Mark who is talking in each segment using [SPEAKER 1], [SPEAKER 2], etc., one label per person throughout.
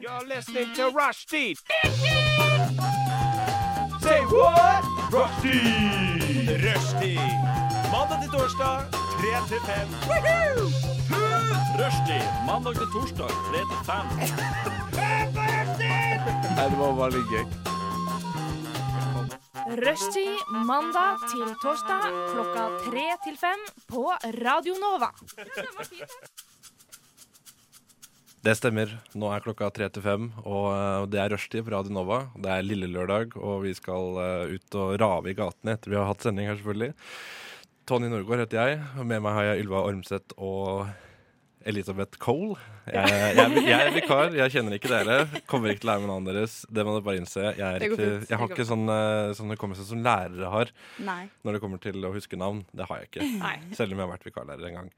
[SPEAKER 1] You're listening to Rushdie. Say what? Rushdie. Rushdie. Mandag til torsdag, 3 til 5. Rushdie. Mandag til torsdag, 3 til 5. det var veldig gøy.
[SPEAKER 2] Rushtid mandag til torsdag klokka tre til fem på Radio Nova.
[SPEAKER 3] Det stemmer. Nå er klokka tre til fem, og eh, det er rushtid på Radio Nova. Det er lille lørdag, og vi skal eh, ut og rave i gatene etter vi har hatt sending her, selvfølgelig. Tony Norgård heter jeg, og med meg har jeg Ylva Ormseth og Elisabeth Cole. Jeg, jeg, jeg er vikar, jeg kjenner ikke dere. Kommer ikke til å lære meg navnet deres. Det må dere bare innse. Jeg, er
[SPEAKER 4] Det går
[SPEAKER 3] ikke,
[SPEAKER 4] fint.
[SPEAKER 3] jeg har
[SPEAKER 4] Det går
[SPEAKER 3] ikke sånn eh, sånn hukommelse som lærere har
[SPEAKER 4] Nei.
[SPEAKER 3] når det kommer til å huske navn. Det har jeg ikke.
[SPEAKER 4] Nei.
[SPEAKER 3] Selv om jeg har vært vikarlærer en gang.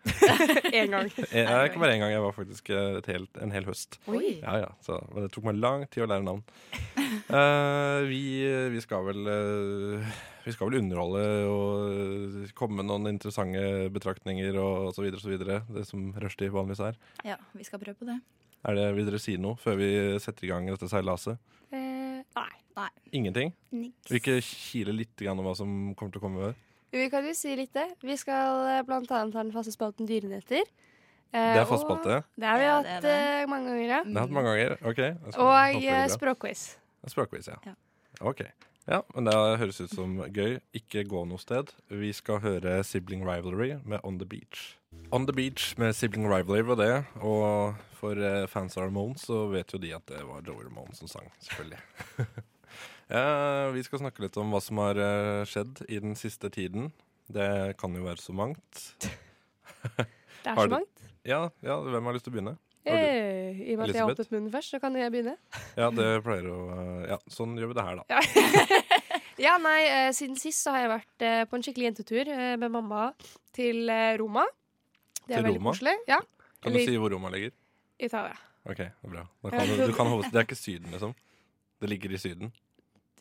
[SPEAKER 4] Én gang.
[SPEAKER 3] Jeg, jeg, ikke bare en gang, jeg var faktisk eh, et helt, en hel høst.
[SPEAKER 4] Oi.
[SPEAKER 3] Ja, ja. Så, men det tok meg lang tid å lære navn. Eh, vi, vi skal vel eh, Vi skal vel underholde og komme med noen interessante betraktninger og, og så videre og så videre. Det som rushtid vanligvis er.
[SPEAKER 4] Ja, vi skal prøve på det.
[SPEAKER 3] Er det, Vil dere si noe før vi setter i gang dette seilaset?
[SPEAKER 4] Eh, nei. nei.
[SPEAKER 3] Ingenting?
[SPEAKER 4] Niks.
[SPEAKER 3] Vil ikke kile litt grann om hva som kommer til å komme?
[SPEAKER 5] Vi kan jo si litt det. Vi skal eh, blant annet ha den faste spalten Dyrenyheter. Eh,
[SPEAKER 4] Eh,
[SPEAKER 3] Det er fastspalte.
[SPEAKER 5] Det har vi
[SPEAKER 4] Ja, det er
[SPEAKER 5] hatt
[SPEAKER 4] det.
[SPEAKER 5] eh, mange ganger, ja.
[SPEAKER 3] Det har
[SPEAKER 4] mm.
[SPEAKER 3] jeg hatt mange ganger. OK. jeg skal- håper
[SPEAKER 5] Og
[SPEAKER 3] det går
[SPEAKER 5] eh,
[SPEAKER 3] bra.
[SPEAKER 5] språkquiz.
[SPEAKER 3] Språkquiz, ja.
[SPEAKER 4] Ja.
[SPEAKER 3] Ok. Ja, men Det høres ut som gøy. Ikke gå noe sted. Vi skal høre Sibling Rivalry med On The Beach. On The Beach med Sibling Rivalry var det. Og for eh, fans av Ramones så vet jo de at det var Joey Ramone som sang, selvfølgelig. Eh, vi skal snakke litt om hva som har eh, skjedd i den siste tiden. Det kan jo være så mangt.
[SPEAKER 5] Det er
[SPEAKER 3] Har
[SPEAKER 5] så
[SPEAKER 3] du-
[SPEAKER 5] mangt.
[SPEAKER 3] Ja, ja hvem har lyst til å begynne? Har du-
[SPEAKER 5] Hey, I og med at jeg
[SPEAKER 3] Elisabeth?
[SPEAKER 5] åpnet munnen først, så kan jeg begynne.
[SPEAKER 3] Ja, det pleier å eh, Ja, sånn gjør vi det her, da.
[SPEAKER 5] Ja, nei, eh, Siden sist så har jeg vært eh, på en skikkelig jentetur eh, med mamma til eh, Roma. Det er
[SPEAKER 3] Til
[SPEAKER 5] veldig
[SPEAKER 3] Roma?
[SPEAKER 5] koselig. Ja,
[SPEAKER 3] Kan du
[SPEAKER 5] Eller-
[SPEAKER 3] si hvor Roma ligger?
[SPEAKER 5] Italia.
[SPEAKER 3] Ok, det er bra. Da kan du, du kan hoved- det er ikke Syden, liksom? Det ligger i Syden.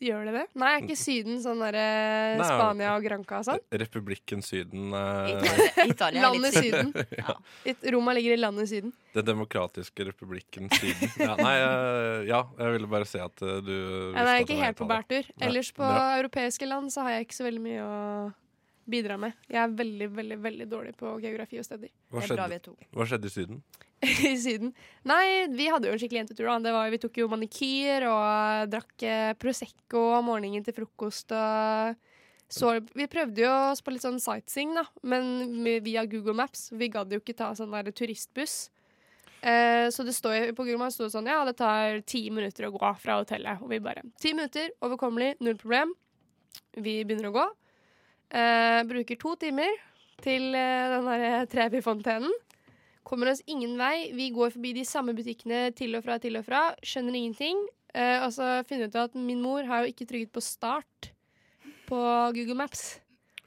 [SPEAKER 5] Gjør det det? Nei, er ikke Syden sånn der eh,
[SPEAKER 3] Mm. Nei.
[SPEAKER 5] Spania og Granca og sånn?
[SPEAKER 3] Republikken Syden. Eh,
[SPEAKER 4] Italia, Italia er
[SPEAKER 5] Landet
[SPEAKER 4] litt sykt.
[SPEAKER 5] Syden.
[SPEAKER 4] Ja.
[SPEAKER 5] It- Roma ligger i landet Syden.
[SPEAKER 3] Den demokratiske republikken Syden. Ja, nei, eh, ja, jeg ville bare se at eh, du
[SPEAKER 5] Nei, nei, ikke helt på bærtur.
[SPEAKER 3] Nei,
[SPEAKER 5] Ellers på
[SPEAKER 3] bra.
[SPEAKER 5] europeiske land så har jeg ikke så veldig mye å bidra med. Jeg er veldig, veldig, veldig dårlig på geografi og steder
[SPEAKER 3] Hva
[SPEAKER 4] Det er bra
[SPEAKER 3] skjedde,
[SPEAKER 4] vi er to.
[SPEAKER 3] hva skjedde i Syden?
[SPEAKER 5] i Syden. Nei, vi hadde jo en skikkelig jentetur. da. Det var, vi tok jo manikyr og drakk eh, Prosecco om morgenen til frokost. og så, vi prøvde jo oss på litt sånn sightseeing, da, men med- via Google Maps. Vi gadd jo ikke ta sånn der turistbuss. Eh, så det står, jo- på Google Maps sto det sånn ja, det tar ti minutter å gå fra hotellet. Og vi bare Ti minutter, overkommelig, null problem. Vi begynner å gå. Eh, bruker to timer til eh, den derre Trevi-fontenen. Kommer oss ingen vei. Vi går forbi de samme butikkene til og fra, til og fra. Skjønner ingenting. Eh, og så finner jeg ut at min mor har jo ikke trykket på start på Google Maps.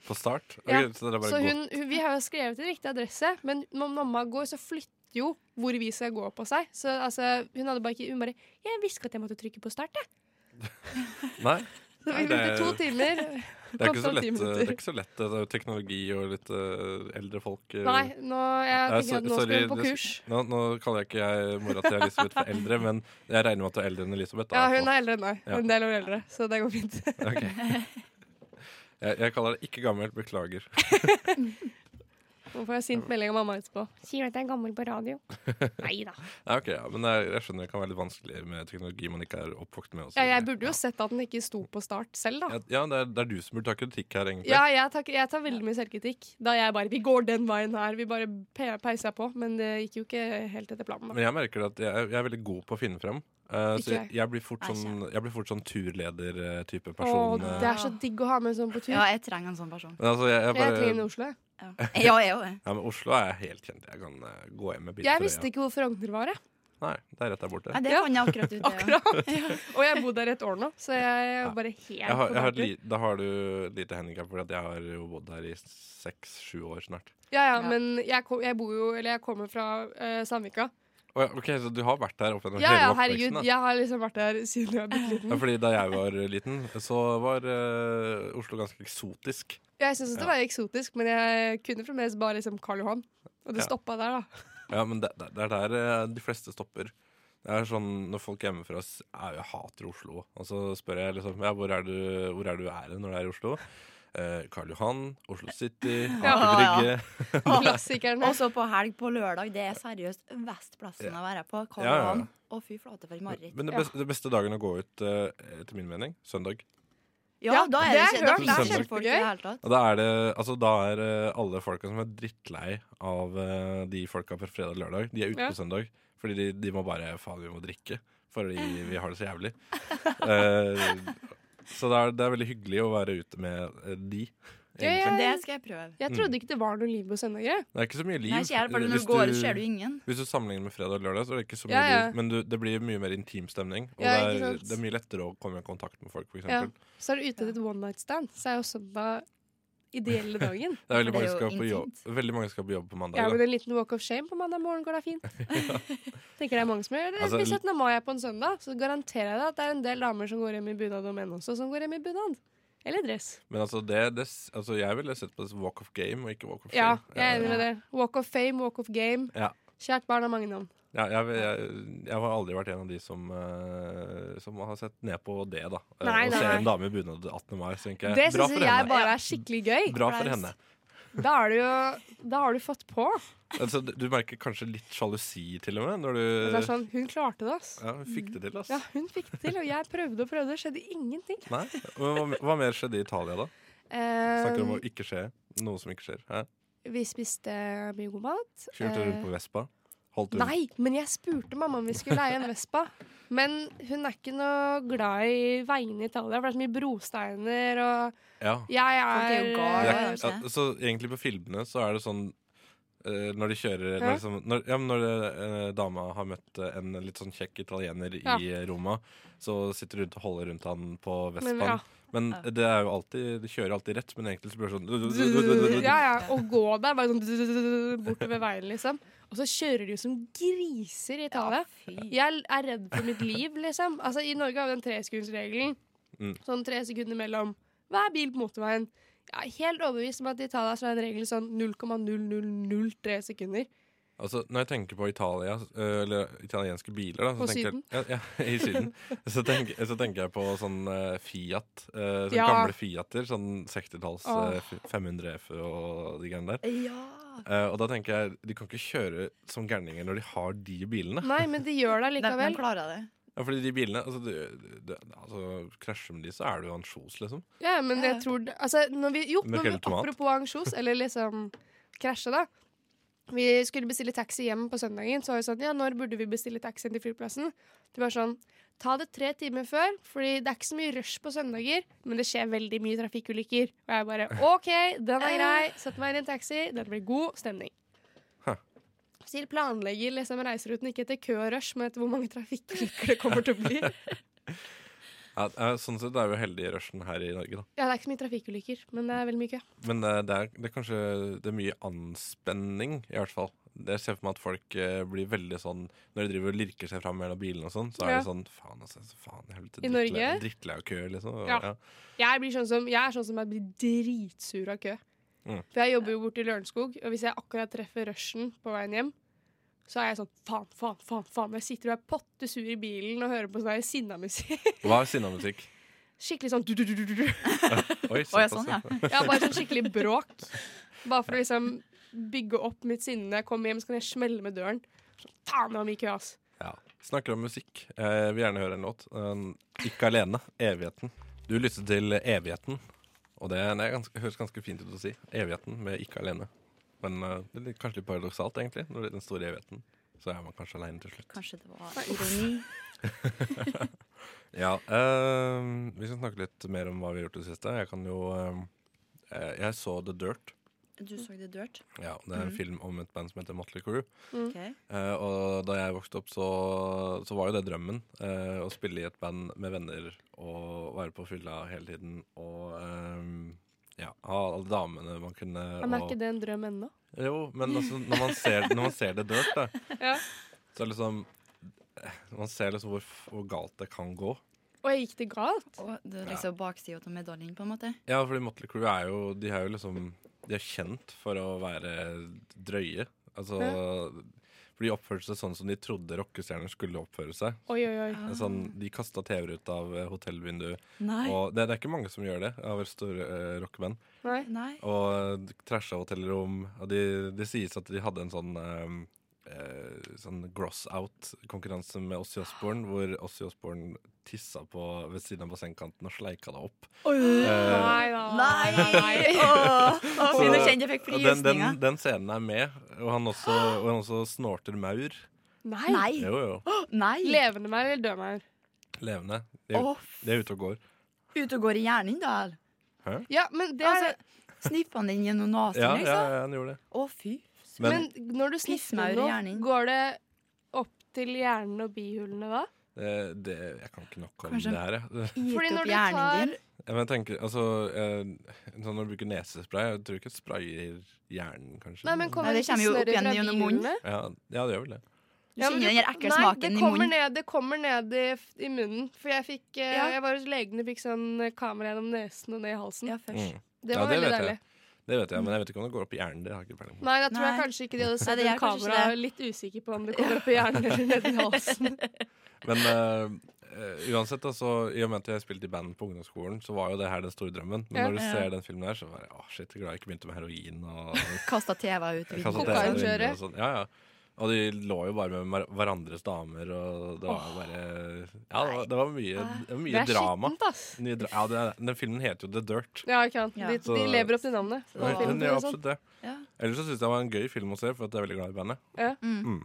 [SPEAKER 3] På start? Ok,
[SPEAKER 5] Ja,
[SPEAKER 3] så det er bare
[SPEAKER 5] Så
[SPEAKER 3] gå-
[SPEAKER 5] hun, hun, vi har jo skrevet en riktig adresse, men når mamma går, så flytter jo hvor vi skal gå på seg. Så altså, hun hadde bare ikke Hun bare 'Jeg visste ikke at jeg måtte trykke på start', jeg.
[SPEAKER 3] Nei,
[SPEAKER 5] Så
[SPEAKER 3] Nei,
[SPEAKER 5] vi
[SPEAKER 3] det
[SPEAKER 5] brukte
[SPEAKER 3] er-
[SPEAKER 5] to timer.
[SPEAKER 3] det er ikke så
[SPEAKER 5] Kostet ti
[SPEAKER 3] lett. eh, Det
[SPEAKER 5] minutter.
[SPEAKER 3] er ikke så lett eh, teknologi og litt eh, eldre folk. eh.
[SPEAKER 5] Nei, nå, jeg
[SPEAKER 3] Nei,
[SPEAKER 5] tenker
[SPEAKER 3] så-
[SPEAKER 5] at nå skal
[SPEAKER 3] sorry,
[SPEAKER 5] hun på
[SPEAKER 3] det-
[SPEAKER 5] kurs.
[SPEAKER 3] Nå, nå kaller jeg ikke jeg mora til Elisabeth for eldre, men jeg regner med at du er eldre enn Elisabeth. da,
[SPEAKER 5] Ja,
[SPEAKER 3] i hvert fall.
[SPEAKER 5] hun er eldre enn meg.
[SPEAKER 3] Ja.
[SPEAKER 5] En del år eldre, så det går fint.
[SPEAKER 3] Ok. Jeg, jeg kaller det ikke gammelt, beklager.
[SPEAKER 5] Nå får jeg sint melding av mamma etterpå. Sier du at jeg er gammel på radio? Nei da.
[SPEAKER 3] Nei, ok, ja, men jeg, jeg skjønner det kan være litt vanskelig med teknologi man ikke er oppvokst med. og så
[SPEAKER 5] Ja, jeg
[SPEAKER 3] videre.
[SPEAKER 5] burde jo sett at den ikke sto på start selv, da.
[SPEAKER 3] ja, ja, det, er, det er du som burde ta kritikk her, egentlig.
[SPEAKER 5] Ja, jeg tar, jeg tar veldig mye selvkritikk. Da jeg bare Vi går den veien her. Vi bare pe- peisa på. Men det gikk jo ikke helt etter planen. da.
[SPEAKER 3] Men jeg merker at jeg, er- jeg er veldig god på å finne frem. Eh,
[SPEAKER 5] Ikke
[SPEAKER 3] så jeg,
[SPEAKER 5] jeg.
[SPEAKER 3] jeg, blir fort
[SPEAKER 4] Nei,
[SPEAKER 3] sånn, jeg blir fort sånn turleder-type
[SPEAKER 5] Å,
[SPEAKER 3] person. eh.
[SPEAKER 5] det er så digg å ha med en sånn på tur.
[SPEAKER 4] Ja, jeg trenger en sånn person.
[SPEAKER 3] Men altså, jeg, jeg
[SPEAKER 5] Jeg trenger den i
[SPEAKER 3] bare,
[SPEAKER 5] Oslo. jeg.
[SPEAKER 4] Ja, ja jeg òg.
[SPEAKER 3] ja, men Oslo er helt kjent. Jeg kan eh, gå hjem med bil.
[SPEAKER 5] Jeg visste ikke hvor Frogner var, jeg.
[SPEAKER 3] Nei, det er rett der borte.
[SPEAKER 4] Ja, det
[SPEAKER 5] Ja.
[SPEAKER 4] fant jeg akkurat ut. det, ja.
[SPEAKER 5] Akkurat. Og jeg har bodd der et år nå, så jeg er bare
[SPEAKER 3] Jeg
[SPEAKER 5] helt
[SPEAKER 3] har, jeg har et
[SPEAKER 5] på
[SPEAKER 3] li, da har du et lite handikap, for jeg har jo bodd her i seks-sju år snart.
[SPEAKER 5] Ja,
[SPEAKER 4] Ja.
[SPEAKER 5] ja, men jeg, kom, jeg bor jo Eller jeg kommer fra eh, Sandvika.
[SPEAKER 3] Å ja, Ok, Så du har vært der oppe gjennom
[SPEAKER 5] Ja, ja,
[SPEAKER 3] hele oppveksten?
[SPEAKER 5] herregud.
[SPEAKER 3] da?
[SPEAKER 5] Jeg har liksom vært der siden jeg var bitte liten.
[SPEAKER 3] Ja, fordi Da jeg var eh, liten, så var eh, Oslo ganske eksotisk.
[SPEAKER 5] Jeg syns
[SPEAKER 3] Ja.
[SPEAKER 5] det var eksotisk, men jeg kunne fremdeles bare liksom Karl Johan. Og det
[SPEAKER 3] Ja.
[SPEAKER 5] stoppa der, da.
[SPEAKER 3] Ja, Men det, det det er der eh, de fleste stopper. Det er sånn, Når folk hjemmefra s- er, jeg hater Oslo, og så spør jeg liksom ja, hvor er du hvor er du er når du er i Oslo? Eh, Karl Johan, Oslo City, Aker
[SPEAKER 4] Ja.
[SPEAKER 3] Brygge.
[SPEAKER 5] Klassikerne.
[SPEAKER 4] Og så på helg på lørdag. Det er seriøst vestplassen å være på. Karl
[SPEAKER 3] Ja, ja, ja.
[SPEAKER 4] Johan. Å, fy flate, for et mareritt.
[SPEAKER 3] Men det beste, det beste dagen å gå ut, eh, etter min mening, søndag.
[SPEAKER 4] Ja, da er det ikke,
[SPEAKER 5] det
[SPEAKER 3] hørt.
[SPEAKER 4] da er
[SPEAKER 5] har jeg
[SPEAKER 4] det
[SPEAKER 5] Det er
[SPEAKER 4] ikke folk i det hele tatt.
[SPEAKER 3] Og da er det altså, da er eh, alle folka som er drittlei av eh, de folka på fredag og lørdag, de er ute
[SPEAKER 5] Ja.
[SPEAKER 3] på søndag. Fordi de, de må bare Faen, vi må drikke. Fordi vi har det så jævlig. Eh, så det er, det er veldig hyggelig å være ute med eh, de.
[SPEAKER 5] Ja, ja.
[SPEAKER 3] egentlig.
[SPEAKER 4] Men det skal jeg prøve.
[SPEAKER 3] Mm.
[SPEAKER 5] Jeg trodde ikke det var noe liv på søndager.
[SPEAKER 3] Det er ikke så mye liv. eh,
[SPEAKER 4] Nei, ikke jeg, for når
[SPEAKER 3] Hvis
[SPEAKER 4] du går ut, ser du ingen.
[SPEAKER 3] Hvis du sammenligner med fredag og lørdag, så er det ikke så mye
[SPEAKER 5] Ja, ja.
[SPEAKER 3] liv. Men du, det blir mye mer intim stemning. Og
[SPEAKER 5] Ja,
[SPEAKER 3] det,
[SPEAKER 5] ikke
[SPEAKER 3] er,
[SPEAKER 5] sant?
[SPEAKER 3] det er mye lettere å komme i kontakt med folk, f.eks.
[SPEAKER 5] Ja.
[SPEAKER 3] eksempel
[SPEAKER 5] Så er du ute etter et one night stand, så er jo søndag ideelle dagen.
[SPEAKER 3] Det er veldig
[SPEAKER 4] For det
[SPEAKER 3] mange,
[SPEAKER 4] er
[SPEAKER 3] skal
[SPEAKER 4] jo
[SPEAKER 3] på jobb,
[SPEAKER 4] intimt.
[SPEAKER 3] veldig mange skal på jobb på mandag.
[SPEAKER 5] Ja,
[SPEAKER 3] da.
[SPEAKER 5] men En liten walk of shame på mandag morgen går da fint. Tenker det er mange som gjør det.
[SPEAKER 3] Altså,
[SPEAKER 5] Hvis 17. mai er på en søndag, så garanterer jeg deg at det er en del damer som går hjem i bunad, og menn også som går hjem i bunad. Eller dress.
[SPEAKER 3] Men altså, det, det, s- altså jeg ville sett på det som walk of game og ikke walk of shame.
[SPEAKER 5] Ja, jeg er enig
[SPEAKER 3] jeg,
[SPEAKER 5] med det. Walk of fame, walk of game.
[SPEAKER 3] Ja.
[SPEAKER 5] Kjært barn har mange navn.
[SPEAKER 3] ja, jeg, jeg, jeg har aldri vært en av de som, eh, som har sett ned på det, da. Eh,
[SPEAKER 5] Nei,
[SPEAKER 3] og
[SPEAKER 5] nei,
[SPEAKER 3] ser
[SPEAKER 5] nei.
[SPEAKER 3] en dame i bunad 18. mai, så tenker jeg.
[SPEAKER 5] Det
[SPEAKER 3] bra
[SPEAKER 5] syns
[SPEAKER 3] for
[SPEAKER 5] jeg
[SPEAKER 3] henne.
[SPEAKER 5] bare er skikkelig gøy.
[SPEAKER 3] Bra for henne.
[SPEAKER 5] Da er du jo Da har du fått på.
[SPEAKER 3] Altså, du du merker kanskje litt sjalusi, til og med, når
[SPEAKER 5] Det er
[SPEAKER 3] du
[SPEAKER 5] sånn, Hun klarte det, ass.
[SPEAKER 3] Eh. ja, hun fikk det til, ass.
[SPEAKER 5] Ja, hun fikk det til, og jeg prøvde og prøvde. Det skjedde ingenting.
[SPEAKER 3] Nei? Hva, hva mer skjedde i Italia, da? Snakker om å
[SPEAKER 5] Eh,
[SPEAKER 3] ikke skje noe som ikke skjer. Hæ?
[SPEAKER 5] vi spiste mye god mat.
[SPEAKER 3] Kjørte
[SPEAKER 5] Eh,
[SPEAKER 3] rundt på Vespa? Holdt rundt?
[SPEAKER 5] Nei, men jeg spurte mamma om vi skulle leie en Vespa. Men hun er ikke noe glad i veiene i Italia, for det er så mye brosteiner, og
[SPEAKER 3] Ja.
[SPEAKER 5] jeg
[SPEAKER 4] Folk er
[SPEAKER 5] er
[SPEAKER 4] jo gale. Ja,
[SPEAKER 5] eh,
[SPEAKER 3] Ja,
[SPEAKER 4] kanskje.
[SPEAKER 3] ja, så egentlig på filmene så er det sånn eh, Når de kjører Når,
[SPEAKER 5] Ja.
[SPEAKER 3] liksom, når, ja, men når eh, dama har møtt eh, en litt sånn kjekk italiener
[SPEAKER 5] Ja.
[SPEAKER 3] i eh, Roma, så sitter de rundt og holder rundt han på
[SPEAKER 5] Men,
[SPEAKER 3] Vespaen. Men,
[SPEAKER 5] ja.
[SPEAKER 3] det er jo alltid De kjører alltid rett, men egentlig så blir det sånn
[SPEAKER 5] ja, ja, og gå der, bare sånn bortover veien, liksom. Og så kjører de jo som griser i Italia.
[SPEAKER 4] Fy.
[SPEAKER 5] Jeg er redd for mitt liv, liksom. Altså, I Norge har vi den tresekundsregelen.
[SPEAKER 3] Mm.
[SPEAKER 5] Sånn tre sekunder mellom hver bil på motorveien. Jeg er helt overbevist om at i Italia så er den regelen sånn 0,0003 sekunder.
[SPEAKER 3] Altså, når jeg tenker på Italia, eh, eller italienske biler da, så
[SPEAKER 5] Og
[SPEAKER 3] tenker
[SPEAKER 5] Syden.
[SPEAKER 3] Jeg, ja, ja, I Syden. Så tenker, så tenker jeg på sånn eh, Fiat. eh, sånne
[SPEAKER 5] Ja.
[SPEAKER 3] Gamle Fiater. Sånn 60-talls
[SPEAKER 5] Åh.
[SPEAKER 3] eh, f- 500 F og de greiene der.
[SPEAKER 4] Ja.
[SPEAKER 3] Eh, og da tenker jeg, De kan ikke kjøre som gærninger når de har de bilene.
[SPEAKER 5] Nei, men de gjør det
[SPEAKER 4] De, de
[SPEAKER 5] likevel.
[SPEAKER 4] klarer det.
[SPEAKER 3] Ja, fordi de bilene, altså, du, du, altså Krasjer med de, så er du ansjos, liksom.
[SPEAKER 5] Ja, men
[SPEAKER 4] Ja.
[SPEAKER 5] jeg tror det- altså, når vi, Jo,
[SPEAKER 3] Med
[SPEAKER 5] når vi,
[SPEAKER 3] hele tomat.
[SPEAKER 5] apropos ansjos, eller liksom krasje, da. Vi skulle bestille taxi hjem på søndagen. Så var det sånn, ja, når burde vi bestille taxien til flyplassen? Det var sånn, ta det tre timer før, fordi det er ikke så mye rush på søndager, men det skjer veldig mye trafikkulykker. Og jeg bare, ok, den er grei, sett meg inn i en taxi, den blir god stemning.
[SPEAKER 3] Huh.
[SPEAKER 5] Så de planlegger liksom reiseruten ikke etter kø og rush, men etter hvor mange trafikkulykker det kommer til å bli.
[SPEAKER 3] Ja, eh, sånn sett er vi heldige i rushen her i Norge, da.
[SPEAKER 5] Ja, det er ikke så mye trafikkulykker, men det er veldig mye kø.
[SPEAKER 3] Men eh, det, er, det er kanskje det er mye anspenning, i hvert fall. Jeg ser for meg at folk eh, blir veldig sånn Når de driver og lirker seg fram mellom bilene og sånn, så er
[SPEAKER 5] Ja.
[SPEAKER 3] det sånn Faen, altså. så Faen, helvete.
[SPEAKER 5] I
[SPEAKER 3] drittlei-
[SPEAKER 5] Norge?
[SPEAKER 3] Drittlei av kø, liksom. Og,
[SPEAKER 5] Ja.
[SPEAKER 3] ja.
[SPEAKER 5] Jeg, blir sånn som, jeg er sånn som jeg blir dritsur av kø.
[SPEAKER 3] Mm.
[SPEAKER 5] For jeg jobber jo borte i Lørenskog, og hvis jeg akkurat treffer rushen på veien hjem, så er jeg sånn faen, faen, faen. faen. Jeg sitter og er potte sur i bilen og hører på sånn der sinna musikk.
[SPEAKER 3] Hva er sinnamusikk?
[SPEAKER 5] Skikkelig sånn du, du, du, du, du.
[SPEAKER 3] Oi,
[SPEAKER 4] Å ja,
[SPEAKER 3] såpass,
[SPEAKER 4] sånn, ja.
[SPEAKER 5] Ja, bare sånn skikkelig bråk. Bare for å liksom bygge opp mitt sinne. Når jeg kommer hjem, så kan jeg smelle med døren. Sånn, faen, det var mye kø, ass.
[SPEAKER 3] Ja. Snakker om musikk. Eh, vil gjerne høre en låt. En ikke alene. Evigheten. Du lytter til Evigheten, og det, det er ganske, høres ganske fint ut å si. Evigheten med ikke alene. Men eh, det er litt, kanskje litt paradoksalt, egentlig. Når det er den store evigheten, så er man kanskje alene til slutt.
[SPEAKER 4] Kanskje det var ironi.
[SPEAKER 3] Ja, eh, Vi skal snakke litt mer om hva vi har gjort i det siste. Jeg kan jo eh, eh, Jeg så The Dirt.
[SPEAKER 4] Du så det dørt.
[SPEAKER 3] Ja, Det er en film om et band som heter Motley Crew.
[SPEAKER 4] Ok.
[SPEAKER 3] Eh, og da jeg vokste opp, så, så var jo det drømmen. eh, å spille i et band med venner og være på fylla hele tiden. Og eh, ja, ha alle damene man kunne
[SPEAKER 5] Men er
[SPEAKER 3] og-
[SPEAKER 5] ikke det en drøm ennå?
[SPEAKER 3] Jo, men altså, når, man ser, når man ser det dirt, da,
[SPEAKER 5] Ja.
[SPEAKER 3] så er det liksom når man ser liksom hvor, f- hvor galt det kan gå.
[SPEAKER 5] Og jeg gikk det galt?
[SPEAKER 4] Og det er liksom baksida av medaljen, på en måte.
[SPEAKER 3] Ja, fordi Motley Crue er jo De er jo liksom De er kjent for å være drøye. Altså For de oppførte seg sånn som de trodde rockestjerner skulle oppføre seg.
[SPEAKER 5] Oi, oi, oi.
[SPEAKER 3] Det er Sånn,
[SPEAKER 4] Ah.
[SPEAKER 3] de kasta TV-er ut av eh, hotellvinduet.
[SPEAKER 4] Nei.
[SPEAKER 3] Og det, det er ikke mange som gjør det, av store eh, rockeband.
[SPEAKER 5] Nei.
[SPEAKER 4] Nei.
[SPEAKER 3] Og de trasha hotellrom. Og de, det sies at de hadde en sånn eh, eh, Sånn gross out-konkurranse med Ossi Osborn, hvor Ossi Osborn tissa på ved siden av bassengkanten og sleika det opp. Eh,
[SPEAKER 5] Nei da.
[SPEAKER 4] Nei! Åh, åh, fy, nå kjente jeg fikk
[SPEAKER 3] og den, den,
[SPEAKER 4] frysninger.
[SPEAKER 3] den scenen er med, og han også, og han også snorter maur.
[SPEAKER 5] Nei.
[SPEAKER 4] Nei.
[SPEAKER 3] Jo, jo.
[SPEAKER 4] Nei.
[SPEAKER 5] Levende maur eller død maur?
[SPEAKER 3] Levende. De,
[SPEAKER 4] Åh,
[SPEAKER 3] de er ute og går.
[SPEAKER 4] ut og går i hjernen, da. eller?
[SPEAKER 5] Ja, men det er
[SPEAKER 4] Altså, Snipper han inn gjennom nesen,
[SPEAKER 3] Ja, ja,
[SPEAKER 4] liksom?
[SPEAKER 3] ja, han gjorde det.
[SPEAKER 4] Å, fy.
[SPEAKER 3] Men
[SPEAKER 5] Men når du
[SPEAKER 4] Pissmaur
[SPEAKER 5] sniffer
[SPEAKER 4] i
[SPEAKER 5] noe,
[SPEAKER 4] hjernen.
[SPEAKER 5] går det opp til hjernen og bihulene da?
[SPEAKER 3] eh, det, jeg kan ikke nok om
[SPEAKER 4] Kanskje-
[SPEAKER 3] det her, jeg.
[SPEAKER 5] Fordi
[SPEAKER 4] Gitt
[SPEAKER 5] når
[SPEAKER 4] opp
[SPEAKER 5] du tar-
[SPEAKER 4] hjernen din.
[SPEAKER 3] Ja, men jeg tenker, altså eh, sånn Når du bruker nesespray, jeg tror ikke det sprayer hjernen, kanskje.
[SPEAKER 5] Nei, men kommer
[SPEAKER 4] Nei,
[SPEAKER 5] det
[SPEAKER 4] det kommer jo
[SPEAKER 5] ikke
[SPEAKER 4] opp
[SPEAKER 5] snørret
[SPEAKER 4] igjen
[SPEAKER 5] fra
[SPEAKER 4] gjennom munnen.
[SPEAKER 5] bihulene?
[SPEAKER 3] ja, ja, det gjør vel det.
[SPEAKER 4] Du
[SPEAKER 5] Ja, men
[SPEAKER 4] kjenner den der ekle
[SPEAKER 5] nei,
[SPEAKER 4] smaken
[SPEAKER 5] det
[SPEAKER 4] i
[SPEAKER 5] kommer
[SPEAKER 4] munnen.
[SPEAKER 5] Ned, det kommer ned i, f- i munnen. For jeg fikk eh,
[SPEAKER 4] Ja.
[SPEAKER 5] Jeg var hos legen og fikk sånn eh, kamera gjennom nesen og ned i halsen.
[SPEAKER 4] Ja, først.
[SPEAKER 3] Mm.
[SPEAKER 5] Det
[SPEAKER 3] Ja,
[SPEAKER 5] var
[SPEAKER 3] det
[SPEAKER 5] veldig
[SPEAKER 3] vet jeg.
[SPEAKER 5] deilig.
[SPEAKER 3] Det vet jeg, men jeg vet ikke om det går opp i hjernen. Det har jeg ikke peiling på.
[SPEAKER 5] Nei, da tror jeg
[SPEAKER 4] Nei.
[SPEAKER 5] kanskje ikke de hadde
[SPEAKER 4] Nei,
[SPEAKER 5] sett
[SPEAKER 4] det
[SPEAKER 5] en
[SPEAKER 4] gjør kanskje
[SPEAKER 5] kamera. Litt usikker på om det kommer opp i hjernen eller ned i halsen.
[SPEAKER 3] Men eh, eh, uansett, altså, i og med at jeg spilte i band på ungdomsskolen, så var jo det her den store drømmen. Men
[SPEAKER 5] Ja.
[SPEAKER 3] når du
[SPEAKER 4] Ja.
[SPEAKER 3] ser den filmen her, så var jeg å shit, jeg er glad jeg ikke begynte med heroin. Og,
[SPEAKER 4] Kasta TV-a ut. i
[SPEAKER 3] jeg kastet
[SPEAKER 4] vinduet.
[SPEAKER 5] det er-
[SPEAKER 3] TV-en i vinduet
[SPEAKER 5] Kokainkjøret.
[SPEAKER 3] og sånn. Ja, ja. Og de lå jo bare med hver- hverandres damer, og det var bare Ja, det var, det var mye, det var
[SPEAKER 5] Det
[SPEAKER 3] mye
[SPEAKER 5] er
[SPEAKER 3] drama.
[SPEAKER 5] skittent, ass.
[SPEAKER 3] Mye dra ja, det, den filmen heter jo The Dirt.
[SPEAKER 5] Ja, ikke sant.
[SPEAKER 4] Ja.
[SPEAKER 5] De, de
[SPEAKER 3] Så-
[SPEAKER 5] lever opp til navnet.
[SPEAKER 4] Så
[SPEAKER 3] Ja,
[SPEAKER 4] det var-
[SPEAKER 3] Den
[SPEAKER 5] sånn?
[SPEAKER 3] gjør absolutt det.
[SPEAKER 4] Ja.
[SPEAKER 3] Ellers så syns jeg det var en gøy film å se, for at jeg er veldig glad i bandet.
[SPEAKER 4] Mm.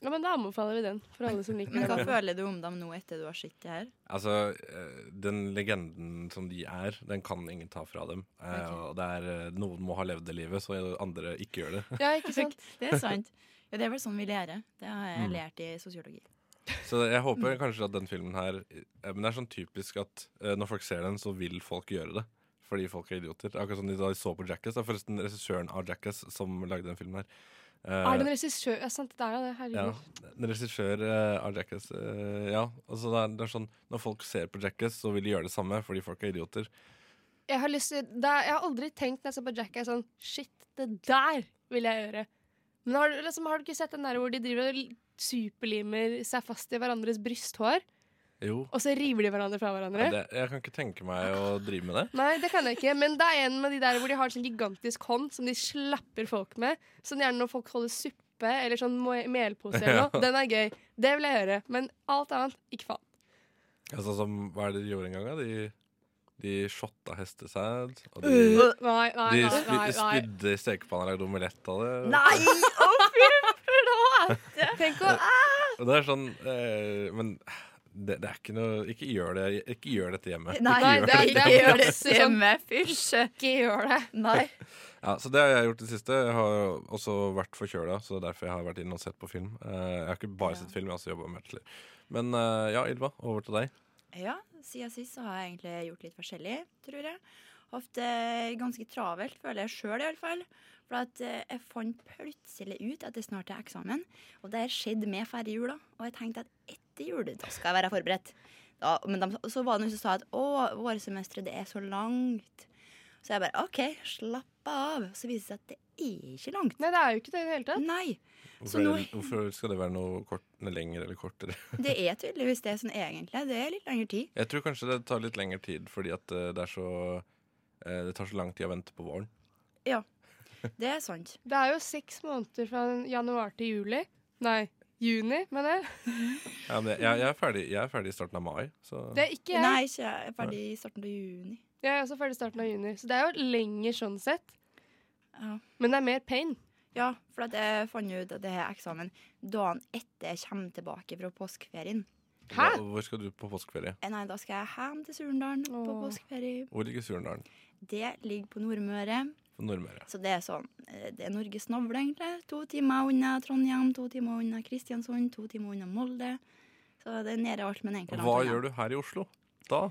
[SPEAKER 5] Ja, men Da anbefaler vi den for alle som liker
[SPEAKER 4] Men hva
[SPEAKER 5] det.
[SPEAKER 4] føler du om dem nå etter du har sett det her?
[SPEAKER 3] Altså, eh, Den legenden som de er, den kan ingen ta fra dem. Eh,
[SPEAKER 4] Ok.
[SPEAKER 3] Og det er, eh, Noen må ha levd det livet, så andre ikke gjør det.
[SPEAKER 5] Ja, ikke sant?
[SPEAKER 4] Det er sant. Ja, det er vel sånn vi lærer. Det har jeg
[SPEAKER 3] Mm.
[SPEAKER 4] lært i sosiologi.
[SPEAKER 3] Så jeg
[SPEAKER 5] Mm.
[SPEAKER 3] håper kanskje at den filmen her eh, Men det er sånn typisk at eh, når folk ser den, så vil folk gjøre det. Fordi folk er idioter. Akkurat som de da så på Jackass. Det er forresten regissøren av Jackass som lagde den filmen her. Eh,
[SPEAKER 5] Er det en regissør Ja, sant, det er jo det.
[SPEAKER 3] Ja.
[SPEAKER 5] Herregud.
[SPEAKER 3] En regissør eh, av Jackass eh, Ja. Altså, det, er, det er sånn Når folk ser på Jackass, så vil de gjøre det samme fordi folk er idioter.
[SPEAKER 5] Jeg har, lyst til, det er, jeg har aldri tenkt når jeg ser på Jackass sånn Shit, det der vil jeg gjøre. Men har du, liksom, har du ikke sett den der hvor de driver og l- superlimer seg fast i hverandres brysthår,
[SPEAKER 3] Jo.
[SPEAKER 5] og så river de hverandre fra hverandre?
[SPEAKER 3] Ja, det, jeg kan ikke tenke meg å drive med det.
[SPEAKER 5] Nei, det kan jeg ikke. Men det er en med de der hvor de har sånn gigantisk hånd som de slapper folk med. Sånn gjerne når folk holder suppe eller sånn mo- melpose eller noe. Den er gøy. Det vil jeg gjøre. Men alt annet, ikke faen.
[SPEAKER 3] Altså, som, hva er det de gjorde en gang? Da? De, de shotta hestesæd. Og de,
[SPEAKER 5] Nei, nei,
[SPEAKER 3] de
[SPEAKER 5] nei.
[SPEAKER 3] spi,
[SPEAKER 5] nei, nei.
[SPEAKER 3] spydde i stekepanna og lagde omelett av det.
[SPEAKER 4] Nei! Å, fy flate!
[SPEAKER 5] Tenk å
[SPEAKER 3] Og det er sånn eh, Men det, det er ikke noe Ikke gjør det Ikke gjør dette hjemme.
[SPEAKER 4] Nei,
[SPEAKER 5] Nei,
[SPEAKER 3] ikke
[SPEAKER 4] det
[SPEAKER 3] gjør
[SPEAKER 5] er-
[SPEAKER 4] er
[SPEAKER 5] det
[SPEAKER 4] ikke
[SPEAKER 5] er
[SPEAKER 4] gjør det
[SPEAKER 5] klassisk sånn.
[SPEAKER 4] hjemme. Fysj.
[SPEAKER 5] ikke gjøre det.
[SPEAKER 4] Nei.
[SPEAKER 3] Ja, så det har jeg gjort i det siste. Jeg har også vært forkjøla, så det er derfor jeg har vært inne og sett på film. Eh, jeg har ikke bare
[SPEAKER 4] Ja.
[SPEAKER 3] sett film, jeg har også jobba med artikler. Men eh, ja, Ylva, over til deg.
[SPEAKER 4] Ja, siden sist så har jeg egentlig gjort litt forskjellig, tror jeg. Hatt det ganske travelt, føler jeg sjøl iallfall. For at eh, jeg fant plutselig ut at det snart er eksamen. Og det her skjedde med færre jul, da. Og jeg tenkte at etter jul, da skal jeg være forberedt. Da, men de, så var det noen som sa at å, vårsemesteret, det er så langt. Så jeg bare OK, slapp av. Så viser det seg at det er ikke langt.
[SPEAKER 5] Nei, det er jo ikke det i det hele tatt.
[SPEAKER 4] Nei. Så
[SPEAKER 3] Hvorfor,
[SPEAKER 4] nå-
[SPEAKER 3] er det- hvorfor skal det være noe kort, lengre eller kortere?
[SPEAKER 4] Det er tydeligvis det sånn egentlig. Det er litt lengre tid.
[SPEAKER 3] Jeg tror kanskje det tar litt lengre tid, fordi at eh, det er så eh, Det tar så lang tid å vente på våren.
[SPEAKER 4] Det er sant.
[SPEAKER 5] Det er jo seks måneder fra januar til juli. Nei, juni, mener jeg.
[SPEAKER 3] Ja, men jeg, jeg, er ferdig, jeg er ferdig i starten av mai, så
[SPEAKER 5] Det er ikke jeg.
[SPEAKER 4] Nei, ikke jeg er ferdig i starten av juni.
[SPEAKER 5] Jeg er også ferdig starten av juni. Så det er jo lenger sånn sett.
[SPEAKER 4] Ja.
[SPEAKER 5] Men det er mer pain.
[SPEAKER 4] Ja, for at jeg fant jo ut at det er eksamen dagen etter jeg kommer tilbake fra påskeferien.
[SPEAKER 5] Hæ?
[SPEAKER 3] Hva- Hvor skal du på påskeferie?
[SPEAKER 4] Eh, Nei, da skal jeg hjem til Surndalen på
[SPEAKER 5] Åh.
[SPEAKER 4] påskeferie.
[SPEAKER 3] Hvor ligger Surndalen?
[SPEAKER 4] Det ligger på Nordmøre.
[SPEAKER 3] På Nordmøre.
[SPEAKER 4] Så det er sånn eh, Det er Norges navle, egentlig. To timer unna Trondheim, to timer unna Kristiansund, to timer unna Molde. Så det er nede alt, men egentlig
[SPEAKER 3] Hva gjør du her i Oslo da?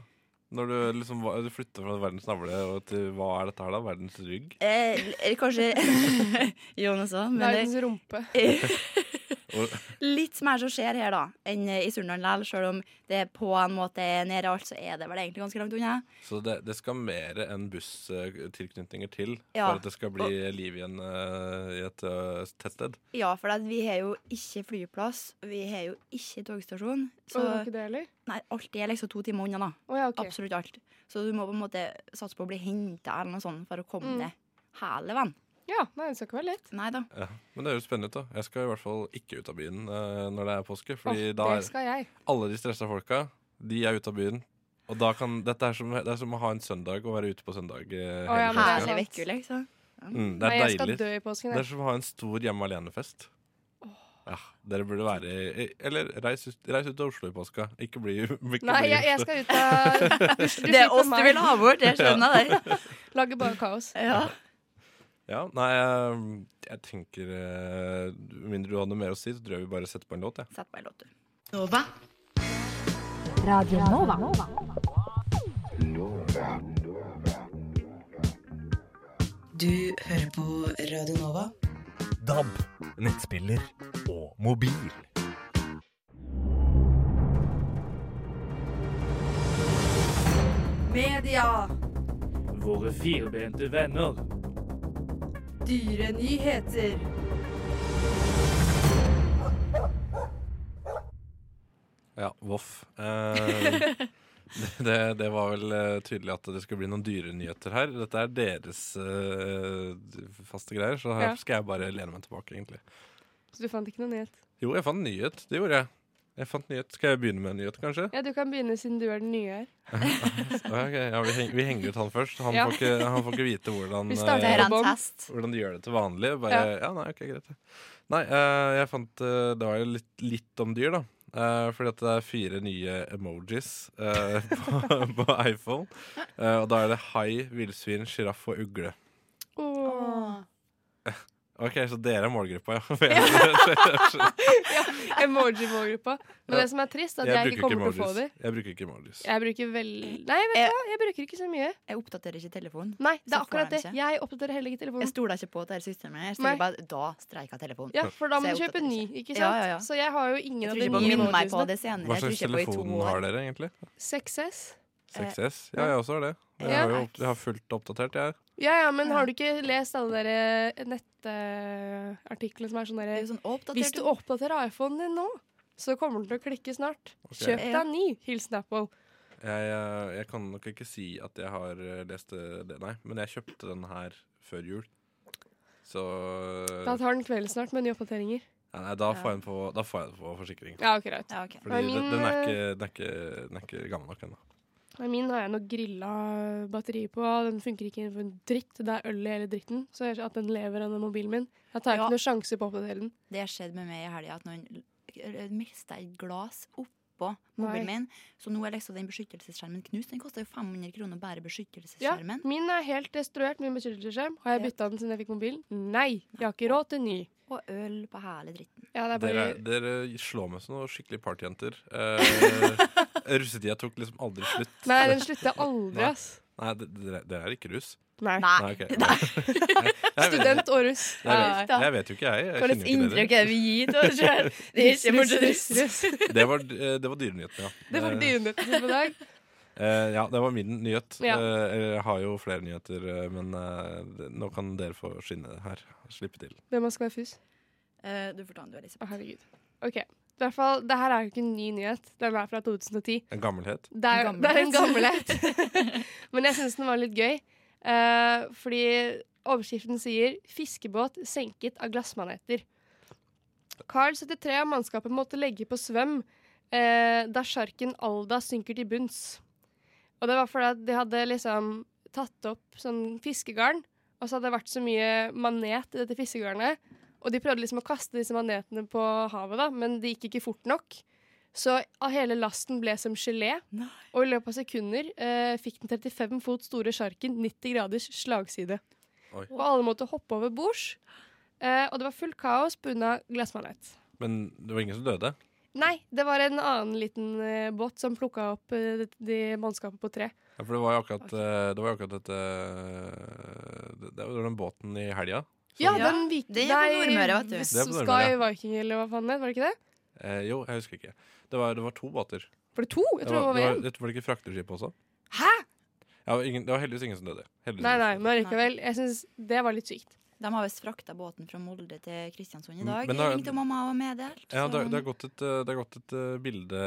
[SPEAKER 3] Når du liksom hva- du flytter fra verdens navle og til hva er dette her, da? Verdens rygg?
[SPEAKER 4] Eh, eller kanskje eh, Jonas òg, men det,
[SPEAKER 5] Verdens rumpe.
[SPEAKER 3] Og,
[SPEAKER 4] Litt mer som skjer her, da, enn eh, i Surnadal likevel. Selv om det på en måte er nede alt, så er det vel egentlig ganske langt unna.
[SPEAKER 3] så det, det skal mer enn busstilknytninger til
[SPEAKER 4] Ja.
[SPEAKER 3] for at det skal bli liv igjen eh, i et eh, tettsted.
[SPEAKER 4] Ja, for at vi har jo ikke flyplass, vi har jo ikke togstasjon. Så
[SPEAKER 5] Og det var ikke det heller?
[SPEAKER 4] nei, alt er liksom to timer unna, da.
[SPEAKER 5] Å ja, OK.
[SPEAKER 4] Absolutt alt. Så du må på en måte satse på å bli henta eller noe sånt for å komme
[SPEAKER 5] Mm.
[SPEAKER 4] deg hæleven.
[SPEAKER 5] Ja, nei, det skal ikke være lett.
[SPEAKER 4] Nei da.
[SPEAKER 3] Ja. Men det høres spennende ut. da Jeg skal i hvert fall ikke ut av byen eh, når det er påske. Fordi
[SPEAKER 5] Åh,
[SPEAKER 3] da
[SPEAKER 5] det
[SPEAKER 3] er
[SPEAKER 5] skal jeg.
[SPEAKER 3] alle de stressa folka De er ute av byen. Og da kan, dette er som, det er som å ha en søndag og være ute på søndag. eh,
[SPEAKER 5] Å, ja,
[SPEAKER 3] hele
[SPEAKER 5] men det
[SPEAKER 3] påska.
[SPEAKER 5] er
[SPEAKER 4] Herlig
[SPEAKER 5] sant.
[SPEAKER 4] vekke, liksom.
[SPEAKER 3] mm, det
[SPEAKER 5] Nei, jeg
[SPEAKER 3] er
[SPEAKER 5] skal
[SPEAKER 3] deilig.
[SPEAKER 5] dø i påsken.
[SPEAKER 3] Det
[SPEAKER 5] jeg.
[SPEAKER 3] er som å ha en stor hjemme alene-fest. Ja, dere burde være i- Eller reis ut, reis ut av Oslo i påska. Ikke bli ikke
[SPEAKER 5] Nei,
[SPEAKER 3] bli
[SPEAKER 5] jeg, jeg skal ut av du, du
[SPEAKER 4] Det er
[SPEAKER 5] slipper
[SPEAKER 4] oss du
[SPEAKER 5] meg.
[SPEAKER 4] vil ha bort, jeg skjønner det.
[SPEAKER 5] Lager bare kaos.
[SPEAKER 4] Ja.
[SPEAKER 3] Ja, nei, jeg, jeg tenker eh, Med mindre du har noe mer å si, så tror jeg vi bare setter på en låt. jeg.
[SPEAKER 4] Sett på en låt, du.
[SPEAKER 6] Du hører på Radio Nova.
[SPEAKER 1] DAB, nettspiller og mobil.
[SPEAKER 6] Media,
[SPEAKER 7] Våre firbente venner.
[SPEAKER 6] dyre nyheter.
[SPEAKER 3] Ja, voff. Eh, det, det var vel eh, tydelig at det skulle bli noen dyre nyheter her. Dette er deres eh, faste greier, så her
[SPEAKER 5] Ja.
[SPEAKER 3] skal jeg bare lene meg tilbake, egentlig.
[SPEAKER 5] Så du fant ikke noe nyhet?
[SPEAKER 3] Jo, jeg fant en nyhet. Det gjorde jeg. Jeg fant en nyhet. Skal jeg begynne med en nyhet, kanskje?
[SPEAKER 5] Ja, du kan begynne siden du er den nye her.
[SPEAKER 3] Ja, ok. ja, vi, heng, vi henger ut han først. Han,
[SPEAKER 5] Ja.
[SPEAKER 3] får, ikke, han får ikke vite hvordan,
[SPEAKER 5] Vi starter
[SPEAKER 4] Det
[SPEAKER 3] eh,
[SPEAKER 4] er en
[SPEAKER 5] Bom.
[SPEAKER 4] test.
[SPEAKER 3] hvordan de gjør det til vanlig. Bare, ja.
[SPEAKER 5] Ja.
[SPEAKER 3] nei, ok, greit. det. Nei, eh, jeg fant eh, Det var jo litt, litt om dyr, da. Eh, fordi at det er fire nye emojis eh, på, på iPhone. Eh, og da er det hai, villsvin, sjiraff og ugle.
[SPEAKER 5] Åh.
[SPEAKER 3] Ok, Så dere er målgruppa, ja. For jeg,
[SPEAKER 5] Emoji-målgruppa. Men
[SPEAKER 3] Ja.
[SPEAKER 5] det som er trist, er at
[SPEAKER 3] jeg,
[SPEAKER 5] jeg,
[SPEAKER 3] bruker
[SPEAKER 5] ikke
[SPEAKER 3] ikke
[SPEAKER 5] kommer til å få
[SPEAKER 3] emojis.
[SPEAKER 5] dem.
[SPEAKER 3] Jeg bruker ikke emojis.
[SPEAKER 5] Jeg bruker vel Nei, vet du
[SPEAKER 4] Jeg-
[SPEAKER 5] hva, jeg bruker ikke så mye.
[SPEAKER 4] Jeg oppdaterer ikke telefonen.
[SPEAKER 5] Nei, det
[SPEAKER 4] Så
[SPEAKER 5] er
[SPEAKER 4] får jeg
[SPEAKER 5] akkurat det.
[SPEAKER 4] den ikke.
[SPEAKER 5] Jeg oppdaterer heller ikke
[SPEAKER 4] Jeg
[SPEAKER 5] telefonen.
[SPEAKER 4] stoler ikke på dette systemet. her, så
[SPEAKER 5] Nei.
[SPEAKER 4] jeg bare, Da streika telefonen.
[SPEAKER 5] Ja, for
[SPEAKER 4] Så
[SPEAKER 5] da må
[SPEAKER 4] jeg
[SPEAKER 5] du kjøpe
[SPEAKER 4] oppdaterer
[SPEAKER 5] ny, ikke sant?
[SPEAKER 4] Ja, ja, ja.
[SPEAKER 5] Så jeg har jo ingen
[SPEAKER 4] Jeg
[SPEAKER 5] av
[SPEAKER 4] tror
[SPEAKER 5] de
[SPEAKER 4] ikke på
[SPEAKER 5] nye
[SPEAKER 4] minn meg på
[SPEAKER 5] emojisene.
[SPEAKER 4] det senere.
[SPEAKER 3] Hva
[SPEAKER 4] Jeg tror
[SPEAKER 3] slags
[SPEAKER 4] ikke på i to
[SPEAKER 3] telefon
[SPEAKER 4] år.
[SPEAKER 3] har dere, egentlig?
[SPEAKER 5] 6S.
[SPEAKER 3] 6S? Ja, jeg også har det. Jeg
[SPEAKER 5] Ja.
[SPEAKER 3] har, jo, jeg har fullt oppdatert, jeg.
[SPEAKER 5] Ja, ja, men har du ikke lest alle dere eh, nettartiklene som er sånn
[SPEAKER 4] Det
[SPEAKER 5] derre
[SPEAKER 4] er jo sånn
[SPEAKER 5] Hvis
[SPEAKER 4] oppdatert.
[SPEAKER 5] du oppdaterer iPhonen din nå, så kommer den til å klikke snart.
[SPEAKER 3] Ok.
[SPEAKER 5] Kjøp deg
[SPEAKER 4] Ja.
[SPEAKER 5] en ny. Hilsen Apple.
[SPEAKER 3] Jeg, eh, jeg kan nok ikke si at jeg har eh, lest det, det- nei. Men jeg kjøpte den her før jul. Så eh,
[SPEAKER 5] Da tar den kvelden snart med nye oppdateringer.
[SPEAKER 3] ja, Nei, da får jeg den på, da får jeg den på forsikring.
[SPEAKER 5] Ja, ok, greit.
[SPEAKER 4] Ja, ok.
[SPEAKER 3] Fordi
[SPEAKER 5] Nei,
[SPEAKER 3] den,
[SPEAKER 5] min,
[SPEAKER 3] den, er ikke, den, er ikke, den er ikke gammel nok ennå.
[SPEAKER 5] Nei, Min har jeg noe grilla batteri på. Den funker ikke for en dritt. Det er øl i hele dritten. Så jeg ser at den lever denne mobilen min. Jeg tar
[SPEAKER 4] Ja.
[SPEAKER 5] ikke noen sjanse på å oppdatere den.
[SPEAKER 4] Det skjedde med meg i helga at noen mista et glass oppå mobilen
[SPEAKER 5] Nei.
[SPEAKER 4] min. Så nå er liksom den beskyttelsesskjermen knust. Den koster jo 500 kroner bare
[SPEAKER 5] Ja,
[SPEAKER 4] beskyttelsesskjermen.
[SPEAKER 5] min er helt destruert, min beskyttelsesskjerm. Har jeg
[SPEAKER 4] Ja.
[SPEAKER 5] bytta den siden jeg fikk mobilen? Nei! Jeg har ikke råd til ny.
[SPEAKER 4] Og øl på hele dritten.
[SPEAKER 5] Ja, det er bare...
[SPEAKER 3] Dere, dere slår meg som noen skikkelig partyjenter. Eh, russetida tok liksom aldri slutt.
[SPEAKER 5] Nei, den slutter aldri,
[SPEAKER 3] Nei.
[SPEAKER 5] ass.
[SPEAKER 3] Nei, d- dere, dere er ikke russ.
[SPEAKER 5] Nei.
[SPEAKER 3] Nei, ok. Jeg vet,
[SPEAKER 5] Student og russ.
[SPEAKER 3] jeg,
[SPEAKER 5] Nei.
[SPEAKER 3] vet, jeg vet jo ikke, jeg. jeg kjenner jo ikke dere.
[SPEAKER 4] er det vi gir til oss sjøl? Det
[SPEAKER 3] Det var, eh, det var dyrenyhetene, ja.
[SPEAKER 5] Det var
[SPEAKER 3] Eh,
[SPEAKER 5] dyrenyhetene på dag.
[SPEAKER 3] Eh, ja, det var min nyhet.
[SPEAKER 5] Ja.
[SPEAKER 3] Eh, jeg har jo flere nyheter, eh, men eh, det- nå kan dere få skinne her. Slippe til.
[SPEAKER 5] Hvem man skal være fus?
[SPEAKER 4] Eh, Du får ta den, du, Elisabeth.
[SPEAKER 5] Å, herregud. OK. I hvert fall, det her er jo ikke en ny nyhet. Den er fra 2010.
[SPEAKER 3] En gammelhet.
[SPEAKER 5] Det er,
[SPEAKER 4] En
[SPEAKER 5] det er en gammelhet. Men jeg syns den var litt gøy. eh, fordi overskriften sier 'Fiskebåt senket av glassmaneter'. Carl 73 og mannskapet måtte legge på svøm eh, da sjarken Alda synker til bunns. Og det var fordi at de hadde liksom tatt opp sånn fiskegarn, og så hadde det vært så mye manet i dette fiskegarnet. Og de prøvde liksom å kaste disse manetene på havet, da, men det gikk ikke fort nok. Så hele lasten ble som gelé,
[SPEAKER 4] Nei.
[SPEAKER 5] og i løpet av sekunder eh, fikk den 35 fot store sjarken 90 graders slagside.
[SPEAKER 3] Oi.
[SPEAKER 5] Og alle måtte hoppe over bords, eh, og det var fullt kaos pga. glassmanet.
[SPEAKER 3] Men det var ingen som døde.
[SPEAKER 5] Nei, det var en annen liten eh, båt som plukka opp eh, de, de mannskapet på tre.
[SPEAKER 3] eh, Ja, for det var jo akkurat, eh, det var jo akkurat dette Det det var den båten i helga
[SPEAKER 5] Ja,
[SPEAKER 4] Ja,
[SPEAKER 5] den vik...
[SPEAKER 4] det er på Nordmøre, vet du.
[SPEAKER 5] Nei,
[SPEAKER 3] Det er på Nordmøre,
[SPEAKER 5] Sky
[SPEAKER 3] ja.
[SPEAKER 5] Viking, eller hva faen det het, var det ikke det?
[SPEAKER 3] Eh, jo, jeg husker ikke. Det var, det var to båter.
[SPEAKER 5] Var det to? Jeg tror det var
[SPEAKER 3] det var,
[SPEAKER 5] én.
[SPEAKER 3] det var ikke frakteskip også?
[SPEAKER 5] Hæ?
[SPEAKER 3] Ja, og ingen, det var heldigvis ingen som døde. Heldigvis.
[SPEAKER 5] Nei, nei, men likevel. Jeg syns det var litt sykt.
[SPEAKER 4] De har visst frakta båten fra Molde til Kristiansund i dag.
[SPEAKER 3] Men da-
[SPEAKER 4] Jeg ringte mamma og meddelt.
[SPEAKER 3] Ja, det,
[SPEAKER 4] så-
[SPEAKER 3] det, har gått et, eh, det har gått et eh, bilde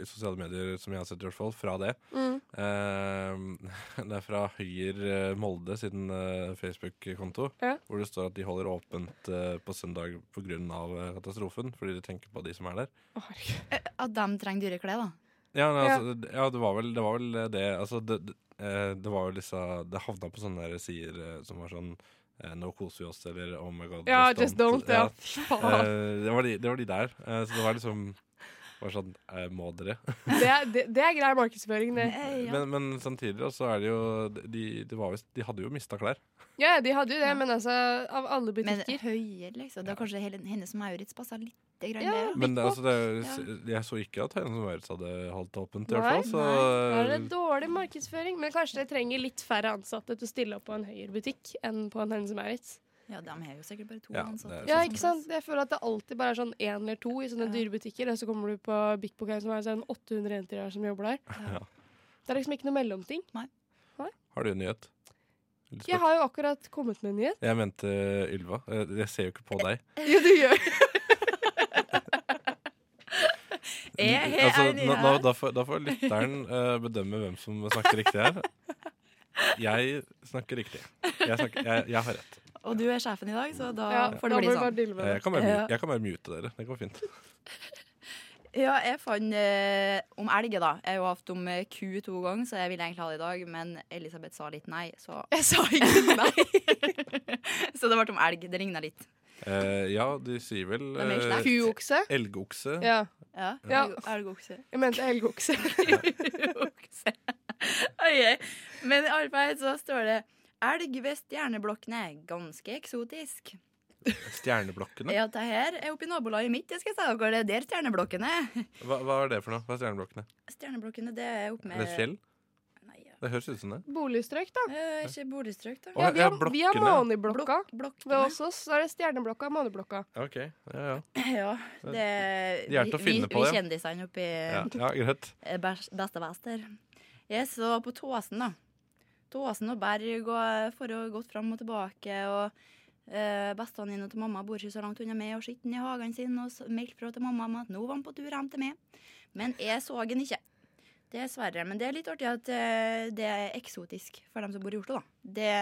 [SPEAKER 3] i sosiale medier som jeg har sett, i hvert fall, fra det.
[SPEAKER 5] Mm.
[SPEAKER 3] Eh, det er fra Høyre eh, Molde sin eh, Facebook-konto,
[SPEAKER 5] Ja.
[SPEAKER 3] hvor det står at de holder åpent eh, på søndag pga. katastrofen, fordi de tenker på de som er der.
[SPEAKER 5] Å, herregud.
[SPEAKER 4] At de trenger dyre klær, da.
[SPEAKER 3] Ja, nei,
[SPEAKER 5] Ja.
[SPEAKER 3] altså, ja det, var vel, det var vel det Altså, det, det, eh, det var jo disse Det havna på sånne der sider eh, som var sånn eh, No koser vi oss, eller Oh my god,
[SPEAKER 5] Ja, just don't. Ja, fy faen.
[SPEAKER 3] Eh, det, var de, det var de der. Eh, så det var liksom var sånn eh, Må dere?
[SPEAKER 5] Det er, det, det er grei markedsføring, det.
[SPEAKER 4] Eh, ja.
[SPEAKER 3] Men, men samtidig da, så er det jo De, de, var visst- de hadde jo mista klær.
[SPEAKER 5] Ja, de hadde jo det,
[SPEAKER 4] Ja.
[SPEAKER 5] men altså, av alle
[SPEAKER 4] Men
[SPEAKER 5] butikker
[SPEAKER 4] høyere, liksom. Det er kanskje hele- hennes Maurits passa litt grann
[SPEAKER 5] Ja.
[SPEAKER 4] bedre.
[SPEAKER 3] Men det, altså, det,
[SPEAKER 4] opp.
[SPEAKER 3] jeg så ikke at Høyens og Maurits hadde holdt det åpent, i
[SPEAKER 5] Nei,
[SPEAKER 3] hvert fall. Så
[SPEAKER 5] Da er det dårlig markedsføring. Men kanskje de trenger litt færre ansatte til å stille opp på en høyere butikk enn på en Hennes Maurits.
[SPEAKER 4] Ja, de har jo sikkert bare to
[SPEAKER 3] Ja, det
[SPEAKER 4] ansatte.
[SPEAKER 3] er sånn
[SPEAKER 5] Ja, ikke sant? Jeg føler at det alltid bare er sånn én eller to i sånne
[SPEAKER 4] Ja.
[SPEAKER 5] dyre butikker, og så kommer du på Big Book her som er sånn 800 jenter her som jobber der.
[SPEAKER 4] Ja.
[SPEAKER 5] Det er liksom ikke noe mellomting.
[SPEAKER 3] har du en nyhet? Eller
[SPEAKER 5] Jeg
[SPEAKER 3] spør-
[SPEAKER 5] har jo akkurat kommet med en nyhet.
[SPEAKER 3] Jeg mente Ylva. Eh, Jeg ser jo ikke på deg.
[SPEAKER 5] Jo, du gjør
[SPEAKER 4] Jeg er
[SPEAKER 3] Altså,
[SPEAKER 4] enig
[SPEAKER 3] nå-
[SPEAKER 4] her.
[SPEAKER 3] nå- da, får, da får lytteren eh, bedømme hvem som snakker riktig her. Jeg snakker riktig. Jeg, snakker, jeg, jeg har rett.
[SPEAKER 4] Og du er sjefen i dag, så da
[SPEAKER 5] ja,
[SPEAKER 4] får det bli sånn.
[SPEAKER 5] sånn.
[SPEAKER 3] Jeg kan bare,
[SPEAKER 4] Ja.
[SPEAKER 3] mu- jeg kan bare mute dere. Det går fint.
[SPEAKER 4] Ja, jeg fant eh, om elg, da. Jeg har jo hatt om eh, ku to ganger, så jeg ville egentlig ha det i dag, men Elisabeth sa litt nei, så
[SPEAKER 5] Jeg sa ikke
[SPEAKER 4] Nei. så det ble om elg. Det ligna litt.
[SPEAKER 3] Eh, ja, de sier vel
[SPEAKER 4] Det er mer
[SPEAKER 3] eh,
[SPEAKER 4] slakt.
[SPEAKER 5] kuokse.
[SPEAKER 3] elgokse.
[SPEAKER 5] Ja,
[SPEAKER 4] Ja.
[SPEAKER 5] Ja.
[SPEAKER 4] elg- Elgokse.
[SPEAKER 5] jeg mente elgokse.
[SPEAKER 4] Okse. Ok. Men i alle fall så står det Elg ved stjerneblokkene. Ganske eksotisk.
[SPEAKER 3] Stjerneblokkene.
[SPEAKER 4] Ja, det her er oppe i nabolaget mitt. Det skal jeg si dere. Det er der stjerneblokkene er.
[SPEAKER 3] Hva, hva er det for noe? Hva er stjerneblokkene?
[SPEAKER 4] Stjerneblokkene, det er oppe
[SPEAKER 3] Er
[SPEAKER 4] med
[SPEAKER 3] det et fjell?
[SPEAKER 4] Nei, ja.
[SPEAKER 3] Det høres ut som det.
[SPEAKER 5] Boligstrøk, da.
[SPEAKER 4] Eh, ikke boligstrøk, da.
[SPEAKER 3] Å,
[SPEAKER 5] Ja, vi
[SPEAKER 3] ja,
[SPEAKER 5] har, vi har
[SPEAKER 3] blokkene.
[SPEAKER 5] måneblokka. Ved
[SPEAKER 4] Blokkene.
[SPEAKER 5] oss også, så er det stjerneblokka og måneblokka.
[SPEAKER 3] Ok, ja, ja.
[SPEAKER 4] Ja, det
[SPEAKER 3] De er til å
[SPEAKER 4] vi-
[SPEAKER 3] finne
[SPEAKER 4] vi-
[SPEAKER 3] på,
[SPEAKER 4] Vi
[SPEAKER 3] ja.
[SPEAKER 4] kjendisene oppi
[SPEAKER 3] ja, ja greit.
[SPEAKER 4] eh, bæs- beste vester. Jeg så på Tåsen, da. Tåsen og Berg og eh, for og gått fram og tilbake. og eh, Bestevenninna til mamma bor ikke så langt unna meg og sitter i hagen sin og s- meldte fra til mamma om at nå var han på tur hjem til meg. Men jeg så han ikke. Dessverre. Men det er litt artig at eh, det er eksotisk for dem som bor i Oslo, da. Det,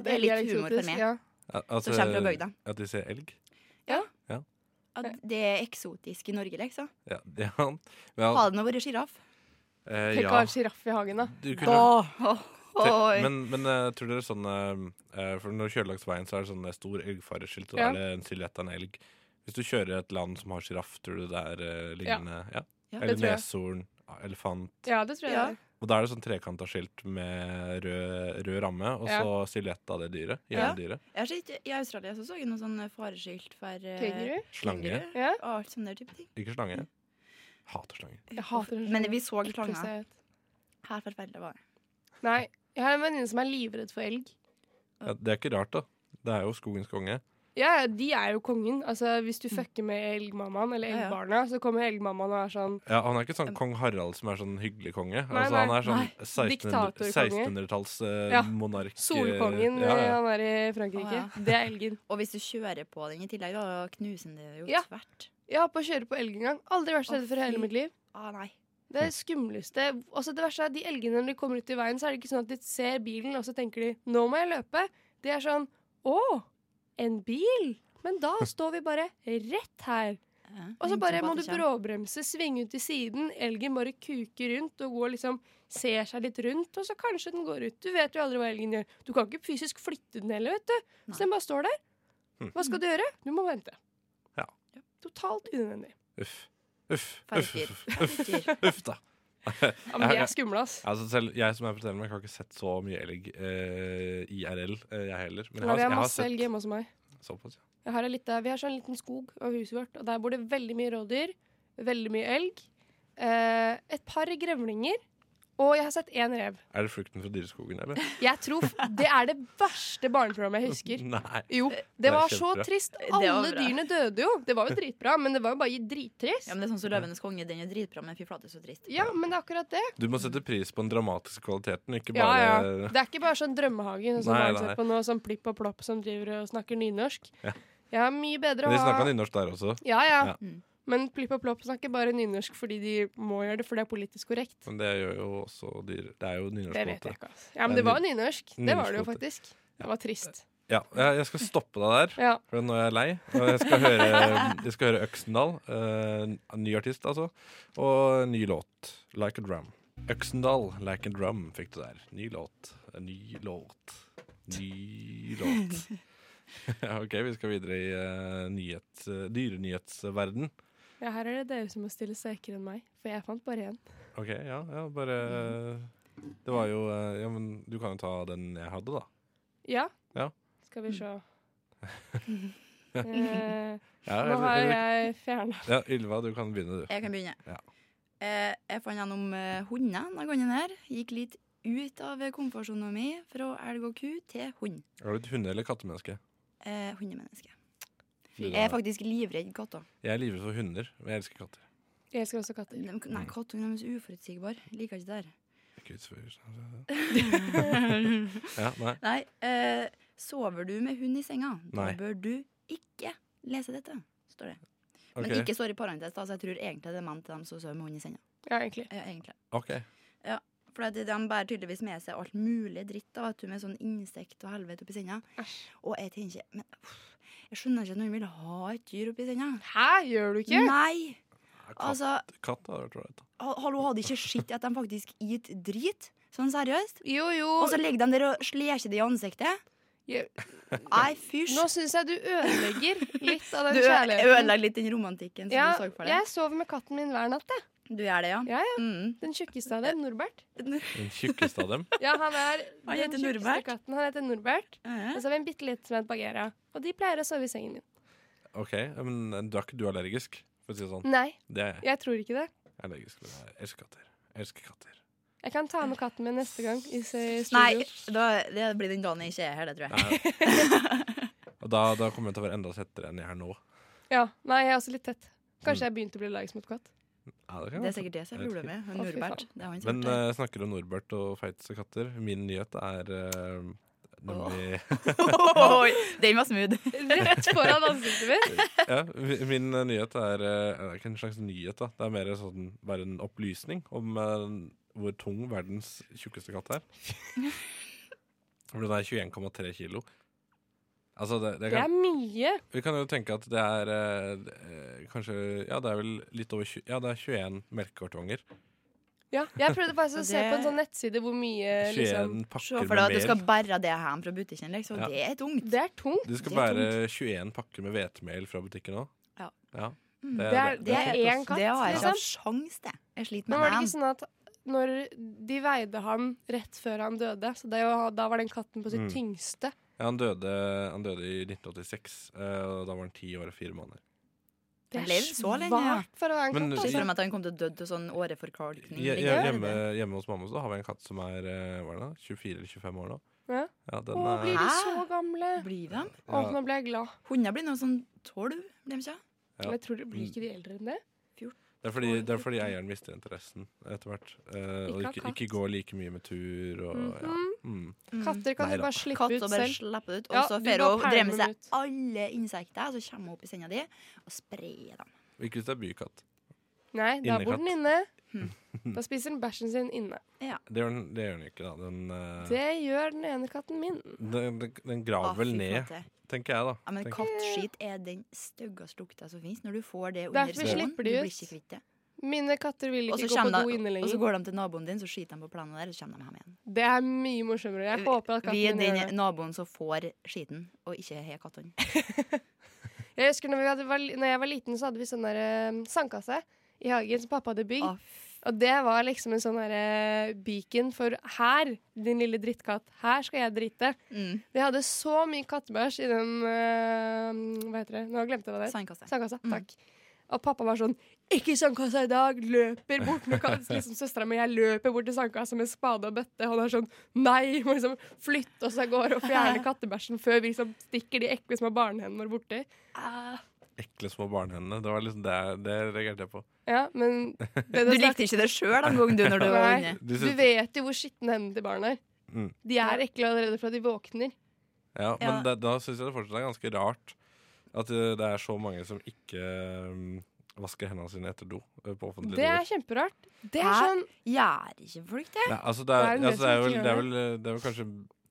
[SPEAKER 5] At
[SPEAKER 4] det er
[SPEAKER 5] elg er
[SPEAKER 4] litt humor for
[SPEAKER 5] eksotisk,
[SPEAKER 4] meg.
[SPEAKER 5] Ja.
[SPEAKER 3] Al- altså,
[SPEAKER 4] Som kommer fra bygda.
[SPEAKER 3] At de ser elg?
[SPEAKER 4] At det er eksotisk i Norge, liksom.
[SPEAKER 3] Ja. ja. Vel,
[SPEAKER 4] Har det nå vært sjiraff?
[SPEAKER 3] eh,
[SPEAKER 5] Tenk å
[SPEAKER 3] ja.
[SPEAKER 5] ha sjiraff i hagen, da.
[SPEAKER 3] Du kunne
[SPEAKER 4] Da!
[SPEAKER 3] Te-
[SPEAKER 4] Oi.
[SPEAKER 3] Men, men eh, tror dere sånn eh, eh, For når du kjører langs veien, så er det sånn eh, stor elgfareskilt, og da
[SPEAKER 5] Ja.
[SPEAKER 3] er det en silhuett av en elg. Hvis du kjører et land som har sjiraff, tror du det er eh, lignende? Ja.
[SPEAKER 4] Ja,
[SPEAKER 5] det
[SPEAKER 3] Eller
[SPEAKER 5] tror jeg.
[SPEAKER 3] neshorn, ah, elefant
[SPEAKER 5] Ja, det tror jeg.
[SPEAKER 4] Ja.
[SPEAKER 5] det er.
[SPEAKER 3] Og da er det sånn trekanta skilt med rød, rød ramme, og
[SPEAKER 5] Ja.
[SPEAKER 3] så silhuett av det dyret.
[SPEAKER 4] Ja.
[SPEAKER 3] Jævldyret.
[SPEAKER 4] Jeg har sett, I Australia så, så jeg noen sånne fareskilt for eh,
[SPEAKER 5] Kenguru?
[SPEAKER 3] Slange.
[SPEAKER 4] kenguru
[SPEAKER 5] Ja.
[SPEAKER 4] Og alt sånne der type ting.
[SPEAKER 3] Ikke slange. Hater slange.
[SPEAKER 5] Jeg hater det.
[SPEAKER 4] Men vi så
[SPEAKER 5] Ikke
[SPEAKER 4] slanger.
[SPEAKER 5] så jeg vet.
[SPEAKER 4] Her forferdelig var det.
[SPEAKER 5] Nei, jeg har en venninne som er livredd for elg.
[SPEAKER 3] Ja, det er ikke rart, da. Det er jo skogens konge.
[SPEAKER 5] Ja, ja, de er jo kongen. Altså, Hvis du fucker med elgmammaen eller
[SPEAKER 4] Mm. Ja, ja.
[SPEAKER 5] elgbarna, så kommer elgmammaen og er sånn
[SPEAKER 3] Ja, han er ikke sånn kong Harald som er sånn hyggelig konge.
[SPEAKER 5] Nei,
[SPEAKER 3] altså, han
[SPEAKER 5] nei,
[SPEAKER 3] er sånn 1600-
[SPEAKER 5] Diktatorkonge.
[SPEAKER 3] 1600-talls eh,
[SPEAKER 5] Ja.
[SPEAKER 3] monark. eh,
[SPEAKER 5] Solkongen
[SPEAKER 3] ja, ja.
[SPEAKER 5] eh, han er i Frankrike.
[SPEAKER 4] Å, ja.
[SPEAKER 5] Det er elgen.
[SPEAKER 4] Og hvis du kjører på den i tillegg, da knuser den det jo
[SPEAKER 5] Ja.
[SPEAKER 4] tvert.
[SPEAKER 5] Jeg har på å kjøre på elg en gang. Aldri vært så
[SPEAKER 4] Å,
[SPEAKER 5] redd for i
[SPEAKER 4] fy.
[SPEAKER 5] hele mitt liv.
[SPEAKER 4] Ah, nei.
[SPEAKER 5] Det er skumleste Altså det verste er at de elgene når de kommer ut i veien, så er det ikke sånn at de ser bilen og så tenker de 'nå må jeg løpe'. De er sånn 'å, en bil'? Men da står vi bare rett her.
[SPEAKER 4] Ja,
[SPEAKER 5] Og så
[SPEAKER 4] venter
[SPEAKER 5] bare
[SPEAKER 4] på
[SPEAKER 5] må
[SPEAKER 4] at
[SPEAKER 5] du
[SPEAKER 4] det kommer.
[SPEAKER 5] bråbremse, svinge ut til siden. Elgen bare kuker rundt og går liksom, ser seg litt rundt, og så kanskje den går ut. Du vet jo aldri hva elgen gjør. Du kan ikke fysisk flytte den heller, vet du.
[SPEAKER 4] Nei.
[SPEAKER 5] Så den bare står der.
[SPEAKER 3] Hm.
[SPEAKER 5] Hva skal du gjøre? Du må vente.
[SPEAKER 3] Ja.
[SPEAKER 5] Totalt unødvendig.
[SPEAKER 3] Uff. Uff. Uff,
[SPEAKER 4] Ferdigdyr.
[SPEAKER 3] uff, uff,
[SPEAKER 4] Ferdigdyr.
[SPEAKER 3] uff da.
[SPEAKER 5] Ja, men de er skumle, ass.
[SPEAKER 3] Altså selv jeg som er på TV, jeg har ikke sett så mye elg eh, IRL, eh, jeg heller. Men jeg har,
[SPEAKER 5] Nei, vi har
[SPEAKER 3] jeg har
[SPEAKER 5] masse elg
[SPEAKER 3] sett
[SPEAKER 5] hjemme hos meg.
[SPEAKER 3] såpass, ja.
[SPEAKER 5] Jeg har en lite, vi har sånn liten skog av huset vårt, og der bor det veldig mye rådyr. Veldig mye elg. Eh, et par grevlinger. Og jeg har sett én rev.
[SPEAKER 3] Er det frukten fra dyreskogen, eller?
[SPEAKER 5] Jeg tror f- Det er det verste barneprogrammet jeg husker.
[SPEAKER 3] Nei.
[SPEAKER 5] Jo,
[SPEAKER 3] Det
[SPEAKER 5] det
[SPEAKER 3] er
[SPEAKER 5] var så
[SPEAKER 3] kjempebra.
[SPEAKER 5] trist.
[SPEAKER 4] var
[SPEAKER 5] Alle
[SPEAKER 4] bra.
[SPEAKER 5] dyrene døde jo. Det var jo dritbra, men det var jo bare drittrist.
[SPEAKER 4] Ja, men det er sånn som Løvenes konge. Den er dritbra, men fy flate, så trist.
[SPEAKER 5] Ja, men det er akkurat det.
[SPEAKER 3] Du må sette pris på den dramatiske kvaliteten, ikke
[SPEAKER 5] Ja,
[SPEAKER 3] bare
[SPEAKER 5] ja. Det er ikke bare sånn drømmehagen som
[SPEAKER 3] Nei,
[SPEAKER 5] Maren
[SPEAKER 3] nei.
[SPEAKER 5] ser på nå, sånn plipp og plopp som driver og snakker nynorsk.
[SPEAKER 3] Ja.
[SPEAKER 5] Jeg har mye bedre
[SPEAKER 3] Men De
[SPEAKER 5] å
[SPEAKER 3] snakka
[SPEAKER 5] ha
[SPEAKER 3] nynorsk der også.
[SPEAKER 5] ja, ja.
[SPEAKER 3] Ja.
[SPEAKER 4] Mm.
[SPEAKER 5] Men plipp og plopp snakker bare nynorsk fordi de må gjøre det, for det er politisk korrekt.
[SPEAKER 3] Men det gjør jo også dyr. Det er jo nynorsk. på
[SPEAKER 5] Det
[SPEAKER 3] en
[SPEAKER 5] vet jeg
[SPEAKER 3] måte.
[SPEAKER 5] ikke. Altså. Ja, men
[SPEAKER 3] Det er
[SPEAKER 5] det var nynorsk. Det var det jo
[SPEAKER 3] nynorskmåte.
[SPEAKER 5] faktisk. Det var trist.
[SPEAKER 3] Ja, jeg, jeg skal stoppe deg der,
[SPEAKER 5] Ja.
[SPEAKER 3] for nå er jeg lei. Og jeg skal høre, jeg skal høre Øksendal. eh, ny artist, altså. Og ny låt. 'Like a Drum'. Øksendal, 'Like a Drum', fikk du der. Ny låt. eh, Ny låt. Ny låt. Ja, OK, vi skal videre i eh, nyhet, eh, dyrenyhetsverden.
[SPEAKER 5] ja, her er det dere som må stille søkere enn meg, for jeg fant bare én.
[SPEAKER 3] OK, ja, ja, bare Det var jo eh, Ja, men du kan jo ta den jeg hadde, da.
[SPEAKER 5] Ja. Mm.
[SPEAKER 3] Ja.
[SPEAKER 5] Skal vi se. Eh,
[SPEAKER 3] Ja,
[SPEAKER 5] nå har
[SPEAKER 3] eller-
[SPEAKER 5] jeg fjerna
[SPEAKER 3] ja, Ylva, du kan begynne, du.
[SPEAKER 4] Jeg kan begynne.
[SPEAKER 3] Ja.
[SPEAKER 4] Eh, jeg fant gjennom eh, hunder denne gangen her. Gikk litt ut av komfortsona mi fra elg og ku til hund.
[SPEAKER 3] Er du et hunde- eller kattemenneske?
[SPEAKER 4] Eh, hundemenneske.
[SPEAKER 3] Du,
[SPEAKER 4] Jeg er
[SPEAKER 3] da.
[SPEAKER 4] faktisk livredd katter.
[SPEAKER 3] Jeg er livredd for hunder, men jeg elsker katter.
[SPEAKER 5] Jeg elsker også katter.
[SPEAKER 4] De- Nei, kattungen er så uforutsigbar. Liker ikke det der.
[SPEAKER 3] Gud, så- ja, nei.
[SPEAKER 4] Nei, eh, sover du med hund i senga, da
[SPEAKER 3] Nei.
[SPEAKER 4] bør du ikke lese dette, står det. Men
[SPEAKER 3] Ok.
[SPEAKER 4] ikke står i parentes, da, så jeg tror egentlig det er ment til dem som sover med hund i senga.
[SPEAKER 5] Ja, egentlig.
[SPEAKER 4] Ja, egentlig.
[SPEAKER 3] ok.
[SPEAKER 4] For at de bærer tydeligvis med seg alt mulig dritt da, vet du, med sånn insekt og helvete oppi senga. Og jeg tenker, men uff, jeg skjønner ikke at noen vil ha et dyr oppi senga.
[SPEAKER 5] Hæ, gjør du ikke?
[SPEAKER 4] Nei!
[SPEAKER 3] Katt,
[SPEAKER 4] Altså,
[SPEAKER 3] katt hadde vært ålreit. da.
[SPEAKER 4] ha- hallo, hadde ikke skitt at de faktisk gitt drit? Sånn seriøst?
[SPEAKER 5] Jo, jo.
[SPEAKER 4] Og så ligger de der og sleker det i ansiktet?
[SPEAKER 5] Ja.
[SPEAKER 4] Nei, fysj!
[SPEAKER 5] Nå syns jeg du ødelegger litt av
[SPEAKER 4] Du
[SPEAKER 5] den
[SPEAKER 4] ø-
[SPEAKER 5] kjærligheten.
[SPEAKER 4] ødelegger litt den romantikken som
[SPEAKER 5] Ja,
[SPEAKER 4] du så for deg.
[SPEAKER 5] jeg sover med katten min hver natt, jeg.
[SPEAKER 4] Du gjør det, ja?
[SPEAKER 5] Ja, ja.
[SPEAKER 4] Mm.
[SPEAKER 5] Den tjukkeste av dem, Norbert.
[SPEAKER 3] Den tjukkeste av dem.
[SPEAKER 5] Ja, han er
[SPEAKER 4] Han
[SPEAKER 5] den
[SPEAKER 4] heter
[SPEAKER 5] tjukkeste
[SPEAKER 4] Norbert?
[SPEAKER 5] katten. Han heter Norbert.
[SPEAKER 4] Eh,
[SPEAKER 5] Og så har vi en bitte liten som heter Bagheera. Og de pleier å sove i sengen min.
[SPEAKER 3] Ok, ja, Men eh, du er ikke du allergisk? For å si det sånn.
[SPEAKER 5] Nei,
[SPEAKER 3] Det er jeg.
[SPEAKER 5] jeg tror ikke det.
[SPEAKER 3] Jeg er allergisk. men Jeg elsker katter. Jeg elsker katter.
[SPEAKER 5] Jeg kan ta med katten min neste gang. I s- i
[SPEAKER 4] Nei,
[SPEAKER 5] studio.
[SPEAKER 4] da, det blir den dagen jeg ikke er her, det tror jeg.
[SPEAKER 3] Nei. Og da, da kommer jeg til å være enda tettere enn jeg er nå.
[SPEAKER 5] Ja, nei, jeg er også litt tett. Kanskje jeg begynte å bli allergisk mot katt.
[SPEAKER 3] Ja, det kan
[SPEAKER 4] Det
[SPEAKER 3] være.
[SPEAKER 4] er sikkert det som er problemet. Han
[SPEAKER 5] Å, fy
[SPEAKER 4] Norbert. Det er han som
[SPEAKER 3] Men
[SPEAKER 4] har gjort det.
[SPEAKER 3] eh, snakker om Norbert og feiteste katter. Min nyhet er eh, nemlig
[SPEAKER 4] Oi, den var smooth.
[SPEAKER 5] Rett foran altså. ansiktet mitt.
[SPEAKER 3] Ja, mi- min eh, nyhet er eh, Det er ikke en slags nyhet, da. Det er mer sånn, bare en opplysning om eh, hvor tung verdens tjukkeste katt er. For den er 21,3 kilo. Altså, det, det
[SPEAKER 5] Det er
[SPEAKER 3] kan,
[SPEAKER 5] mye.
[SPEAKER 3] vi kan jo tenke at det er eh, eh, kanskje Ja, det er vel litt over 20, Ja, det er 21 melkekartonger.
[SPEAKER 5] Ja, jeg prøvde faktisk å se
[SPEAKER 4] Det-
[SPEAKER 5] på en sånn nettside hvor mye
[SPEAKER 3] 21
[SPEAKER 5] liksom,
[SPEAKER 4] Se
[SPEAKER 3] pakker
[SPEAKER 4] Eh, for deg at
[SPEAKER 3] med
[SPEAKER 4] du skal
[SPEAKER 3] mel.
[SPEAKER 4] bære det hjem fra butikken, liksom.
[SPEAKER 3] Ja.
[SPEAKER 4] Det er tungt.
[SPEAKER 5] Det er tungt.
[SPEAKER 3] Du skal
[SPEAKER 4] Det er
[SPEAKER 3] bære 21 pakker med hvetemel fra butikken òg.
[SPEAKER 4] Ja.
[SPEAKER 3] Det,
[SPEAKER 5] Det er-
[SPEAKER 3] det er
[SPEAKER 5] det
[SPEAKER 3] tungt,
[SPEAKER 5] er
[SPEAKER 3] ass.
[SPEAKER 5] en katt,
[SPEAKER 4] Mm. Det har jeg ikke
[SPEAKER 5] liksom.
[SPEAKER 4] hatt sjans til. Jeg sliter
[SPEAKER 5] Men var
[SPEAKER 4] med
[SPEAKER 5] det
[SPEAKER 4] dem.
[SPEAKER 5] ikke sånn at når de veide han rett før han døde, så det, var- da var den katten på sitt
[SPEAKER 3] Mm.
[SPEAKER 5] tyngste.
[SPEAKER 3] Ja, han, døde, han døde i 1986, eh, og da var han ti år og fire måneder.
[SPEAKER 5] Det
[SPEAKER 4] Han
[SPEAKER 5] er
[SPEAKER 4] levde så lenge, ja.
[SPEAKER 5] svært for å være en
[SPEAKER 3] Men-
[SPEAKER 5] katt.
[SPEAKER 4] Syns
[SPEAKER 5] altså.
[SPEAKER 4] du om at han kom til å dø til sånn åreforkalkning?
[SPEAKER 3] Ja,
[SPEAKER 4] Det
[SPEAKER 3] ja,
[SPEAKER 4] gjør
[SPEAKER 3] hjemme,
[SPEAKER 4] det.
[SPEAKER 3] hjemme hos mamma så har vi en katt som er eh, hva er det da, 24 eller 25 år nå.
[SPEAKER 5] Ja.
[SPEAKER 3] Ja, den
[SPEAKER 5] Å, blir
[SPEAKER 3] er,
[SPEAKER 5] de
[SPEAKER 4] Hæ?
[SPEAKER 5] så gamle?
[SPEAKER 4] Blir de?
[SPEAKER 5] Å,
[SPEAKER 3] ja,
[SPEAKER 5] nå ble jeg glad.
[SPEAKER 4] Hunder blir nå sånn tolv, blir de ikke?
[SPEAKER 3] Ja.
[SPEAKER 5] Men Jeg tror det blir ikke de eldre enn det.
[SPEAKER 3] det, er fordi, det er fordi eieren mister interessen etter hvert. eh, og
[SPEAKER 5] Ikke ha
[SPEAKER 3] ikke,
[SPEAKER 5] katt. Mhm.
[SPEAKER 3] ikke går like mye med tur. Og, ja. mm.
[SPEAKER 4] Mm.
[SPEAKER 5] Katter kan
[SPEAKER 3] Nei
[SPEAKER 5] du
[SPEAKER 3] da.
[SPEAKER 5] bare slippe
[SPEAKER 4] Katt
[SPEAKER 5] ut
[SPEAKER 4] og bare
[SPEAKER 5] selv.
[SPEAKER 4] slippe det ut.
[SPEAKER 5] Ja,
[SPEAKER 4] Og så
[SPEAKER 5] du
[SPEAKER 4] får
[SPEAKER 5] bare
[SPEAKER 4] hun drev med
[SPEAKER 5] pælmer dem
[SPEAKER 4] seg
[SPEAKER 5] ut.
[SPEAKER 4] alle insekter, så kommer hun opp i senga di og sprer dem.
[SPEAKER 3] Ikke hvis det er bykatt.
[SPEAKER 5] Nei, da bor
[SPEAKER 3] Innekatt.
[SPEAKER 5] den inne.
[SPEAKER 4] Hmm.
[SPEAKER 5] Da spiser den bæsjen sin inne.
[SPEAKER 3] Det gjør den, det gjør den ikke, da. Den, eh,
[SPEAKER 5] Det gjør den ene katten min.
[SPEAKER 3] den, den, den
[SPEAKER 4] Ah,
[SPEAKER 3] graver
[SPEAKER 4] fy
[SPEAKER 3] vel ned,
[SPEAKER 4] flate.
[SPEAKER 3] tenker jeg, da.
[SPEAKER 4] Ja, men
[SPEAKER 3] Tenker-
[SPEAKER 4] Kattskit er den styggeste lukta som fins. Når du får det under
[SPEAKER 5] Derfor
[SPEAKER 4] skoen, du
[SPEAKER 5] slipper de
[SPEAKER 4] blir
[SPEAKER 5] ut.
[SPEAKER 4] ikke kvitt det.
[SPEAKER 5] Mine katter vil
[SPEAKER 4] Og så
[SPEAKER 5] ikke gå på
[SPEAKER 4] kommer
[SPEAKER 5] do inne
[SPEAKER 4] de- og så går
[SPEAKER 5] lenger.
[SPEAKER 4] de til naboen din, så skiter de på planen der, og så kommer de hjem igjen.
[SPEAKER 5] Det er mye morsommere. Jeg håper at
[SPEAKER 4] Vi er
[SPEAKER 5] katten min gjør
[SPEAKER 4] den
[SPEAKER 5] det.
[SPEAKER 4] naboen som får skiten, og ikke har kattene.
[SPEAKER 5] Jeg husker når, vi hadde, var- når jeg var liten, så hadde vi sånn der eh, sandkasse i hagen som pappa hadde bygd.
[SPEAKER 4] Å,
[SPEAKER 5] Og det var liksom en sånn derre beacon for her, din lille drittkatt, her skal jeg drite.
[SPEAKER 4] Mm.
[SPEAKER 5] Vi hadde så mye kattebæsj i den eh, Hva heter det? Nå glemte jeg hva det het.
[SPEAKER 4] Sandkasse.
[SPEAKER 5] Sandkassa.
[SPEAKER 4] Mm.
[SPEAKER 5] Takk. Og pappa var sånn 'Ikke i sandkassa i dag!' Løper bort. Nå kan liksom søstera mi og jeg løper bort til sandkassa med spade og bøtte. Han er sånn 'nei!' Må liksom flytte oss av gårde og fjerne kattebæsjen før vi liksom stikker de ekle små barnehendene våre borti.
[SPEAKER 3] Ekle små barnehendene. Det var liksom det, det reagerte jeg på.
[SPEAKER 5] Ja, men det
[SPEAKER 4] Du
[SPEAKER 5] snakker-
[SPEAKER 4] likte ikke det sjøl en gang, du, når du var
[SPEAKER 5] Nei.
[SPEAKER 4] inne.
[SPEAKER 3] Du
[SPEAKER 5] Du
[SPEAKER 3] synes-
[SPEAKER 5] vet jo hvor skitne hendene til barn er.
[SPEAKER 3] Mm.
[SPEAKER 5] De er ekle allerede fra de våkner.
[SPEAKER 3] Ja, men
[SPEAKER 4] Ja.
[SPEAKER 3] Det, da syns jeg det fortsatt er ganske rart at eh, det er så mange som ikke mm, vasker hendene sine etter do eh, på offentlige
[SPEAKER 5] Det er
[SPEAKER 3] doer.
[SPEAKER 5] kjemperart. Det er
[SPEAKER 4] Hæ?
[SPEAKER 5] sånn
[SPEAKER 4] Gjør ikke folk det?
[SPEAKER 3] Nei, altså, det er,
[SPEAKER 5] det er
[SPEAKER 3] altså, det er,
[SPEAKER 5] en del som
[SPEAKER 3] vel,
[SPEAKER 5] ikke
[SPEAKER 3] det, er
[SPEAKER 5] gjør
[SPEAKER 3] vel, eh, det er vel kanskje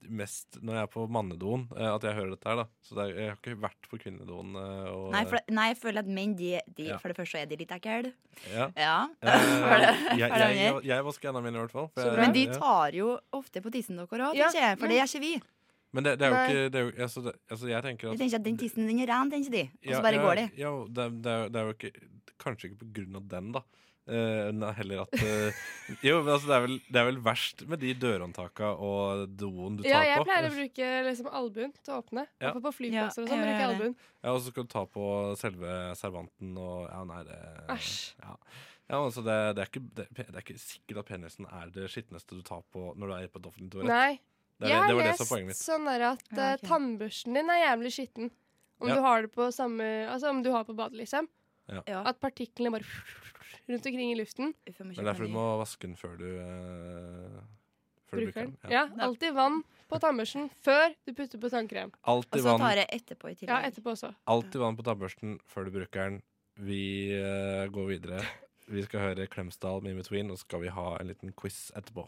[SPEAKER 3] mest når jeg er på mannedoen eh, at jeg hører dette her, da. Så det er, jeg har ikke vært på kvinnedoen. eh, Og,
[SPEAKER 4] Nei, for, nei, jeg føler at menn, de, de,
[SPEAKER 3] Ja.
[SPEAKER 4] for det første er de litt ekle.
[SPEAKER 3] ja.
[SPEAKER 4] Ja.
[SPEAKER 3] Eh, jeg,
[SPEAKER 4] er
[SPEAKER 3] jeg,
[SPEAKER 4] det
[SPEAKER 3] jeg, jeg vasker hendene mine i hvert fall. for
[SPEAKER 5] Så
[SPEAKER 3] jeg-
[SPEAKER 5] bra.
[SPEAKER 4] Men de
[SPEAKER 3] ja.
[SPEAKER 4] tar jo ofte på tissen deres òg,
[SPEAKER 5] Ja,
[SPEAKER 4] ikke For det gjør ikke vi.
[SPEAKER 3] Men det, det er jo
[SPEAKER 5] Nei.
[SPEAKER 3] ikke det er jo, altså, det, altså, Jeg tenker
[SPEAKER 4] Vi
[SPEAKER 3] at
[SPEAKER 4] tenker at den tissen den er ren, tenker de. Og
[SPEAKER 3] Ja,
[SPEAKER 4] så bare
[SPEAKER 3] ja,
[SPEAKER 4] går de.
[SPEAKER 3] Ja, og det, det, er, det er jo ikke, kanskje ikke på grunn av den, da. Eh, nei, heller at eh, Jo, men altså, det er, vel, det er vel verst med de dørhåndtaka og doen du tar
[SPEAKER 5] Ja, jeg
[SPEAKER 3] på.
[SPEAKER 5] pleier å bruke liksom albuen til å åpne.
[SPEAKER 3] Ja.
[SPEAKER 5] Iallfall på flyplasser
[SPEAKER 4] Ja,
[SPEAKER 5] og sånn.
[SPEAKER 4] jeg
[SPEAKER 5] bruker jeg
[SPEAKER 4] gjør det.
[SPEAKER 5] albuen.
[SPEAKER 3] Ja, og så skal du ta på selve servanten og Ja, nei, det
[SPEAKER 5] Æsj.
[SPEAKER 3] Ja. Ja, men altså det, det, er ikke, det, det er ikke sikkert at penisen er det skitneste du tar på når du er på et offentlig toalett.
[SPEAKER 5] Nei.
[SPEAKER 3] Det, er
[SPEAKER 5] jeg
[SPEAKER 3] det,
[SPEAKER 5] har
[SPEAKER 3] det var det
[SPEAKER 5] lest
[SPEAKER 3] som var poenget mitt.
[SPEAKER 5] sånn der at
[SPEAKER 4] Ja,
[SPEAKER 5] eh,
[SPEAKER 4] ok.
[SPEAKER 5] tannbørsten din er jævlig skitten. Om
[SPEAKER 3] Ja.
[SPEAKER 5] du har det på samme Altså om du har på badet, liksom.
[SPEAKER 4] Ja.
[SPEAKER 5] At partiklene bare rundt omkring i luften.
[SPEAKER 4] Uff, jeg må
[SPEAKER 3] Det er derfor du
[SPEAKER 4] kjøpe en ny.
[SPEAKER 3] må vaske den før du eh, Før du
[SPEAKER 5] Bruker den.
[SPEAKER 3] Ja.
[SPEAKER 5] Ja, alltid vann på tannbørsten før du putter på tannkrem.
[SPEAKER 4] Og
[SPEAKER 3] Alltid
[SPEAKER 4] så
[SPEAKER 3] vann.
[SPEAKER 4] tar jeg etterpå i tillegg.
[SPEAKER 5] Ja, etterpå også.
[SPEAKER 3] Alltid vann på tannbørsten før du bruker den. Vi eh, går videre. Vi skal høre Klemsdal med In Between, og så skal vi ha en liten quiz etterpå.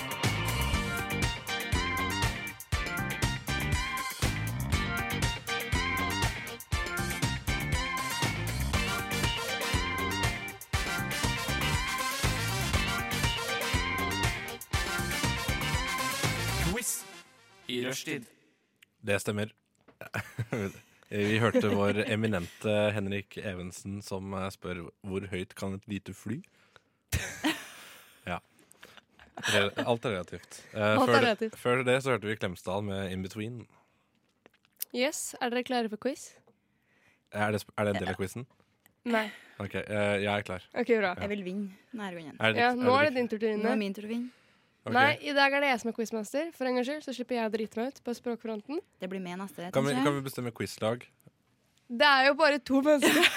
[SPEAKER 8] Quiz i rushtid.
[SPEAKER 3] Det stemmer. Vi hørte vår eminente Henrik Evensen som eh, spør hvor høyt kan et lite fly? Ja. Re- Alt er relativt. Eh,
[SPEAKER 5] Alt
[SPEAKER 3] før,
[SPEAKER 5] er
[SPEAKER 3] det,
[SPEAKER 5] relativt.
[SPEAKER 3] før det så hørte vi Klemsdal med In Between.
[SPEAKER 5] Yes, er dere klare for quiz?
[SPEAKER 3] Er det, sp- er det en del av quizen?
[SPEAKER 5] Nei.
[SPEAKER 3] OK, eh, jeg er klar.
[SPEAKER 5] Ok, bra.
[SPEAKER 4] Jeg vil vinne denne gangen.
[SPEAKER 3] Er
[SPEAKER 5] Ja, nå er det din tur,
[SPEAKER 4] Nå
[SPEAKER 5] Trine.
[SPEAKER 4] er min tur å vinne.
[SPEAKER 3] Ok.
[SPEAKER 5] Nei, i dag er det jeg som er quizmaster. For en gangs skyld så slipper jeg å drite meg ut på språkfronten.
[SPEAKER 4] Det blir med neste.
[SPEAKER 3] Kan vi,
[SPEAKER 4] tenker jeg.
[SPEAKER 3] kan vi bestemme quizlag?
[SPEAKER 5] Det er jo bare to mennesker.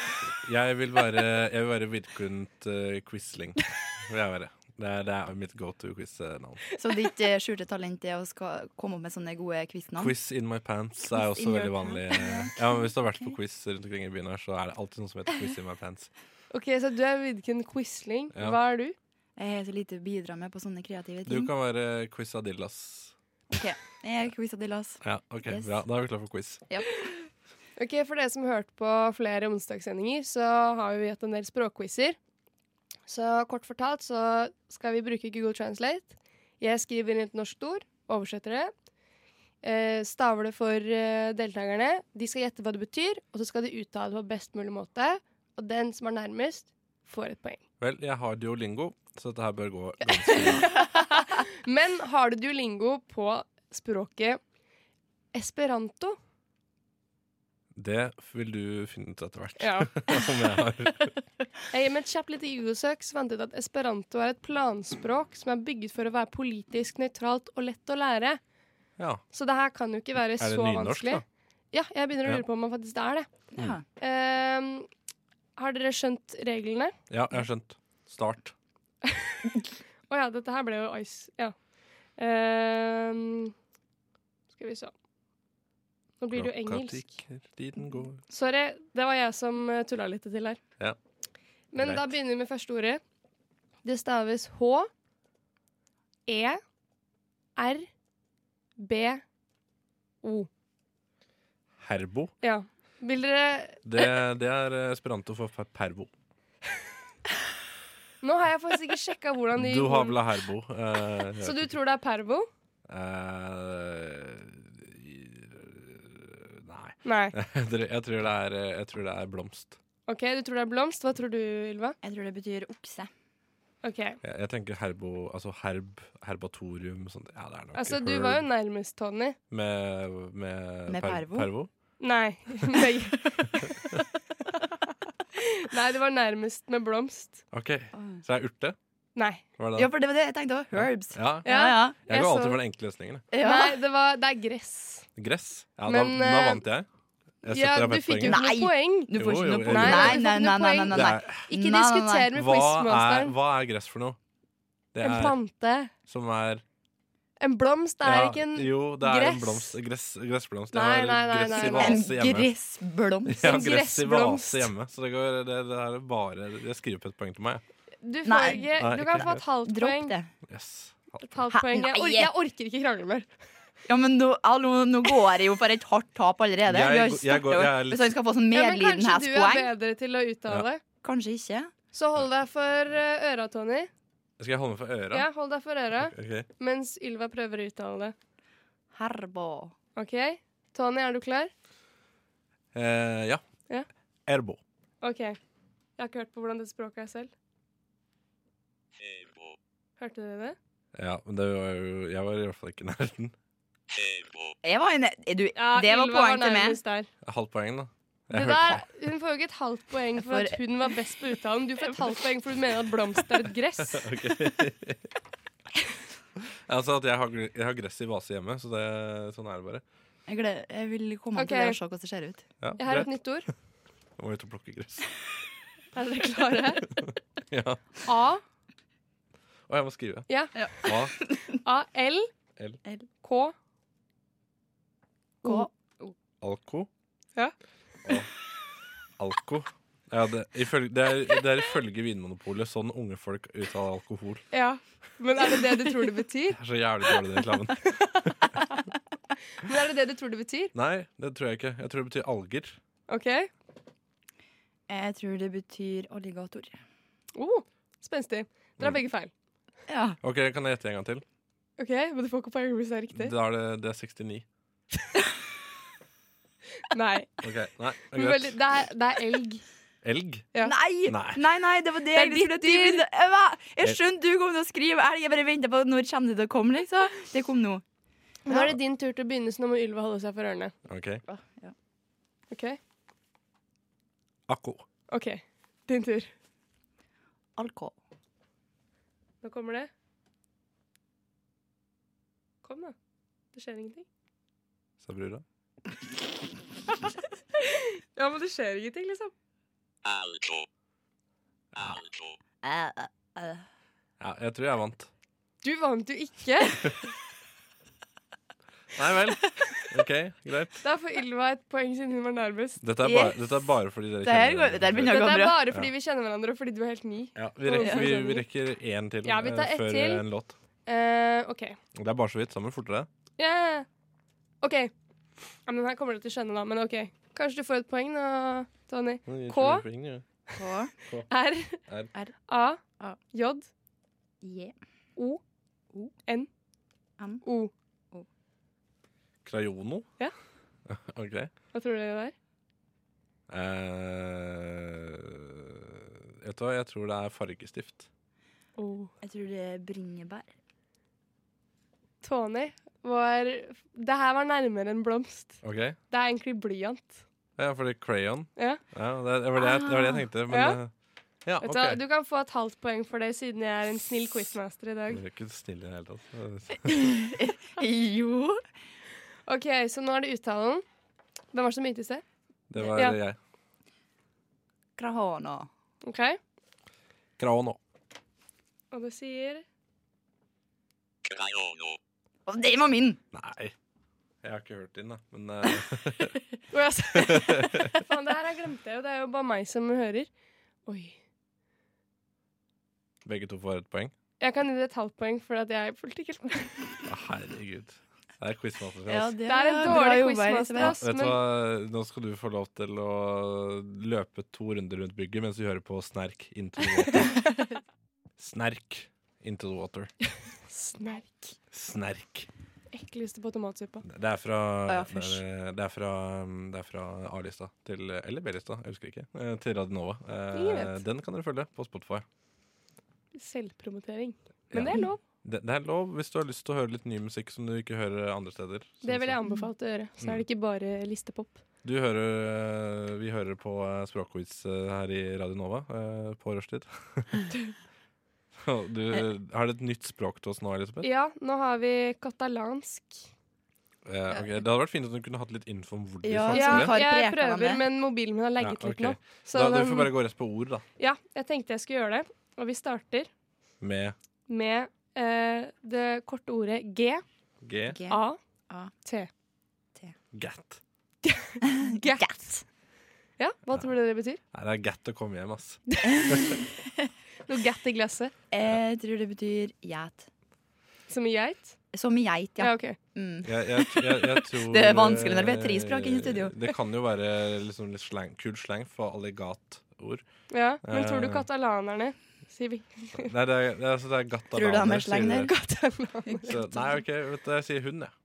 [SPEAKER 3] Jeg vil være, jeg vil være Vidkund eh, Quisling. Vil jeg være. Det, er, det er mitt go to quiz-navn.
[SPEAKER 4] Så ditt eh, skjulte talent er å skal komme opp med sånne gode quiznavn?
[SPEAKER 3] Quiz in my pants er
[SPEAKER 4] Quiz
[SPEAKER 3] også
[SPEAKER 4] in
[SPEAKER 3] veldig
[SPEAKER 4] your
[SPEAKER 3] vanlig. Ja, men Hvis du har vært på quiz rundt omkring i byen, her så er det alltid noen som heter quiz in my pants.
[SPEAKER 5] Ok, Så du er Vidkun Quisling.
[SPEAKER 3] Ja.
[SPEAKER 5] Hva er du?
[SPEAKER 4] Jeg har så lite å bidra med på sånne kreative
[SPEAKER 3] Du
[SPEAKER 4] ting.
[SPEAKER 3] kan være Quizadillas.
[SPEAKER 4] Jeg er quizadillas.
[SPEAKER 3] Ja, ok,
[SPEAKER 4] Yes.
[SPEAKER 3] bra. Da er vi klar for quiz.
[SPEAKER 5] Ok, For dere som hørte på flere onsdagssendinger, så har vi hatt en del språkquizer. Så kort fortalt så skal vi bruke Google Translate. Jeg skriver inn et norsk ord, oversetter det. eh, Staver det for eh, deltakerne. De skal gjette hva det betyr, og så skal de uttale det på best mulig måte. Og den som er nærmest, får et poeng.
[SPEAKER 3] Vel, jeg har Duolingo, så dette her bør gå ganske bra.
[SPEAKER 5] Men har du Duolingo på språket esperanto?
[SPEAKER 3] Det vil du finne ut etter hvert.
[SPEAKER 5] Ja.
[SPEAKER 3] Om jeg har.
[SPEAKER 5] Jeg med et kjapt lite Google-søk så fant jeg ut at esperanto er et planspråk som er bygget for å være politisk nøytralt og lett å lære.
[SPEAKER 3] Ja.
[SPEAKER 5] Så det her kan jo ikke være
[SPEAKER 3] Er det
[SPEAKER 5] så
[SPEAKER 3] nynorsk,
[SPEAKER 5] vanskelig.
[SPEAKER 3] da?
[SPEAKER 5] Ja, jeg begynner å
[SPEAKER 3] Ja.
[SPEAKER 5] lure på om man faktisk er det.
[SPEAKER 3] Mm.
[SPEAKER 4] Ja.
[SPEAKER 5] Ehm, har dere skjønt reglene?
[SPEAKER 3] Ja, jeg har skjønt. Start.
[SPEAKER 5] Å ja, dette her ble jo ice. Ja. Ehm, skal vi se. Nå blir det jo
[SPEAKER 3] Klokka
[SPEAKER 5] engelsk.
[SPEAKER 3] tikker, Tiden går.
[SPEAKER 5] Sorry, det var jeg som eh, tulla litt til her.
[SPEAKER 3] Ja.
[SPEAKER 5] Men da
[SPEAKER 3] Greit.
[SPEAKER 5] begynner vi med første ordet. Det staves H, E, R, B, O.
[SPEAKER 3] Herbo.
[SPEAKER 5] Ja. Vil dere
[SPEAKER 3] Det, det er eh, esperanto for per- perbo.
[SPEAKER 5] Nå har jeg faktisk ikke sjekka hvordan de
[SPEAKER 3] Du har vel av herbo. eh, jeg
[SPEAKER 5] Så
[SPEAKER 3] vet
[SPEAKER 5] du
[SPEAKER 3] ikke.
[SPEAKER 5] tror det er pervo?
[SPEAKER 3] Eh, i- Nei.
[SPEAKER 5] Nei.
[SPEAKER 3] Jeg tror, jeg, tror det er, eh, jeg tror det er blomst.
[SPEAKER 5] OK, du tror det er blomst. Hva tror du, Ylva?
[SPEAKER 4] Jeg tror det betyr okse.
[SPEAKER 5] Ok,
[SPEAKER 3] Jeg, jeg tenker herbo, altså herb, herbatorium sånt. Ja, det er nok
[SPEAKER 5] altså Du
[SPEAKER 3] herb
[SPEAKER 5] var jo nærmest, Tony.
[SPEAKER 3] med, med,
[SPEAKER 4] Med pervo?
[SPEAKER 3] pervo.
[SPEAKER 5] Nei. Nei. Nei, det var nærmest med blomst.
[SPEAKER 3] OK, så er urte?
[SPEAKER 5] Nei.
[SPEAKER 3] Hva er det?
[SPEAKER 4] Ja, for det var det jeg tenkte òg. Herbs.
[SPEAKER 3] Ja.
[SPEAKER 5] Ja,
[SPEAKER 4] ja.
[SPEAKER 3] Jeg
[SPEAKER 5] jeg
[SPEAKER 3] går
[SPEAKER 5] så-
[SPEAKER 3] alltid for den enkle løsningen. jeg.
[SPEAKER 4] ja.
[SPEAKER 5] Nei, det, var, det er gress.
[SPEAKER 3] Gress. Ja,
[SPEAKER 5] Men,
[SPEAKER 3] da, da
[SPEAKER 5] eh,
[SPEAKER 3] vant jeg. Jeg
[SPEAKER 5] Ja,
[SPEAKER 3] setter
[SPEAKER 5] du
[SPEAKER 3] deg på
[SPEAKER 5] fikk jo
[SPEAKER 3] poenget.
[SPEAKER 5] ikke noe
[SPEAKER 4] Nei.
[SPEAKER 5] poeng.
[SPEAKER 4] Du får
[SPEAKER 3] Jo, jo,
[SPEAKER 4] ikke noe
[SPEAKER 3] jo,
[SPEAKER 4] poeng.
[SPEAKER 3] jo.
[SPEAKER 4] Nei,
[SPEAKER 5] Nei,
[SPEAKER 4] nei, nei, nei, nei,
[SPEAKER 5] du får ikke noe
[SPEAKER 4] nei,
[SPEAKER 3] Det
[SPEAKER 4] nei.
[SPEAKER 3] er,
[SPEAKER 4] Nei,
[SPEAKER 5] Ikke
[SPEAKER 4] nei, nei.
[SPEAKER 5] diskuter med
[SPEAKER 3] hva, er,
[SPEAKER 5] quizmasteren.
[SPEAKER 3] hva er gress for noe? Det
[SPEAKER 5] En
[SPEAKER 3] er
[SPEAKER 5] plante.
[SPEAKER 3] som er
[SPEAKER 5] En blomst det er
[SPEAKER 3] ja,
[SPEAKER 5] ikke en
[SPEAKER 3] Jo, det er en
[SPEAKER 5] gress.
[SPEAKER 3] blomst. Gress, gressblomst.
[SPEAKER 5] Nei,
[SPEAKER 3] Jeg
[SPEAKER 5] nei,
[SPEAKER 3] har
[SPEAKER 5] nei,
[SPEAKER 3] gress i
[SPEAKER 5] nei, nei.
[SPEAKER 4] En
[SPEAKER 3] vase hjemme.
[SPEAKER 4] gressblomst.
[SPEAKER 3] Jeg har
[SPEAKER 5] En
[SPEAKER 3] gress i
[SPEAKER 5] gressblomst.
[SPEAKER 3] vase hjemme, så det, går, det, det her er bare Jeg skriver opp et poeng til meg.
[SPEAKER 5] Du får
[SPEAKER 4] Nei.
[SPEAKER 5] ikke
[SPEAKER 3] Nei,
[SPEAKER 5] Du kan
[SPEAKER 3] ikke
[SPEAKER 5] få et halvt
[SPEAKER 4] Dropp
[SPEAKER 5] poeng.
[SPEAKER 4] det.
[SPEAKER 3] Yes.
[SPEAKER 5] Et halvt
[SPEAKER 4] Hæ?
[SPEAKER 5] poeng. Jeg,
[SPEAKER 4] Nei.
[SPEAKER 5] or jeg orker ikke krangle mer.
[SPEAKER 4] Ja, men nå, hallo, nå går jeg jo for et hardt tap allerede.
[SPEAKER 3] Jeg
[SPEAKER 4] Vi har
[SPEAKER 3] går-
[SPEAKER 4] startet
[SPEAKER 3] jeg går- jeg er
[SPEAKER 4] jo-
[SPEAKER 3] litt-
[SPEAKER 4] Hvis han skal få sånn
[SPEAKER 5] Ja, men kanskje du er
[SPEAKER 4] medlidenhetspoeng
[SPEAKER 5] bedre til å uttale.
[SPEAKER 4] Kanskje ikke.
[SPEAKER 5] Så hold deg for eh, øra, Tony.
[SPEAKER 3] Skal jeg holde meg for øra?
[SPEAKER 5] Ja, hold deg for øra
[SPEAKER 3] Ok.
[SPEAKER 5] mens Ylva prøver å uttale det.
[SPEAKER 4] Herbo.
[SPEAKER 5] OK? Tony, er du klar?
[SPEAKER 3] Eh, ja.
[SPEAKER 5] Ja.
[SPEAKER 3] Erbo.
[SPEAKER 5] OK. Jeg har ikke hørt på hvordan det språket er selv. Hørte dere det?
[SPEAKER 3] Ja, men det var jo Jeg var i hvert fall ikke i nærheten.
[SPEAKER 4] Jeg var inne er du, Det var
[SPEAKER 5] Ylva
[SPEAKER 4] poeng til meg.
[SPEAKER 5] nærmest Der.
[SPEAKER 3] Halvt poeng, da. Jeg
[SPEAKER 5] Det
[SPEAKER 3] hørte
[SPEAKER 5] der,
[SPEAKER 3] på.
[SPEAKER 5] hun får jo ikke et halvt poeng for
[SPEAKER 4] får-
[SPEAKER 5] at hun var best på uttalen. Du får et halvt poeng for du mener at blomst er et gress.
[SPEAKER 3] Ok. altså at jeg har, gr- jeg har gress i vase hjemme, så det, sånn er det bare.
[SPEAKER 4] Jeg, gleder, jeg vil komme
[SPEAKER 5] Ok.
[SPEAKER 4] til det og se hvordan det ser ut.
[SPEAKER 3] Ja,
[SPEAKER 5] Jeg har et
[SPEAKER 3] greit.
[SPEAKER 5] nytt ord.
[SPEAKER 3] Jeg må ut og plukke gress.
[SPEAKER 5] Er dere klare?
[SPEAKER 3] ja.
[SPEAKER 5] A.
[SPEAKER 3] Og jeg må skrive.
[SPEAKER 5] Ja.
[SPEAKER 4] Ja.
[SPEAKER 3] Hva?
[SPEAKER 5] A. L.
[SPEAKER 3] L.
[SPEAKER 5] K.
[SPEAKER 4] Gå.
[SPEAKER 3] Alko?
[SPEAKER 5] Ja.
[SPEAKER 3] Å, alko. Ja, det, ifølge, det, er, det er ifølge Vinmonopolet sånn unge folk uttaler alkohol.
[SPEAKER 5] Ja. Men er det det du tror det betyr?
[SPEAKER 3] Det er så jævlig dårlig, den reklamen.
[SPEAKER 5] Men er det det du tror det betyr?
[SPEAKER 3] Nei, det tror jeg ikke. Jeg tror det betyr alger.
[SPEAKER 5] OK.
[SPEAKER 4] Jeg tror det betyr alligator.
[SPEAKER 5] Oh, spenstig. Dere
[SPEAKER 3] Mm.
[SPEAKER 5] har begge feil.
[SPEAKER 4] Ja.
[SPEAKER 3] Ok, Kan jeg gjette en gang til?
[SPEAKER 5] OK, men du får ikke poeng hvis det er riktig.
[SPEAKER 3] Da er det, det er 69.
[SPEAKER 5] Nei.
[SPEAKER 3] Ok, nei, det
[SPEAKER 5] Men
[SPEAKER 3] er
[SPEAKER 5] veldig,
[SPEAKER 3] greit.
[SPEAKER 5] det, er, det er elg.
[SPEAKER 3] Elg?
[SPEAKER 5] Ja.
[SPEAKER 4] Nei!
[SPEAKER 3] Nei.
[SPEAKER 4] Nei, nei, det var det,
[SPEAKER 5] er
[SPEAKER 4] jeg skulle
[SPEAKER 5] ditt
[SPEAKER 4] til.
[SPEAKER 5] dyr.
[SPEAKER 4] Men det- Jeg, var- jeg skjønte du kom til å skrive elg. Jeg bare venta på når kommer det til å komme. Liksom. Det kom nå.
[SPEAKER 5] Nå er det din tur til å begynne, så nå må Ylva holde seg for ørene.
[SPEAKER 3] Ok.
[SPEAKER 5] OK?
[SPEAKER 3] Akko.
[SPEAKER 5] OK. Din tur.
[SPEAKER 4] Alko.
[SPEAKER 5] Nå kommer det. Kom, da. Det skjer ingenting.
[SPEAKER 3] sa brura.
[SPEAKER 5] Ja, men det skjer ingenting, liksom.
[SPEAKER 4] Eh, eh, eh.
[SPEAKER 3] Ja, jeg tror jeg vant.
[SPEAKER 5] Du vant jo ikke.
[SPEAKER 3] Nei vel. Ok, greit.
[SPEAKER 5] Da får Ylva et poeng siden hun var nærmest.
[SPEAKER 3] Dette er, bare,
[SPEAKER 4] Yes.
[SPEAKER 3] dette er bare fordi dere
[SPEAKER 4] Det her går-
[SPEAKER 3] kjenner
[SPEAKER 4] det her begynner å
[SPEAKER 5] Dette
[SPEAKER 4] gå
[SPEAKER 5] er
[SPEAKER 4] bra.
[SPEAKER 5] bare fordi vi kjenner hverandre, og fordi du er helt ny.
[SPEAKER 3] Ja, vi, rekker, vi, vi rekker én til
[SPEAKER 5] Ja, vi tar
[SPEAKER 3] eh,
[SPEAKER 5] ett
[SPEAKER 3] før
[SPEAKER 5] til.
[SPEAKER 3] eh, en låt.
[SPEAKER 5] Eh, OK.
[SPEAKER 3] Det er bare så vidt. Sammen fortere.
[SPEAKER 5] Yeah. OK. Ja, men den her kommer du til å skjønne, da. Men OK. Kanskje du får et poeng nå, Tony. K.
[SPEAKER 4] K.
[SPEAKER 5] R.
[SPEAKER 3] R.
[SPEAKER 4] R.
[SPEAKER 5] A.
[SPEAKER 4] A.
[SPEAKER 5] J.
[SPEAKER 4] J.
[SPEAKER 5] O.
[SPEAKER 4] O.
[SPEAKER 5] N.
[SPEAKER 4] N.
[SPEAKER 5] O.
[SPEAKER 3] Krajono?
[SPEAKER 5] Ja.
[SPEAKER 3] OK.
[SPEAKER 5] Hva tror du det er?
[SPEAKER 3] Eh, vet du hva, jeg tror det er fargestift.
[SPEAKER 5] Oh.
[SPEAKER 4] Jeg tror det er bringebær.
[SPEAKER 5] Tony var Det her var nærmere enn blomst.
[SPEAKER 3] OK?
[SPEAKER 5] Det er egentlig blyant.
[SPEAKER 3] Ja, fordi crayon.
[SPEAKER 5] Ja. Ah,
[SPEAKER 3] det, det, var det, jeg- det var det jeg tenkte, men
[SPEAKER 5] Ja.
[SPEAKER 3] eh, Ja,
[SPEAKER 5] Vet
[SPEAKER 3] OK.
[SPEAKER 5] du hva, Du kan få et halvt poeng for det, siden jeg er en snill quizmaster i dag.
[SPEAKER 3] Dere er ikke snille i det hele tatt.
[SPEAKER 4] Jo.
[SPEAKER 5] OK, så nå er det uttalen. Hvem var det som begynte i sted?
[SPEAKER 3] Det var
[SPEAKER 5] Ja.
[SPEAKER 3] jeg.
[SPEAKER 4] Krahana.
[SPEAKER 5] OK?
[SPEAKER 3] Kraono.
[SPEAKER 5] Og det sier
[SPEAKER 4] Og det var min!
[SPEAKER 3] Nei. Jeg har ikke hørt din, da. Men eh,
[SPEAKER 5] Å, jeg sa- Faen, det her jeg glemte jeg jo. Det er jo bare meg som hører. Oi.
[SPEAKER 3] begge to får et poeng.
[SPEAKER 5] Jeg kan gi deg et halvt poeng for at jeg er politikk. Det
[SPEAKER 3] Ja, herregud. Det er quizmaster. Altså.
[SPEAKER 4] det
[SPEAKER 5] er en dårlig quizmaster,
[SPEAKER 3] Ja,
[SPEAKER 5] ass.
[SPEAKER 3] vet du
[SPEAKER 5] Men
[SPEAKER 3] hva? Nå skal du få lov til å løpe to runder rundt bygget mens du hører på Snerk into the water. Snerk into the water.
[SPEAKER 5] snerk.
[SPEAKER 3] Snerk.
[SPEAKER 5] ekleste på tomatsuppa.
[SPEAKER 3] Det er fra,
[SPEAKER 4] Å ja,
[SPEAKER 3] det
[SPEAKER 4] fysj.
[SPEAKER 3] er, det er fra, det er fra A-lista til Eller B-lista, jeg husker ikke. eh, Til Radionova.
[SPEAKER 5] Ingen
[SPEAKER 3] Eh,
[SPEAKER 5] vet.
[SPEAKER 3] den kan dere følge på Spotify.
[SPEAKER 5] Selvpromotering.
[SPEAKER 3] Ja.
[SPEAKER 5] Men det er lov.
[SPEAKER 3] Det, det er lov hvis du har lyst til å høre litt ny musikk som du ikke hører andre steder.
[SPEAKER 5] Det
[SPEAKER 3] Sånn
[SPEAKER 5] vil jeg
[SPEAKER 3] som-
[SPEAKER 5] anbefale å gjøre. Så er
[SPEAKER 3] Mm.
[SPEAKER 5] det ikke bare listepop.
[SPEAKER 3] Du hører eh, Vi hører på eh, Språkquiz eh, her i Radio Nova eh, på rushtid. Og
[SPEAKER 4] Eh.
[SPEAKER 3] du har du et nytt språk til oss nå, Elisabeth?
[SPEAKER 5] Ja, nå har vi katalansk.
[SPEAKER 3] Eh, ok, Det hadde vært fint om du kunne hatt litt info om hvor de
[SPEAKER 4] Ja,
[SPEAKER 3] snakker.
[SPEAKER 5] Ja,
[SPEAKER 4] vi har
[SPEAKER 5] jeg
[SPEAKER 4] preka meg
[SPEAKER 5] prøver,
[SPEAKER 4] med.
[SPEAKER 5] men mobilen min har legget
[SPEAKER 3] Ja, ok.
[SPEAKER 5] litt nå. Så
[SPEAKER 3] da, du
[SPEAKER 5] den-
[SPEAKER 3] får bare gå rett på ord, da.
[SPEAKER 5] Ja, jeg tenkte jeg skulle gjøre det. Og vi starter
[SPEAKER 3] Med
[SPEAKER 5] med eh, det korte ordet G,
[SPEAKER 3] G.
[SPEAKER 4] G.
[SPEAKER 5] A,
[SPEAKER 4] A.
[SPEAKER 5] T.
[SPEAKER 3] Gat.
[SPEAKER 4] Gat.
[SPEAKER 5] Ja, hva tror dere det betyr?
[SPEAKER 3] Nei, det er gat å komme hjem, ass.
[SPEAKER 5] Noe gatt i glasset.
[SPEAKER 4] Eh, Jeg tror det betyr geit.
[SPEAKER 5] Som i geit?
[SPEAKER 4] Som geit,
[SPEAKER 5] Ja,
[SPEAKER 4] ja.
[SPEAKER 5] OK.
[SPEAKER 4] Mm.
[SPEAKER 3] Jeg, jeg, jeg, jeg tror, eh,
[SPEAKER 4] Det er vanskelig når vi er tre språk inne i studio.
[SPEAKER 3] Det kan jo være liksom litt slang, kul slang for alligatord.
[SPEAKER 5] Ja, men tror du
[SPEAKER 3] Eh.
[SPEAKER 5] katalanerne sier vi
[SPEAKER 3] Nei, det er, det er, altså, det er gatta
[SPEAKER 4] Tror du han er
[SPEAKER 3] damer, sier
[SPEAKER 4] slang der?
[SPEAKER 3] dere.
[SPEAKER 5] Katalan.
[SPEAKER 3] Så, nei, OK, vet du, jeg sier hund, jeg.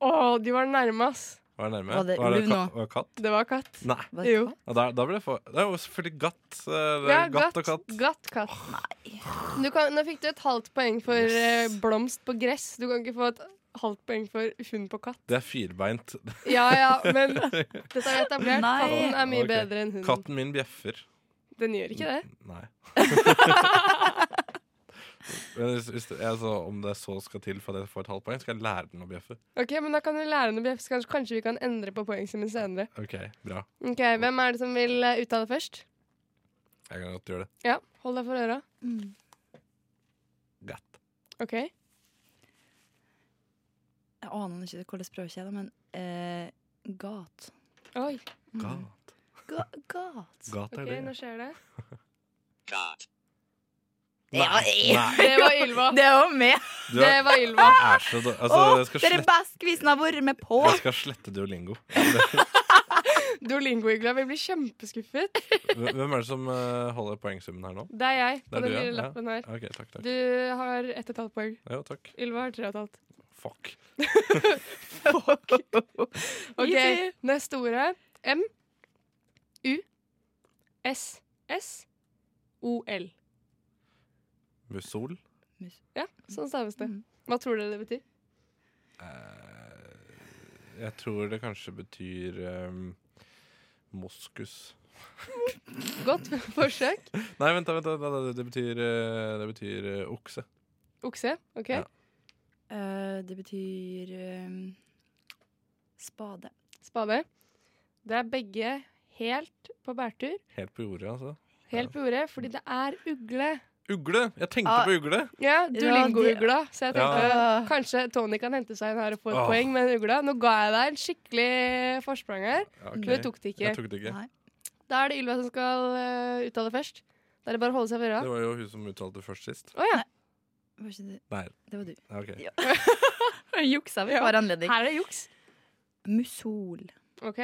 [SPEAKER 5] Å, du var nærme, ass.
[SPEAKER 3] Var det nærme?
[SPEAKER 4] Var det
[SPEAKER 3] var det
[SPEAKER 4] ulv
[SPEAKER 3] ka-
[SPEAKER 4] nå?
[SPEAKER 3] var det katt?
[SPEAKER 5] Det var katt.
[SPEAKER 3] Nei.
[SPEAKER 4] Hva-
[SPEAKER 5] Jo.
[SPEAKER 3] Ja, Da, da ble det, for, det er jo selvfølgelig gatt. eh, det er
[SPEAKER 5] Ja,
[SPEAKER 3] gatt,
[SPEAKER 5] gatt,
[SPEAKER 3] og katt.
[SPEAKER 5] Gatt katt. Du kan, nå fikk du et halvt poeng for eh, blomst på gress. Du kan ikke få et halvt poeng for hund på katt.
[SPEAKER 3] Det er firbeint.
[SPEAKER 5] Ja ja, men dette er etablert.
[SPEAKER 4] Nei.
[SPEAKER 5] Katten er mye
[SPEAKER 3] Ok.
[SPEAKER 5] bedre enn hunden.
[SPEAKER 3] Katten min bjeffer.
[SPEAKER 5] Den gjør ikke det.
[SPEAKER 3] Nei. Men hvis, hvis det, altså, om det så skal til for at jeg får et halvt poeng, skal jeg lære den å bjeffe.
[SPEAKER 5] Ok, men Da kan du lære henne å bjeffe, så kanskje, kanskje vi kan endre på poengsummen senere.
[SPEAKER 3] OK, bra.
[SPEAKER 5] Ok, Hvem er det som vil eh, uttale først?
[SPEAKER 3] Jeg kan godt gjøre det.
[SPEAKER 5] Ja, Hold deg for øra.
[SPEAKER 4] Mm.
[SPEAKER 3] Gatt.
[SPEAKER 5] Ok,
[SPEAKER 4] Jeg aner ikke hvordan språket er, da, men eh, gat.
[SPEAKER 5] Oi,
[SPEAKER 4] Mm.
[SPEAKER 3] Gat.
[SPEAKER 4] Ga gat.
[SPEAKER 3] Gat
[SPEAKER 5] ok,
[SPEAKER 3] er det.
[SPEAKER 5] nå skjer det.
[SPEAKER 4] Ja, ja.
[SPEAKER 3] Nei,
[SPEAKER 5] Det var Ylva.
[SPEAKER 4] Det er jo meg!
[SPEAKER 3] du
[SPEAKER 5] Det
[SPEAKER 3] er,
[SPEAKER 5] var Ylva.
[SPEAKER 3] er så dårlig. Altså,
[SPEAKER 4] Å,
[SPEAKER 3] jeg, skal
[SPEAKER 4] det er det
[SPEAKER 3] slette,
[SPEAKER 4] beste quizen jeg har vært med på!
[SPEAKER 3] jeg skal slette Duolingo.
[SPEAKER 5] Duolingo-Ylva vil bli kjempeskuffet.
[SPEAKER 3] Hvem er det som eh, holder poengsummen her nå?
[SPEAKER 5] Det er jeg
[SPEAKER 3] Det er
[SPEAKER 5] på den
[SPEAKER 3] du, ja. Ja.
[SPEAKER 5] lille lappen her.
[SPEAKER 3] OK, takk, takk.
[SPEAKER 5] Du har ett og et halvt poeng.
[SPEAKER 3] Jo, takk.
[SPEAKER 5] Ylva har tre og et halvt.
[SPEAKER 3] Fuck.
[SPEAKER 5] Ok,
[SPEAKER 4] Easy.
[SPEAKER 5] neste ord er M U S S O L.
[SPEAKER 3] Musol.
[SPEAKER 5] Ja, sånn staves det.
[SPEAKER 4] Mm.
[SPEAKER 5] Hva tror dere det betyr?
[SPEAKER 3] Eh, jeg tror det kanskje betyr ehm, moskus.
[SPEAKER 5] Godt forsøk.
[SPEAKER 3] Nei, vent, da, vent, da, da, da, det betyr, eh, det betyr eh, okse.
[SPEAKER 5] Okse. OK.
[SPEAKER 3] Ja.
[SPEAKER 4] Eh, det betyr eh, spade.
[SPEAKER 5] Spade. Det er begge helt på bærtur.
[SPEAKER 3] Helt på jordet, altså.
[SPEAKER 5] Helt på jordet, fordi det er ugle.
[SPEAKER 3] Ugle! Jeg tenkte
[SPEAKER 4] Ah.
[SPEAKER 3] på ugle!
[SPEAKER 5] Ja, Duolingo-ugla. Så jeg tenkte
[SPEAKER 4] Ja.
[SPEAKER 5] kanskje Tony kan hente seg en her og få et
[SPEAKER 3] Åh.
[SPEAKER 5] poeng med den ugla. Nå ga jeg deg en skikkelig forsprang her,
[SPEAKER 3] Ja,
[SPEAKER 5] men
[SPEAKER 3] ok.
[SPEAKER 5] du tok det ikke.
[SPEAKER 3] Jeg tok det ikke.
[SPEAKER 4] Nei.
[SPEAKER 5] Da er det Ylva som skal eh, uttale først. Da er det bare å holde seg for øra.
[SPEAKER 3] Det var jo hun som uttalte først sist.
[SPEAKER 5] Å ja.
[SPEAKER 4] Var ikke det
[SPEAKER 3] Nei,
[SPEAKER 4] Det var du.
[SPEAKER 3] ja, ok.
[SPEAKER 4] Ja. Juksa vi har anledning.
[SPEAKER 5] Her er det juks.
[SPEAKER 4] Musol.
[SPEAKER 5] OK.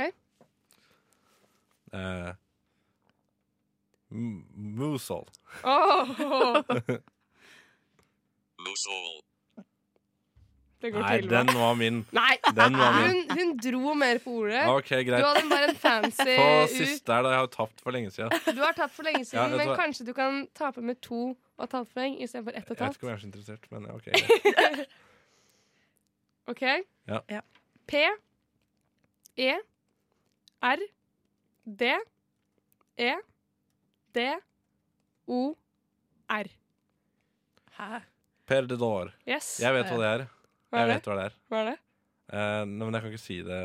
[SPEAKER 3] Eh, m- musol.
[SPEAKER 5] Åh! Det går
[SPEAKER 3] Nei,
[SPEAKER 5] til,
[SPEAKER 3] den
[SPEAKER 5] den...
[SPEAKER 3] var min.
[SPEAKER 5] Nei,
[SPEAKER 3] Den var min.
[SPEAKER 5] hun, hun dro mer på ordet.
[SPEAKER 3] OK,
[SPEAKER 5] Du
[SPEAKER 3] greit.
[SPEAKER 5] hadde bare en fancy
[SPEAKER 3] På
[SPEAKER 5] ut.
[SPEAKER 3] siste her, da. Jeg har jo tapt for lenge siden.
[SPEAKER 5] Du har tapt for lenge siden,
[SPEAKER 3] Ja, vet du
[SPEAKER 5] men
[SPEAKER 3] hva?
[SPEAKER 5] kanskje du kan tape med to og et halvt poeng istedenfor ett
[SPEAKER 3] Jeg vet
[SPEAKER 5] og et
[SPEAKER 3] ikke
[SPEAKER 5] halvt.
[SPEAKER 3] om jeg er så interessert, men ja, OK. greit.
[SPEAKER 5] OK?
[SPEAKER 3] Ja.
[SPEAKER 4] Ja.
[SPEAKER 5] P E R D E D O R.
[SPEAKER 4] Hæ?
[SPEAKER 3] Per de Dor.
[SPEAKER 5] Yes.
[SPEAKER 3] Jeg vet hva det er.
[SPEAKER 5] Hva
[SPEAKER 3] Jeg
[SPEAKER 5] er det?
[SPEAKER 3] vet hva det er.
[SPEAKER 5] Hva er det?
[SPEAKER 3] Eh, nei, men jeg kan ikke si det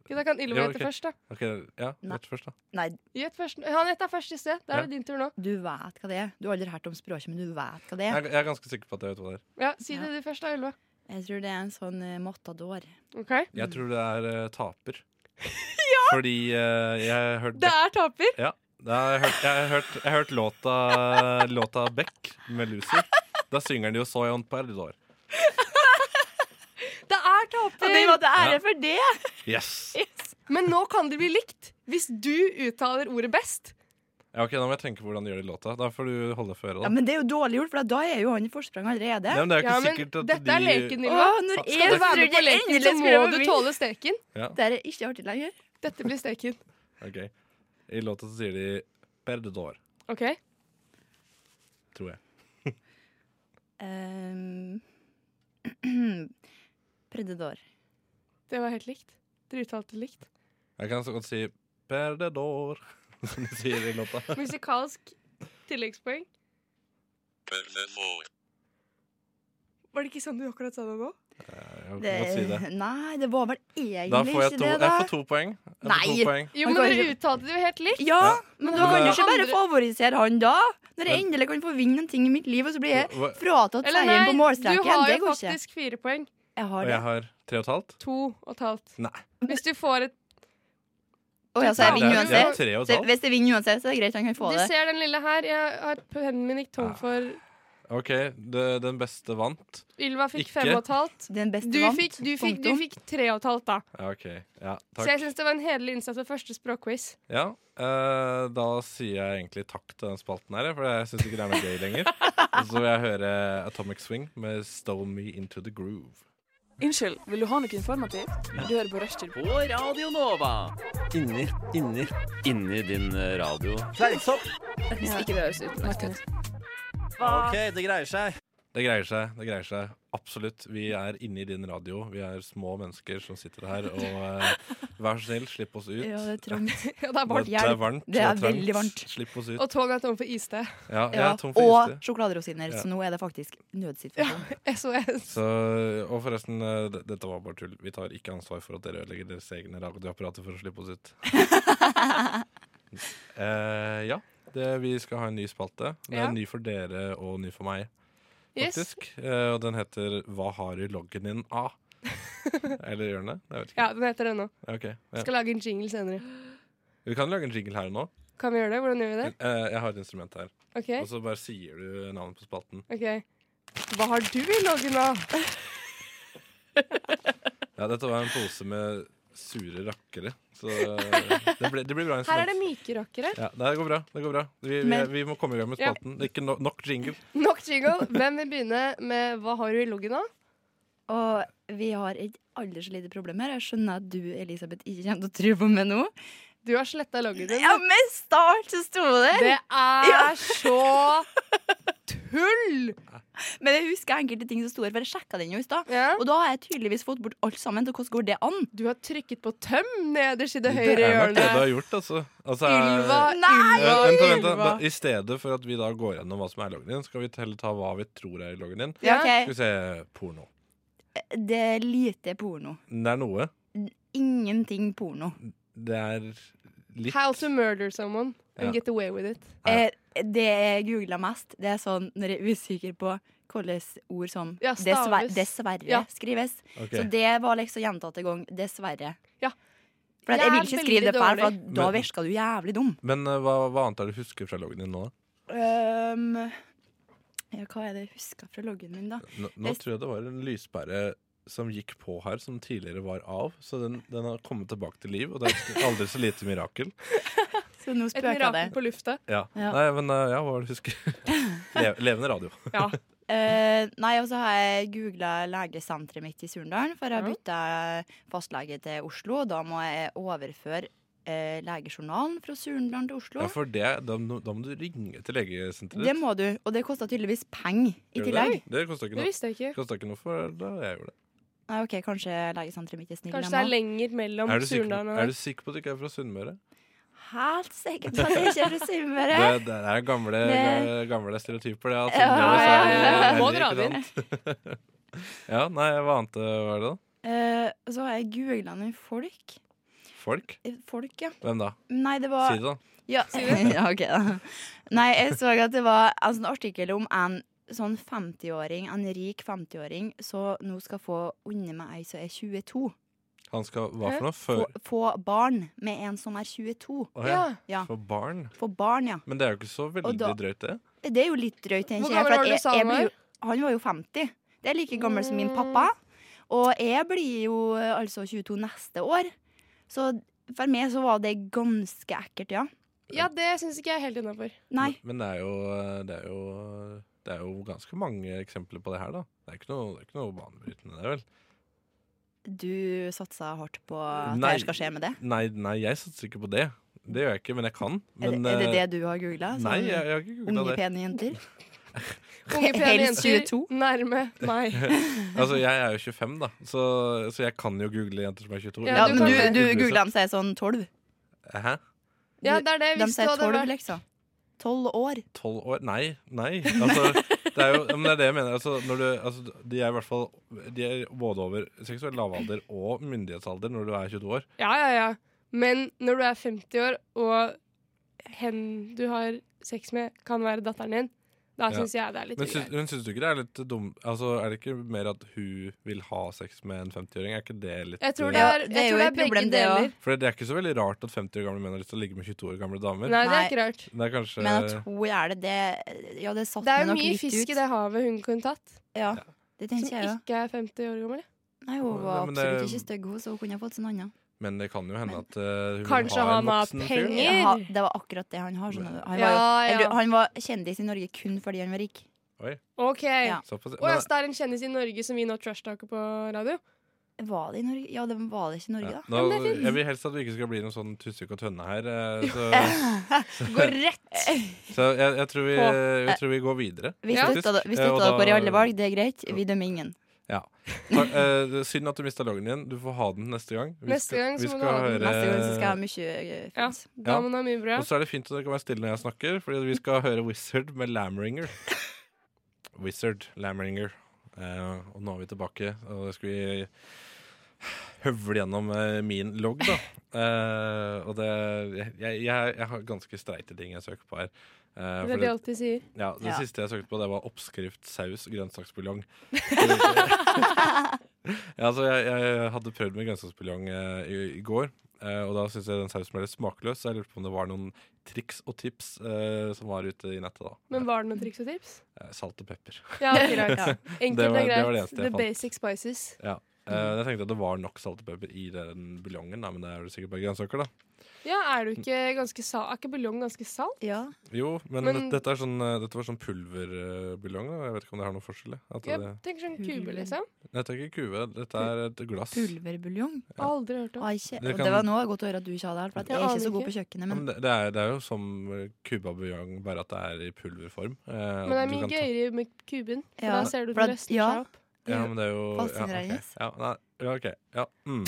[SPEAKER 5] Ok, Da kan Ylva
[SPEAKER 3] Jo,
[SPEAKER 5] gjette
[SPEAKER 3] ok.
[SPEAKER 5] først, da.
[SPEAKER 3] Ok, ja,
[SPEAKER 4] Nei.
[SPEAKER 3] gjett først da
[SPEAKER 4] Nei,
[SPEAKER 5] Gjett først. Han gjetta først i sted. Da
[SPEAKER 3] Ja.
[SPEAKER 5] er det din tur nå.
[SPEAKER 4] du vet hva det er. Du har aldri hørt om språket, men du vet hva det er.
[SPEAKER 3] jeg, jeg er ganske sikker på at jeg vet hva det er
[SPEAKER 5] Ja, Si
[SPEAKER 4] Ja.
[SPEAKER 5] det du først, da, Ylva.
[SPEAKER 4] Jeg tror det er en sånn eh, matador.
[SPEAKER 5] Ok
[SPEAKER 3] Jeg tror det er eh, taper Fordi eh, jeg har hørt
[SPEAKER 5] Det er taper!
[SPEAKER 3] Beck- Da har jeg, hørt, jeg, har hørt, jeg har hørt låta Låta Beck med Lucy Da synger de jo Så jeg on Perdidor
[SPEAKER 5] Det er taper!
[SPEAKER 4] til
[SPEAKER 3] ære
[SPEAKER 4] for det!
[SPEAKER 3] Yes
[SPEAKER 5] Men nå kan det bli likt hvis du uttaler ordet best.
[SPEAKER 3] Ja, ok, Da må jeg tenke på hvordan de gjør det i låta. Da får du holde for øret.
[SPEAKER 4] Ja,
[SPEAKER 3] da.
[SPEAKER 4] Men det er jo dårlig gjort, for da er jo han i forsprang allerede.
[SPEAKER 3] Nei, men det er jo
[SPEAKER 5] Ja,
[SPEAKER 3] ikke
[SPEAKER 5] men
[SPEAKER 3] sikkert at
[SPEAKER 5] dette
[SPEAKER 3] de
[SPEAKER 5] er leken, Nilva.
[SPEAKER 4] Åh, når
[SPEAKER 5] Skal du
[SPEAKER 4] jeg
[SPEAKER 5] være
[SPEAKER 4] trodde
[SPEAKER 5] med på leken,
[SPEAKER 4] endelig
[SPEAKER 5] så
[SPEAKER 4] skulle
[SPEAKER 5] må
[SPEAKER 4] jeg
[SPEAKER 5] du
[SPEAKER 4] vinne.
[SPEAKER 5] tåle steken.
[SPEAKER 4] Det er ikke artig lenger.
[SPEAKER 5] Dette blir steken.
[SPEAKER 3] Ok. I låta så sier de 'Perdedor',
[SPEAKER 5] OK?
[SPEAKER 3] tror jeg.
[SPEAKER 4] Ehm, Predador.
[SPEAKER 5] Det var helt likt. Dere uttalte det likt.
[SPEAKER 3] Jeg kan så godt si 'Perdedor', som de sier i låta.
[SPEAKER 5] Musikalsk tilleggspoeng. Var det ikke sånn du akkurat sa det nå?
[SPEAKER 3] Jeg kan godt si det.
[SPEAKER 4] Nei, det var vel
[SPEAKER 3] Da
[SPEAKER 4] egentlig
[SPEAKER 3] får jeg
[SPEAKER 4] ikke
[SPEAKER 3] to,
[SPEAKER 4] det,
[SPEAKER 3] jeg får to poeng. Jeg får
[SPEAKER 4] Nei.
[SPEAKER 3] to poeng.
[SPEAKER 5] Jo,
[SPEAKER 4] Han
[SPEAKER 5] men
[SPEAKER 4] kan
[SPEAKER 5] dere
[SPEAKER 4] ikke-
[SPEAKER 5] uttalte det jo helt likt.
[SPEAKER 4] Ja, men da
[SPEAKER 3] Men
[SPEAKER 4] kan du
[SPEAKER 3] det-
[SPEAKER 4] ikke bare
[SPEAKER 5] Andre-
[SPEAKER 4] favorisere han da. Når jeg
[SPEAKER 3] Men-
[SPEAKER 4] endelig kan få vinne en ting i mitt liv, og så blir jeg
[SPEAKER 3] Hva-
[SPEAKER 4] fratatt
[SPEAKER 5] Eller
[SPEAKER 4] seieren på
[SPEAKER 5] nei, du
[SPEAKER 4] målstreken.
[SPEAKER 5] har
[SPEAKER 4] Det
[SPEAKER 5] jo
[SPEAKER 4] går ikke.
[SPEAKER 5] faktisk fire poeng.
[SPEAKER 4] Jeg har
[SPEAKER 3] Og
[SPEAKER 4] det.
[SPEAKER 3] jeg har tre og et halvt.
[SPEAKER 5] To og et halvt.
[SPEAKER 3] Nei.
[SPEAKER 5] Hvis du får et
[SPEAKER 4] Å ja, så jeg
[SPEAKER 5] Nei,
[SPEAKER 3] det
[SPEAKER 4] vinner
[SPEAKER 3] er- det er
[SPEAKER 4] uansett.
[SPEAKER 3] tre og et
[SPEAKER 4] Så
[SPEAKER 3] halvt.
[SPEAKER 4] hvis jeg vinner uansett, så er det greit, han kan få
[SPEAKER 5] Du
[SPEAKER 4] det.
[SPEAKER 5] ser den lille her. Jeg har Pennen min gikk tom
[SPEAKER 3] Ah.
[SPEAKER 5] for
[SPEAKER 3] OK, det, den beste vant.
[SPEAKER 5] Ylva fikk
[SPEAKER 3] Ikke.
[SPEAKER 5] fem og et halvt.
[SPEAKER 4] Den beste
[SPEAKER 5] Du
[SPEAKER 4] vant.
[SPEAKER 5] fikk, du, fikk, du
[SPEAKER 4] Punktum.
[SPEAKER 5] fikk tre og et halvt, da.
[SPEAKER 3] Ja, OK. Ja,
[SPEAKER 5] Så jeg
[SPEAKER 3] takk.
[SPEAKER 5] syns det var en hederlig innsats ved første språkquiz.
[SPEAKER 3] Ja, eh, da sier jeg egentlig takk til den spalten her, for jeg syns ikke det er noe gøy lenger. Og så vil jeg høre Atomic Swing med 'Stole Me Into The Groove'.
[SPEAKER 9] Unnskyld, vil du ha noe informativt? Du hører på Rushtid.
[SPEAKER 8] På Radio Nova.
[SPEAKER 10] Inni, inni, inni din eh, radio.
[SPEAKER 9] Hvis ikke det høres ut. Martin.
[SPEAKER 10] OK, det greier seg.
[SPEAKER 3] Det greier seg. det greier seg Absolutt. Vi er inne i din radio. Vi er små mennesker som sitter her. Og eh, vær så snill, slipp oss ut.
[SPEAKER 4] Ja, det er trangt.
[SPEAKER 5] Ja, det er varmt.
[SPEAKER 3] Det er varmt.
[SPEAKER 4] Det er
[SPEAKER 3] og trangt.
[SPEAKER 4] veldig varmt.
[SPEAKER 3] Slipp oss ut.
[SPEAKER 5] Og Tony er tom for iste.
[SPEAKER 3] Ja, jeg
[SPEAKER 4] Ja,
[SPEAKER 3] er tom for
[SPEAKER 4] og
[SPEAKER 3] iste.
[SPEAKER 4] sjokoladerosiner,
[SPEAKER 3] Ja.
[SPEAKER 4] så nå er det faktisk nødsituasjon.
[SPEAKER 5] SOS.
[SPEAKER 3] Så, og forresten, eh, d- dette var bare tull. Vi tar ikke ansvar for at dere ødelegger deres egne radioapparater for å slippe oss ut. Eh, ja, det, vi skal ha en ny spalte. Den er
[SPEAKER 5] Ja.
[SPEAKER 3] ny for dere og ny for meg.
[SPEAKER 5] Yes.
[SPEAKER 3] faktisk. Eh, og den heter 'Hva har du loggen din av?' Eller gjør den det? Jeg vet ikke.
[SPEAKER 5] Ja, den heter det nå.
[SPEAKER 3] Ok, ja.
[SPEAKER 5] Skal lage en jingle senere.
[SPEAKER 3] Vi kan lage en jingle her og nå.
[SPEAKER 5] Kan vi gjøre det? Hvordan gjør vi det?
[SPEAKER 3] Eh, jeg har et instrument her.
[SPEAKER 5] OK.
[SPEAKER 3] Og så bare sier du navnet på spalten.
[SPEAKER 5] ok Hva har du i loggen av?
[SPEAKER 3] Ja, dette var en pose med sure rakkere. Så eh, det, ble, det blir bra
[SPEAKER 5] Her er det
[SPEAKER 3] instrument.
[SPEAKER 5] myke rockere.
[SPEAKER 3] Ja, det her går bra. det går bra Vi, vi,
[SPEAKER 4] Men-
[SPEAKER 3] vi må komme i gang med
[SPEAKER 5] Ja.
[SPEAKER 3] spalten. Det er ikke no, nok jingle.
[SPEAKER 5] Nok jingle. Hvem vil begynne med 'Hva har du i loggen av'?
[SPEAKER 4] Og vi har et aldri så lite problem her. Jeg skjønner at du, Elisabeth, ikke kommer til å tro på meg nå.
[SPEAKER 5] Du har sletta loggen din.
[SPEAKER 4] Ja, med start så sto det der.
[SPEAKER 5] Det er så tull!
[SPEAKER 4] Men jeg husker enkelte ting som sto her, for jeg sjekka den jo i stad.
[SPEAKER 5] Ja.
[SPEAKER 4] Og da har jeg tydeligvis fått bort alt sammen. Så hvordan går det an?
[SPEAKER 5] Du har trykket på tøm nederst i
[SPEAKER 3] Det
[SPEAKER 5] det høyre
[SPEAKER 3] er nok det du
[SPEAKER 5] hjørnet.
[SPEAKER 3] har gjort, altså. altså
[SPEAKER 5] Ylva,
[SPEAKER 3] eh, vent,
[SPEAKER 5] Nei!
[SPEAKER 3] vent, vent, da.
[SPEAKER 5] Ylva.
[SPEAKER 3] I stedet for at vi da går gjennom hva som er i loggen din, skal vi heller ta hva vi tror er i loggen din.
[SPEAKER 5] Ja,
[SPEAKER 3] Skal vi se porno.
[SPEAKER 4] Det er lite porno.
[SPEAKER 3] Det er noe.
[SPEAKER 4] Ingenting porno.
[SPEAKER 3] Det er litt
[SPEAKER 5] How to murder someone and
[SPEAKER 3] Ja.
[SPEAKER 5] get away with it.
[SPEAKER 3] Ja.
[SPEAKER 4] Eh, Det jeg googla mest, det er sånn når jeg er usikker på hvilke ord som
[SPEAKER 5] Ja,
[SPEAKER 4] dessverre,
[SPEAKER 5] staves.
[SPEAKER 4] dessverre
[SPEAKER 5] Ja.
[SPEAKER 4] skrives.
[SPEAKER 3] Ok.
[SPEAKER 4] Så det var liksom gjentatte gang. Dessverre.
[SPEAKER 5] Ja.
[SPEAKER 4] For at
[SPEAKER 5] Jeg
[SPEAKER 4] jeg
[SPEAKER 5] er
[SPEAKER 4] vil ikke skrive
[SPEAKER 5] veldig
[SPEAKER 4] det feil, for at
[SPEAKER 5] dårlig.
[SPEAKER 4] da
[SPEAKER 3] Men-
[SPEAKER 4] virka du jævlig dum.
[SPEAKER 3] Men eh, hva, hva annet er det du husker fra loggen din nå? da?
[SPEAKER 4] Um, ja, hva er det jeg huska fra loggen min, da?
[SPEAKER 3] Nå, nå
[SPEAKER 4] Jeg-
[SPEAKER 3] tror jeg det var en lyspære som gikk på her, som tidligere var av. Så den, den har kommet tilbake til liv, og det er et aldri så lite mirakel.
[SPEAKER 4] Så nå
[SPEAKER 5] Et
[SPEAKER 4] spøker det.
[SPEAKER 5] mirakel på lufta.
[SPEAKER 3] Ja.
[SPEAKER 4] Ja.
[SPEAKER 3] Nei, men eh, ja, hva var det du husker? Le, levende radio.
[SPEAKER 5] Ja.
[SPEAKER 4] Eh, nei, og så har jeg googla legesenteret mitt i Surndalen, for jeg har
[SPEAKER 5] Ja.
[SPEAKER 4] bytta fastlege til Oslo. og Da må jeg overføre eh, legejournalen fra Surndalen til Oslo.
[SPEAKER 3] Ja, for det, da, må- da må du ringe til legesenteret.
[SPEAKER 4] det må du, og det kosta tydeligvis penger i
[SPEAKER 3] Gjør du
[SPEAKER 4] tillegg.
[SPEAKER 3] Det, det kosta ikke
[SPEAKER 5] Det
[SPEAKER 3] noe.
[SPEAKER 5] visste jeg ikke.
[SPEAKER 3] Kosta ikke noe for da jeg gjorde det.
[SPEAKER 4] Nei, ok, Kanskje legesenteret mitt er snill.
[SPEAKER 5] Kanskje det
[SPEAKER 4] dem
[SPEAKER 5] er
[SPEAKER 4] også.
[SPEAKER 5] lenger mellom
[SPEAKER 3] Er du, sikker på,
[SPEAKER 5] Surnadal
[SPEAKER 3] er
[SPEAKER 5] og
[SPEAKER 3] du sikker på at du ikke er fra Sunnmøre?
[SPEAKER 4] Helt sikkert på at jeg ikke er fra Sunnmøre.
[SPEAKER 3] Det, det er gamle,
[SPEAKER 4] Det-
[SPEAKER 3] gamle stereotyper, det. At
[SPEAKER 4] Ja,
[SPEAKER 3] Sunnmøre
[SPEAKER 4] ja,
[SPEAKER 3] så
[SPEAKER 4] ja.
[SPEAKER 3] er
[SPEAKER 5] Må
[SPEAKER 3] det
[SPEAKER 5] dra
[SPEAKER 3] ikke sant? ja, nei, hva annet eh, var det, da?
[SPEAKER 4] Eh, og så har jeg googla noen folk.
[SPEAKER 3] Folk?
[SPEAKER 4] Eh, Folk, ja.
[SPEAKER 3] Hvem da?
[SPEAKER 4] Nei, det var
[SPEAKER 3] Si det, da.
[SPEAKER 4] Ja. ja, ok da. Nei, jeg så at det var altså, en artikkel om en sånn 50-åring, en rik 50-åring, som nå skal få unne med ei som er 22.
[SPEAKER 3] Han skal hva for noe?
[SPEAKER 4] Få,
[SPEAKER 3] Før
[SPEAKER 4] få barn med en som er 22.
[SPEAKER 3] Å ja.
[SPEAKER 5] Ja.
[SPEAKER 4] Ja.
[SPEAKER 3] For barn?
[SPEAKER 4] Få barn, ja.
[SPEAKER 3] Men det er jo ikke så veldig
[SPEAKER 4] Og da-
[SPEAKER 3] drøyt, det.
[SPEAKER 4] Det er jo litt drøyt, tenker
[SPEAKER 5] Hvor
[SPEAKER 4] jeg. for
[SPEAKER 5] gammel var
[SPEAKER 4] at
[SPEAKER 5] det
[SPEAKER 4] jeg-
[SPEAKER 5] du sa han
[SPEAKER 4] jeg blir
[SPEAKER 5] var?
[SPEAKER 4] jo- Han var jo 50. Det er like gammel som min pappa. Og jeg blir jo eh, altså 22 neste år. Så for meg så var det ganske ekkelt, ja.
[SPEAKER 5] Ja, det syns ikke jeg er helt innafor.
[SPEAKER 3] Men det er, jo, eh, det, er jo, det er jo ganske mange eksempler på det her, da. Det er ikke noe, det er ikke noe banebrytende, det, vel?
[SPEAKER 4] Du satsa hardt på at det her skal skje med det?
[SPEAKER 3] Nei, nei, jeg satser ikke på det. Det gjør jeg ikke, men jeg kan.
[SPEAKER 4] Er det,
[SPEAKER 3] Men,
[SPEAKER 4] er det det
[SPEAKER 3] eh,
[SPEAKER 4] du har googla?
[SPEAKER 3] Nei, jeg, jeg har ikke googla
[SPEAKER 4] Unge,
[SPEAKER 3] det.
[SPEAKER 4] pene jenter?
[SPEAKER 5] Unge pene
[SPEAKER 4] Helst
[SPEAKER 5] jenter
[SPEAKER 4] 22.
[SPEAKER 5] nærme meg.
[SPEAKER 3] altså, jeg er jo 25, da, så, så jeg kan jo google jenter som er 22.
[SPEAKER 4] Ja, men du, du
[SPEAKER 3] Google
[SPEAKER 4] googla dem som er sånn tolv?
[SPEAKER 3] Hæ?
[SPEAKER 5] Ja, det er det.
[SPEAKER 4] De
[SPEAKER 5] Hvis
[SPEAKER 4] sier
[SPEAKER 5] du hadde
[SPEAKER 4] tolv,
[SPEAKER 5] vært
[SPEAKER 4] liksom. Tolv år.
[SPEAKER 3] Tolv år? Nei, nei. Altså, det er jo ja, men det, er det jeg mener. Altså, når du, altså, de er i hvert fall De er både over seksuell lavalder og myndighetsalder når du er 22 år.
[SPEAKER 5] Ja, ja, ja. Men når du er 50 år, og hen du har sex med, kan være datteren din, da
[SPEAKER 3] Ja.
[SPEAKER 5] syns jeg det er litt
[SPEAKER 3] Men syns,
[SPEAKER 5] ugreit.
[SPEAKER 3] men syns du ikke det er litt dum Altså, Er det ikke mer at hun vil ha sex med en 50-åring? Er ikke det litt
[SPEAKER 5] Jeg tror det
[SPEAKER 3] eh,
[SPEAKER 5] er,
[SPEAKER 4] det er
[SPEAKER 5] jeg
[SPEAKER 4] jo
[SPEAKER 5] tror det
[SPEAKER 4] et
[SPEAKER 5] er
[SPEAKER 4] problem,
[SPEAKER 5] begge
[SPEAKER 4] det også.
[SPEAKER 5] deler.
[SPEAKER 3] For det er ikke så veldig rart at 50 år gamle menn har lyst til å ligge med 22 år gamle damer.
[SPEAKER 5] Nei, det er
[SPEAKER 4] Nei.
[SPEAKER 5] ikke rart.
[SPEAKER 3] Det er kanskje
[SPEAKER 4] Men at hun er det, det Ja, det satte
[SPEAKER 5] Det
[SPEAKER 4] meg
[SPEAKER 5] er jo
[SPEAKER 4] nok
[SPEAKER 5] mye
[SPEAKER 4] litt ut.
[SPEAKER 5] fisk i det havet hun kunne tatt,
[SPEAKER 4] Ja, det
[SPEAKER 5] som
[SPEAKER 4] tenkte jeg òg.
[SPEAKER 5] ikke er 50 år gammel.
[SPEAKER 4] Nei, hun var
[SPEAKER 3] Men eh, det-
[SPEAKER 4] absolutt ikke stygg, hun, så hun kunne ha fått seg en annen.
[SPEAKER 3] Men det kan jo hende at eh, hun
[SPEAKER 5] Kanskje
[SPEAKER 3] vil ha en
[SPEAKER 5] han har
[SPEAKER 3] voksen fyr.
[SPEAKER 5] penger. Inger!
[SPEAKER 4] Ja, det var akkurat det han har. Skjønner du. Han, var,
[SPEAKER 5] Ja,
[SPEAKER 4] jo-
[SPEAKER 5] ja.
[SPEAKER 4] Eller, han var kjendis i Norge kun fordi han var rik.
[SPEAKER 3] Oi,
[SPEAKER 5] OK.
[SPEAKER 4] Ja.
[SPEAKER 3] såpass.
[SPEAKER 5] Og
[SPEAKER 3] Men,
[SPEAKER 5] altså, det er en kjendis i Norge som vi nå trash-talker på radio.
[SPEAKER 4] Var det i Norge? Ja, det var det ikke i Norge,
[SPEAKER 3] ja. Nå,
[SPEAKER 4] da.
[SPEAKER 5] Ja, men det er fint.
[SPEAKER 3] jeg vil helst at vi ikke skal bli noen sånn Tusvik og Tønne her. eh, Så,
[SPEAKER 5] Går rett!
[SPEAKER 3] så jeg, jeg, tror vi,
[SPEAKER 5] På. eh.
[SPEAKER 3] jeg tror vi går videre.
[SPEAKER 4] Vi
[SPEAKER 5] Ja.
[SPEAKER 4] støtta vi
[SPEAKER 3] Eh,
[SPEAKER 4] støtta
[SPEAKER 3] og da-
[SPEAKER 4] dere i alle valg, det er greit. Vi dømmer ingen.
[SPEAKER 3] Ja. Ta- eh, det er synd at du mista loggen din. Du får ha den neste gang. Vi
[SPEAKER 5] Neste
[SPEAKER 3] skal-
[SPEAKER 5] gang så
[SPEAKER 3] vi
[SPEAKER 5] må du
[SPEAKER 3] skal
[SPEAKER 5] ha den.
[SPEAKER 3] høre-
[SPEAKER 4] Neste gang så skal jeg ha mye eh,
[SPEAKER 5] Ja,
[SPEAKER 4] fint.
[SPEAKER 3] Ja.
[SPEAKER 5] Damen har mye bra.
[SPEAKER 3] Og så er det fint at dere kan være stille når jeg snakker, Fordi vi skal høre Wizard med Lamringer. Wizard, Lamringer. Eh, og nå er vi tilbake, og da skal vi høvle gjennom eh, min logg, da. Eh, og det jeg, jeg, jeg har ganske streite ting jeg søker på her. Eh,
[SPEAKER 5] Det
[SPEAKER 3] for
[SPEAKER 5] er det de alltid sier.
[SPEAKER 3] ja, det
[SPEAKER 4] Ja.
[SPEAKER 3] siste jeg søkte på, det var oppskrift saus grønnsaksbuljong. ja, altså, jeg, jeg hadde prøvd med grønnsaksbuljong eh, i, i går, eh, og da syntes jeg den sausen ble litt smakløs. Så jeg lurte på om det var noen triks og tips eh, som var ute i nettet. da
[SPEAKER 5] Men var det noen triks og tips?
[SPEAKER 3] Eh, Salt og pepper.
[SPEAKER 5] Ja, akkurat.
[SPEAKER 4] Ja.
[SPEAKER 5] Enkelt
[SPEAKER 3] Det var-
[SPEAKER 5] og
[SPEAKER 3] det var det
[SPEAKER 5] greit.
[SPEAKER 3] eneste jeg
[SPEAKER 5] The
[SPEAKER 3] fant.
[SPEAKER 5] basic spices.
[SPEAKER 3] Ja. Eh, jeg tenkte at det var nok salt og pepper i den buljongen, da, men det er vel sikkert bare grønnsaker. da
[SPEAKER 5] Ja, er du ikke ganske sal Er ikke buljong ganske salt?
[SPEAKER 4] Ja.
[SPEAKER 3] Jo, men,
[SPEAKER 5] Men-
[SPEAKER 3] dette, er sånn, eh, dette var sånn pulverbuljong. da. Jeg vet ikke om det har noen forskjell. jeg. At
[SPEAKER 5] Jeg
[SPEAKER 3] det,
[SPEAKER 5] tenker sånn kube, liksom.
[SPEAKER 3] dette er ikke kue, dette er et glass.
[SPEAKER 4] Pulverbuljong.
[SPEAKER 5] Aldri hørt om.
[SPEAKER 4] Ah, ikke.
[SPEAKER 3] Det
[SPEAKER 4] og
[SPEAKER 3] kan-
[SPEAKER 4] Det var nå godt å høre at du ikke hadde det her, for at
[SPEAKER 5] Jeg
[SPEAKER 4] jeg er
[SPEAKER 5] aner
[SPEAKER 4] ikke så god
[SPEAKER 5] ikke.
[SPEAKER 4] på
[SPEAKER 3] Ja,
[SPEAKER 4] kjøkkenet.
[SPEAKER 5] Mm.
[SPEAKER 4] Men
[SPEAKER 3] men det, det, er, det er jo som Cuba-buljong, bare at det er i pulverform. Eh, at
[SPEAKER 5] Men det
[SPEAKER 3] du
[SPEAKER 5] er mye
[SPEAKER 3] kan ta-
[SPEAKER 5] gøyere med kuben, for
[SPEAKER 4] Ja,
[SPEAKER 5] da ser du
[SPEAKER 4] for
[SPEAKER 5] den
[SPEAKER 4] at-
[SPEAKER 5] løsner
[SPEAKER 4] ja.
[SPEAKER 5] seg opp.
[SPEAKER 3] Ja, men det er jo
[SPEAKER 4] Fascinerende.
[SPEAKER 3] Ja, ok. Ja, nei, ja, ok. Ja, mm.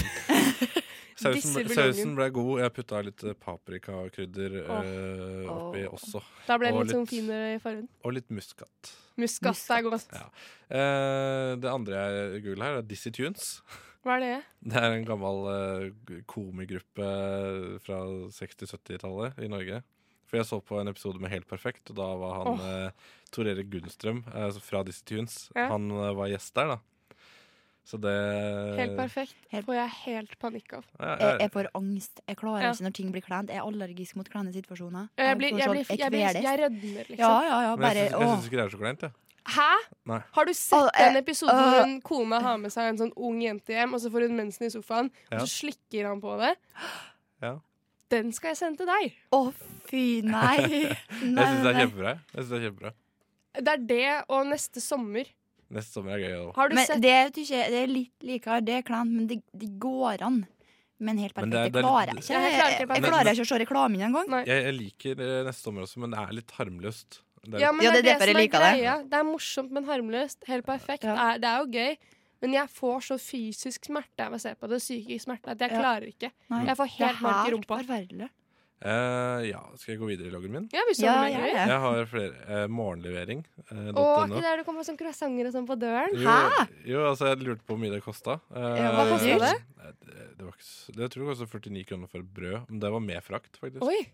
[SPEAKER 3] sausen,
[SPEAKER 5] Disse
[SPEAKER 3] ble,
[SPEAKER 5] buljongen.
[SPEAKER 3] sausen ble god. Jeg putta litt eh, paprikakrydder eh, oppi
[SPEAKER 4] Åh.
[SPEAKER 3] også.
[SPEAKER 5] Da ble den
[SPEAKER 3] Og
[SPEAKER 5] litt sånn
[SPEAKER 3] litt-
[SPEAKER 5] finere i fargen.
[SPEAKER 3] Og litt muskat.
[SPEAKER 5] Muskat er godt.
[SPEAKER 3] Ja. Eh, det andre jeg googler her, er Dizzie Tunes.
[SPEAKER 5] Hva er det?
[SPEAKER 3] Det er en gammel uh, komigruppe fra 60-70-tallet i Norge. For jeg så på en episode med Helt perfekt, og da var han oh. Tor Erik Gunnstrøm eh, fra Dizzie Tunes.
[SPEAKER 5] Ja.
[SPEAKER 3] Han eh, var gjest der, da. Så det
[SPEAKER 5] Helt
[SPEAKER 3] Eh,
[SPEAKER 5] perfekt.
[SPEAKER 4] Helt-
[SPEAKER 5] Får jeg helt panikk av.
[SPEAKER 3] Ja, ja,
[SPEAKER 4] jeg, jeg får angst. Jeg klarer
[SPEAKER 5] Ja.
[SPEAKER 4] ikke når ting blir kleint. Jeg er allergisk mot kleine situasjoner.
[SPEAKER 5] Jeg blir, jeg
[SPEAKER 4] får
[SPEAKER 5] blir,
[SPEAKER 4] sånn-
[SPEAKER 5] jeg, blir,
[SPEAKER 4] kveles.
[SPEAKER 5] jeg rødmer,
[SPEAKER 4] Ja,
[SPEAKER 5] liksom.
[SPEAKER 4] ja, ja.
[SPEAKER 3] Men
[SPEAKER 4] Bare
[SPEAKER 3] jeg syns- jeg
[SPEAKER 4] åh.
[SPEAKER 3] syns ikke det er så kleint, jeg.
[SPEAKER 5] Hæ?
[SPEAKER 3] Nei.
[SPEAKER 5] Har du
[SPEAKER 4] Åh,
[SPEAKER 5] sett
[SPEAKER 4] eh,
[SPEAKER 5] den episoden
[SPEAKER 4] øh.
[SPEAKER 5] hvor en kone har med seg en sånn ung jente hjem, og så får hun mensen i sofaen, og
[SPEAKER 3] Ja.
[SPEAKER 5] så slikker han på det?
[SPEAKER 3] Ja.
[SPEAKER 5] Den skal jeg sende til deg.
[SPEAKER 4] Å, fy, nei. nei
[SPEAKER 3] Jeg syns det er
[SPEAKER 4] nei.
[SPEAKER 3] kjempebra. jeg. Jeg synes det er kjempebra
[SPEAKER 5] Det er det og neste sommer.
[SPEAKER 3] Neste sommer er gøy. også.
[SPEAKER 5] Har du
[SPEAKER 4] Men
[SPEAKER 5] sett
[SPEAKER 4] det, er jo ikke, det er litt likere, det er kleint, men det, det går an. Men helt
[SPEAKER 3] Men
[SPEAKER 4] perfekt.
[SPEAKER 3] det er-
[SPEAKER 4] Det,
[SPEAKER 3] det er litt-
[SPEAKER 4] klarer jeg ikke.
[SPEAKER 5] Ja, jeg
[SPEAKER 4] Jeg,
[SPEAKER 5] klarer ikke
[SPEAKER 4] jeg,
[SPEAKER 5] perfekt.
[SPEAKER 4] klarer ikke å se reklamen engang.
[SPEAKER 5] Nei.
[SPEAKER 3] Jeg, jeg liker eh, neste sommer også, men det er litt harmløst. Det er
[SPEAKER 5] Ja,
[SPEAKER 3] litt,
[SPEAKER 5] men
[SPEAKER 4] Ja,
[SPEAKER 5] det,
[SPEAKER 4] det
[SPEAKER 5] er
[SPEAKER 4] er derfor
[SPEAKER 5] det som
[SPEAKER 4] jeg
[SPEAKER 5] er
[SPEAKER 4] liker det.
[SPEAKER 5] greia. Det er morsomt, men harmløst. Helt perfekt.
[SPEAKER 4] Ja.
[SPEAKER 5] Det, er, det er jo gøy. Men jeg får så fysisk smerte av å se på det, psykisk smerte, at jeg
[SPEAKER 4] Ja.
[SPEAKER 5] klarer ikke.
[SPEAKER 4] Nei.
[SPEAKER 5] Jeg får
[SPEAKER 4] Det er
[SPEAKER 5] helt mørk i rumpa.
[SPEAKER 4] forferdelig.
[SPEAKER 3] eh, ja, skal jeg gå videre i loggen min?
[SPEAKER 5] Ja, hvis du
[SPEAKER 4] Ja,
[SPEAKER 5] har
[SPEAKER 4] ja,
[SPEAKER 5] lenger.
[SPEAKER 4] ja.
[SPEAKER 3] Jeg har flere. Eh, morgenlevering. eh,
[SPEAKER 5] Og
[SPEAKER 3] dot no.
[SPEAKER 5] ikke der det kommer sånn croissanter og sånn på døren.
[SPEAKER 3] Jo, jo, altså jeg lurte på hvor mye det kosta.
[SPEAKER 4] hva kostet
[SPEAKER 5] det?
[SPEAKER 3] Det, det var ikke, s- det jeg tror jeg kosta 49 kroner for et brød. Men det var med frakt, faktisk.
[SPEAKER 5] Oi!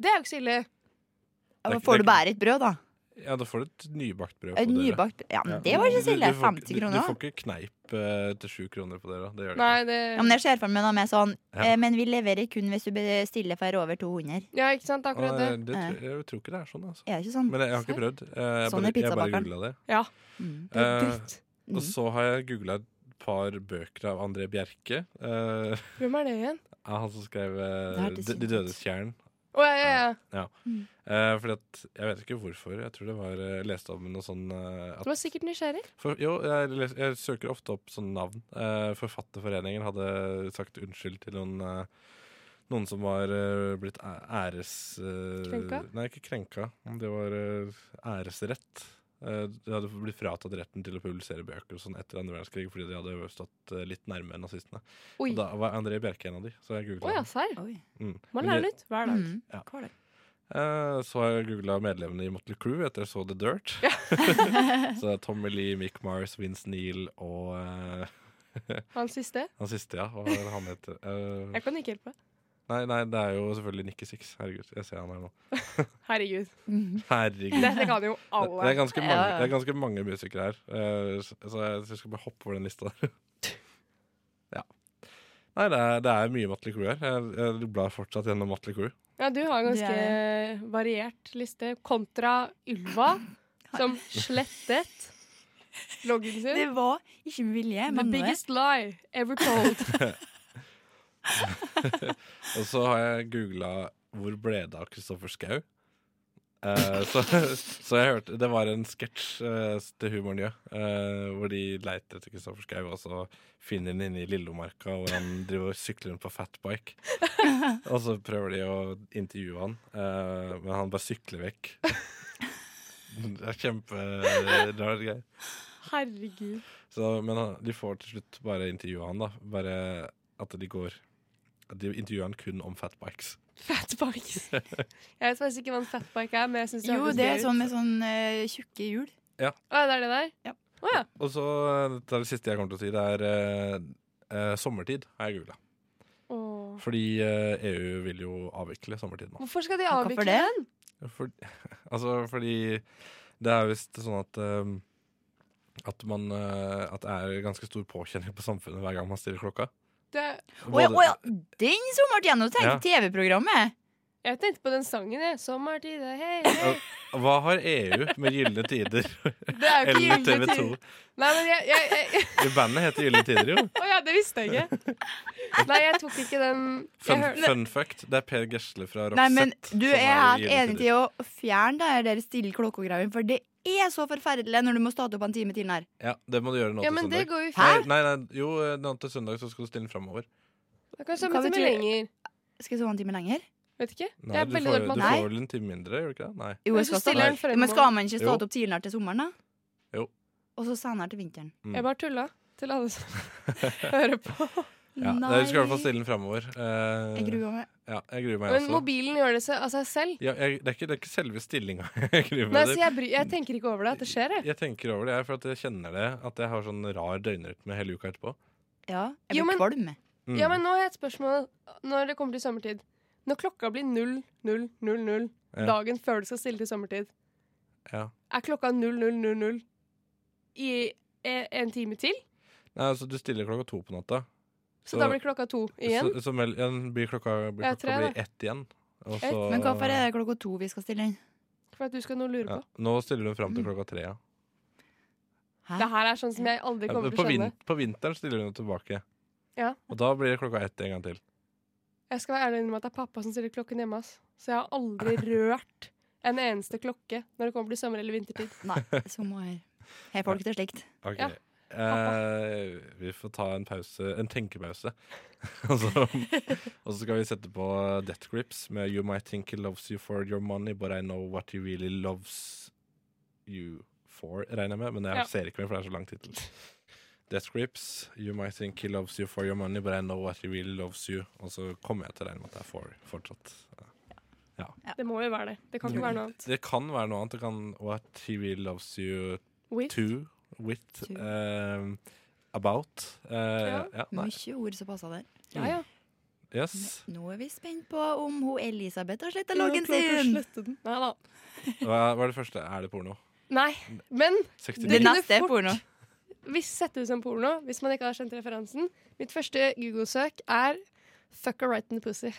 [SPEAKER 5] Det er jo ikke så ille.
[SPEAKER 4] Ja,
[SPEAKER 3] Det er
[SPEAKER 4] men
[SPEAKER 3] ikke-
[SPEAKER 4] Får
[SPEAKER 3] det
[SPEAKER 4] du
[SPEAKER 3] er
[SPEAKER 4] bare et brød, da?
[SPEAKER 3] Ja, da får du et nybakt brød
[SPEAKER 4] Et
[SPEAKER 3] på døra.
[SPEAKER 4] nybakt Ja, men det var ikke så ille. 50
[SPEAKER 3] Du, du
[SPEAKER 4] kroner.
[SPEAKER 3] får ikke kneip eh, til 7 kroner på døra. Det gjør du
[SPEAKER 5] Nei,
[SPEAKER 3] ikke.
[SPEAKER 5] det
[SPEAKER 4] Ja, men jeg ser for meg noe med sånn
[SPEAKER 3] Ja.
[SPEAKER 4] eh, Men vi leverer kun hvis du bestiller for over 200.
[SPEAKER 5] Ja, ikke sant?
[SPEAKER 3] Og,
[SPEAKER 5] Akkurat det.
[SPEAKER 3] eh, det tror, jeg tror ikke det er sånn, altså.
[SPEAKER 4] Er det ikke sånn?
[SPEAKER 3] Men jeg, jeg har ikke prøvd. Eh, Jeg
[SPEAKER 4] Sånn er
[SPEAKER 3] bare, jeg bare
[SPEAKER 4] pizzabakeren.
[SPEAKER 3] googla det.
[SPEAKER 5] Ja.
[SPEAKER 4] Mm.
[SPEAKER 5] Det er
[SPEAKER 3] Eh,
[SPEAKER 5] dritt.
[SPEAKER 3] og så har jeg googla et par bøker av André Bjerke. Eh,
[SPEAKER 5] Hvem er det igjen?
[SPEAKER 3] han som skrev
[SPEAKER 4] Det
[SPEAKER 3] eh,
[SPEAKER 4] hørtes
[SPEAKER 3] De,
[SPEAKER 4] kjent
[SPEAKER 3] de
[SPEAKER 4] ut.
[SPEAKER 3] dødes tjern.
[SPEAKER 5] Å, ja, ja, ja.
[SPEAKER 3] Ja.
[SPEAKER 5] Mm.
[SPEAKER 3] Eh, fordi at, jeg vet ikke hvorfor. Jeg tror det var eh, jeg leste om noe sånn eh, at
[SPEAKER 5] Du var sikkert nysgjerrig.
[SPEAKER 3] for, jo, jeg, les- jeg søker ofte opp sånne navn. Eh, Forfatterforeningen hadde sagt unnskyld til noen eh, noen som var eh, blitt æ- æres... eh,
[SPEAKER 5] Krenka?
[SPEAKER 3] Nei, ikke krenka. Det var eh, æresrett. Eh, de hadde blitt fratatt retten til å publisere bøker og sånn etter andre verdenskrig fordi de hadde stått eh, litt nærme nazistene.
[SPEAKER 5] Oi.
[SPEAKER 3] Og da var André Bjerke en av de. Så jeg googlet
[SPEAKER 5] Å ja,
[SPEAKER 3] den.
[SPEAKER 5] serr.
[SPEAKER 3] Mm. Men
[SPEAKER 5] Man lærer
[SPEAKER 3] de-
[SPEAKER 5] nytt hver dag.
[SPEAKER 4] Mm.
[SPEAKER 3] Ja. Eh, Så har jeg googla medlemmene i Motley Crew etter jeg så The Dirt. så det er Tommy Lee, Mick Mars, Vince Neil og eh,
[SPEAKER 5] Han siste?
[SPEAKER 3] Han siste, ja. Hva er det han heter? Eh,
[SPEAKER 5] Jeg kan ikke hjelpe.
[SPEAKER 3] nei, nei, det er jo selvfølgelig Nikki Six. Herregud, jeg ser han her nå.
[SPEAKER 5] Herregud.
[SPEAKER 4] Mm.
[SPEAKER 3] Herregud.
[SPEAKER 5] Dette kan jo alle.
[SPEAKER 3] Det er ganske mange,
[SPEAKER 5] Ja, ja.
[SPEAKER 3] det er ganske mange musikere her, eh, så så jeg, så jeg skal bare hoppe over den lista der. ja. Nei, det er, det er mye Motley Crew her. Jeg, jeg blar fortsatt gjennom Motley Crew.
[SPEAKER 5] Ja, du har en
[SPEAKER 11] Du
[SPEAKER 5] ganske variert liste. Kontra Ylva, som slettet loggen sin.
[SPEAKER 4] Det var ikke med vilje.
[SPEAKER 5] The
[SPEAKER 4] men nå er-
[SPEAKER 5] biggest lie ever told.
[SPEAKER 3] Og så har jeg googla 'Hvor ble det av Kristoffer Schau?' Eh, så, så jeg hørte Det var en sketsj eh, til Humor Njø eh, hvor de leiter etter Kristoffer Schau, og så finner han inne i Lillomarka hvor han driver og sykler rundt på fatbike. Og så prøver de å intervjue han, eh, men han bare sykler vekk. Det er kjemperare greier.
[SPEAKER 5] Herregud.
[SPEAKER 3] Så, men han- de får til slutt bare intervjue han, da. Bare at de går at De intervjuer han kun om fatbikes.
[SPEAKER 5] Fatbikes? Jeg vet faktisk ikke hva en fatbike er, men jeg synes det
[SPEAKER 4] Jo,
[SPEAKER 5] hørtes
[SPEAKER 4] det er
[SPEAKER 5] gøy ut.
[SPEAKER 4] sånn med sånn eh, tjukke hjul.
[SPEAKER 3] ja.
[SPEAKER 5] Å, ja, det er det der?
[SPEAKER 4] Ja.
[SPEAKER 5] Å ja.
[SPEAKER 3] Og så eh, dette er det siste jeg kommer til å si. Det er eh, eh, sommertid, har jeg googla.
[SPEAKER 5] Åh.
[SPEAKER 3] Fordi eh, EU vil jo avvikle sommertid nå.
[SPEAKER 5] Hvorfor skal de
[SPEAKER 3] Hvorfor
[SPEAKER 5] avvikle
[SPEAKER 3] det?
[SPEAKER 5] den?
[SPEAKER 3] For, altså, fordi det er visst sånn at eh, at, man, eh, at det er ganske stor påkjenning på samfunnet hver gang man stiller klokka.
[SPEAKER 5] Det...
[SPEAKER 3] Å ja, å ja,
[SPEAKER 4] den sommeren igjen! Nå
[SPEAKER 3] Ja.
[SPEAKER 4] tenkte jeg TV-programmet!
[SPEAKER 5] Jeg tenkte på den sangen, jeg. Sommertid, hei, hei.
[SPEAKER 3] Og Hva har EU med gylne tider?
[SPEAKER 5] Det er jo
[SPEAKER 3] Eller
[SPEAKER 5] ikke
[SPEAKER 3] TV 2?
[SPEAKER 5] Gyllene tider. Nei, men jeg, jeg, jeg,
[SPEAKER 3] Bandet heter Gylne tider, jo.
[SPEAKER 5] Å ja, det visste jeg ikke. Nei, jeg tok ikke den jeg
[SPEAKER 3] Fun,
[SPEAKER 5] hørte-
[SPEAKER 3] fun fact, det er Per Gesle fra Roxette.
[SPEAKER 4] Nei, men du
[SPEAKER 3] som
[SPEAKER 4] er
[SPEAKER 3] er
[SPEAKER 4] helt
[SPEAKER 3] Gylne
[SPEAKER 4] enig
[SPEAKER 3] Tider.
[SPEAKER 4] til å fjerne det her der stille klokkegreien, for det er så forferdelig når du må stå opp en time til her.
[SPEAKER 3] Ja, det må du gjøre nå
[SPEAKER 5] Ja,
[SPEAKER 3] til
[SPEAKER 5] men
[SPEAKER 3] søndag.
[SPEAKER 5] det går jo
[SPEAKER 3] Nei,
[SPEAKER 5] fint.
[SPEAKER 3] Nei, nei, jo, eh, nå til søndag så skal du stille den framover.
[SPEAKER 5] Jeg kan sove
[SPEAKER 4] Hva
[SPEAKER 5] en time
[SPEAKER 4] betyr-
[SPEAKER 5] lenger.
[SPEAKER 4] Skal jeg sove en time lenger?
[SPEAKER 5] Vet ikke.
[SPEAKER 3] Nei,
[SPEAKER 5] jeg er
[SPEAKER 3] du
[SPEAKER 5] veldig
[SPEAKER 3] får,
[SPEAKER 5] dårlig på
[SPEAKER 3] du
[SPEAKER 5] matte.
[SPEAKER 3] får vel en time mindre, gjør du ikke det? Nei.
[SPEAKER 4] Jo, jeg skal stå
[SPEAKER 5] stiller den
[SPEAKER 4] opp. Men skal man ikke stå
[SPEAKER 3] Jo.
[SPEAKER 4] opp tidligere til sommeren, da?
[SPEAKER 3] Jo.
[SPEAKER 4] Og så senere til vinteren.
[SPEAKER 3] Mm.
[SPEAKER 5] Jeg bare tulla til alle som hører på.
[SPEAKER 3] Ja,
[SPEAKER 5] Nei.
[SPEAKER 3] Du skal i hvert fall stille den framover. Eh,
[SPEAKER 5] Jeg gruer meg.
[SPEAKER 3] Ja, jeg gruer meg
[SPEAKER 5] Men
[SPEAKER 3] også.
[SPEAKER 5] mobilen gjør det seg av seg selv.
[SPEAKER 3] Ja, jeg, det, er ikke, det er ikke selve stillinga jeg gruer
[SPEAKER 5] Nei,
[SPEAKER 3] meg
[SPEAKER 5] så
[SPEAKER 3] til.
[SPEAKER 5] jeg, bry, jeg tenker ikke over det, at det skjer, jeg.
[SPEAKER 3] Jeg tenker over det, jeg, for at jeg kjenner det at jeg har sånn rar døgnrytme hele uka etterpå.
[SPEAKER 4] Ja, jeg
[SPEAKER 5] Jo,
[SPEAKER 4] blir
[SPEAKER 5] men-
[SPEAKER 4] kvalm.
[SPEAKER 3] Mm.
[SPEAKER 5] Ja, men nå har jeg et spørsmål når det kommer til sommertid. Når klokka blir 00.00
[SPEAKER 3] Ja.
[SPEAKER 5] dagen før du skal stille til sommertid,
[SPEAKER 3] Ja.
[SPEAKER 5] er klokka 00.00 i eh, en time til?
[SPEAKER 3] Nei, altså, du stiller klokka to på natta.
[SPEAKER 5] Så da blir klokka to igjen?
[SPEAKER 3] Så, så mel, ja, den blir klokka, blir,
[SPEAKER 5] Ja,
[SPEAKER 3] klokka
[SPEAKER 5] tre,
[SPEAKER 3] blir
[SPEAKER 5] da.
[SPEAKER 3] ett igjen. Og
[SPEAKER 5] Ett?
[SPEAKER 3] så-
[SPEAKER 4] Men hvorfor er det klokka to vi skal stille inn?
[SPEAKER 5] For at du skal nå lure på.
[SPEAKER 3] ja, Nå stiller hun fram til klokka tre, ja.
[SPEAKER 5] Det her er sånn som jeg aldri
[SPEAKER 3] Ja,
[SPEAKER 5] kommer
[SPEAKER 3] på,
[SPEAKER 5] til å skjønne.
[SPEAKER 3] vin, på vinteren stiller hun tilbake.
[SPEAKER 5] Ja.
[SPEAKER 3] Og da blir det klokka ett en gang til.
[SPEAKER 5] Jeg skal være ærlig innrømme at det er pappa som stiller klokken hjemme. Ass. Så jeg har aldri rørt en eneste klokke når det kommer til sommer- eller vintertid.
[SPEAKER 4] Nei, så må jeg Har folk til slikt.
[SPEAKER 3] Ok.
[SPEAKER 5] Ja.
[SPEAKER 3] Eh, vi får ta en pause, en tenkepause. og, så, og så skal vi sette på Death Grips med You Might Think He Loves You For Your Money, But I Know What He Really Loves You For, regner jeg med. Men jeg
[SPEAKER 5] Ja.
[SPEAKER 3] ser ikke med, for det er så lang tittel. Death Grips, You Might Think He Loves You For Your Money, But I Know What He Really Loves You. Og så kommer jeg til å regne med at det er for fortsatt. Ja.
[SPEAKER 5] Det må jo være det. Det kan ikke være noe annet.
[SPEAKER 3] Det kan være noe annet. Det kan What He Really Loves You
[SPEAKER 5] With.
[SPEAKER 3] To. With. ehm, about. Eh, ja, nei.
[SPEAKER 4] Mye ord som passer der.
[SPEAKER 3] Ja, ja. Yes.
[SPEAKER 4] Nå er vi spent på om hun Elisabeth har sletta
[SPEAKER 5] Ja,
[SPEAKER 4] loggen
[SPEAKER 5] klart hun
[SPEAKER 4] sin.
[SPEAKER 5] slettet den. Nei da.
[SPEAKER 3] Hva hva er det første? Er det porno?
[SPEAKER 5] Nei, men
[SPEAKER 3] Seksti-
[SPEAKER 5] det
[SPEAKER 3] Det
[SPEAKER 5] kunne
[SPEAKER 4] neste er
[SPEAKER 5] fort
[SPEAKER 4] porno.
[SPEAKER 5] Hvis sette ut som porno, hvis man ikke har skjønt referansen. Mitt første Google-søk er Fuck a right in the pussy.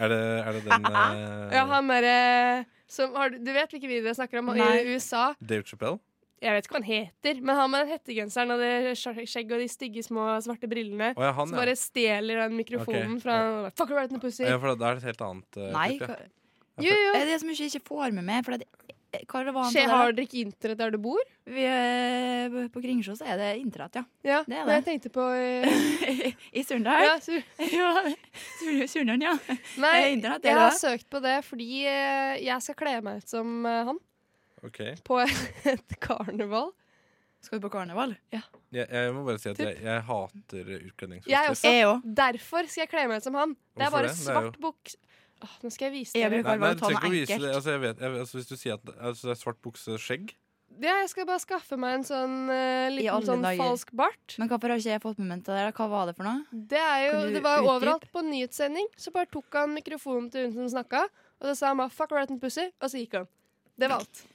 [SPEAKER 3] Er det, er det den eh,
[SPEAKER 5] Ja, han derre som har Du vet hvilke videoer jeg snakker om? Han
[SPEAKER 3] Nei.
[SPEAKER 5] I USA.
[SPEAKER 3] Dave Chappelle?
[SPEAKER 5] Jeg vet ikke hva han heter, men han med den hettegenseren og det skj- skjegget og de stygge små svarte brillene
[SPEAKER 3] Å, ja, han,
[SPEAKER 5] som
[SPEAKER 3] ja.
[SPEAKER 5] bare stjeler den mikrofonen
[SPEAKER 3] Ok,
[SPEAKER 5] fra Fucker right in the pussy.
[SPEAKER 3] Ja, for det er et helt annet eh,
[SPEAKER 4] Nei,
[SPEAKER 3] klipp, ja.
[SPEAKER 4] hva- Er det så mye jeg ikke får med meg? For det, eh, hva var han
[SPEAKER 5] Skje,
[SPEAKER 4] til der?
[SPEAKER 5] har dere ikke internett der du bor?
[SPEAKER 4] Vi, eh, på Kringsjå så er det internett, ja.
[SPEAKER 5] Ja,
[SPEAKER 4] det er
[SPEAKER 5] men
[SPEAKER 4] det.
[SPEAKER 5] jeg tenkte på eh,
[SPEAKER 4] I Surndal?
[SPEAKER 5] Ja,
[SPEAKER 4] ja. Sur- Surndalen, ja.
[SPEAKER 5] Nei,
[SPEAKER 4] Det er internett, det
[SPEAKER 5] jeg
[SPEAKER 4] er
[SPEAKER 5] har
[SPEAKER 4] det.
[SPEAKER 5] søkt på det fordi eh, jeg skal kle meg ut som eh, han
[SPEAKER 3] Ok.
[SPEAKER 5] på et karneval.
[SPEAKER 4] Skal du på karneval?
[SPEAKER 5] Ja.
[SPEAKER 3] Jeg, jeg må bare si at jeg, jeg hater utkledningsfester.
[SPEAKER 5] Jeg også. Derfor skal jeg kle meg ut som han. Det er
[SPEAKER 3] Hvorfor
[SPEAKER 5] bare
[SPEAKER 3] det? Det er jo-
[SPEAKER 5] svart buks... Åh, nå skal jeg vise
[SPEAKER 4] Jeg
[SPEAKER 5] dere.
[SPEAKER 4] bruker bare å ta
[SPEAKER 3] trenger ikke
[SPEAKER 4] noe
[SPEAKER 3] å vise
[SPEAKER 4] enkelt.
[SPEAKER 3] det. Altså, jeg vet, jeg, altså, hvis du sier at altså, det er svart bukse, skjegg
[SPEAKER 5] Ja, jeg skal bare skaffe meg en sånn eh,
[SPEAKER 4] I alle
[SPEAKER 5] liten sånn
[SPEAKER 4] dager.
[SPEAKER 5] falsk bart.
[SPEAKER 4] Men hvorfor har ikke jeg fått med meg det der? Hva var det for noe?
[SPEAKER 5] Det, er jo,
[SPEAKER 4] Kan du
[SPEAKER 5] det var jo
[SPEAKER 4] utdype?
[SPEAKER 5] overalt på en nyhetssending. Så bare tok han mikrofonen til hun som snakka, og så sa han bare 'fuck right and pussy', og så gikk han. Det var alt.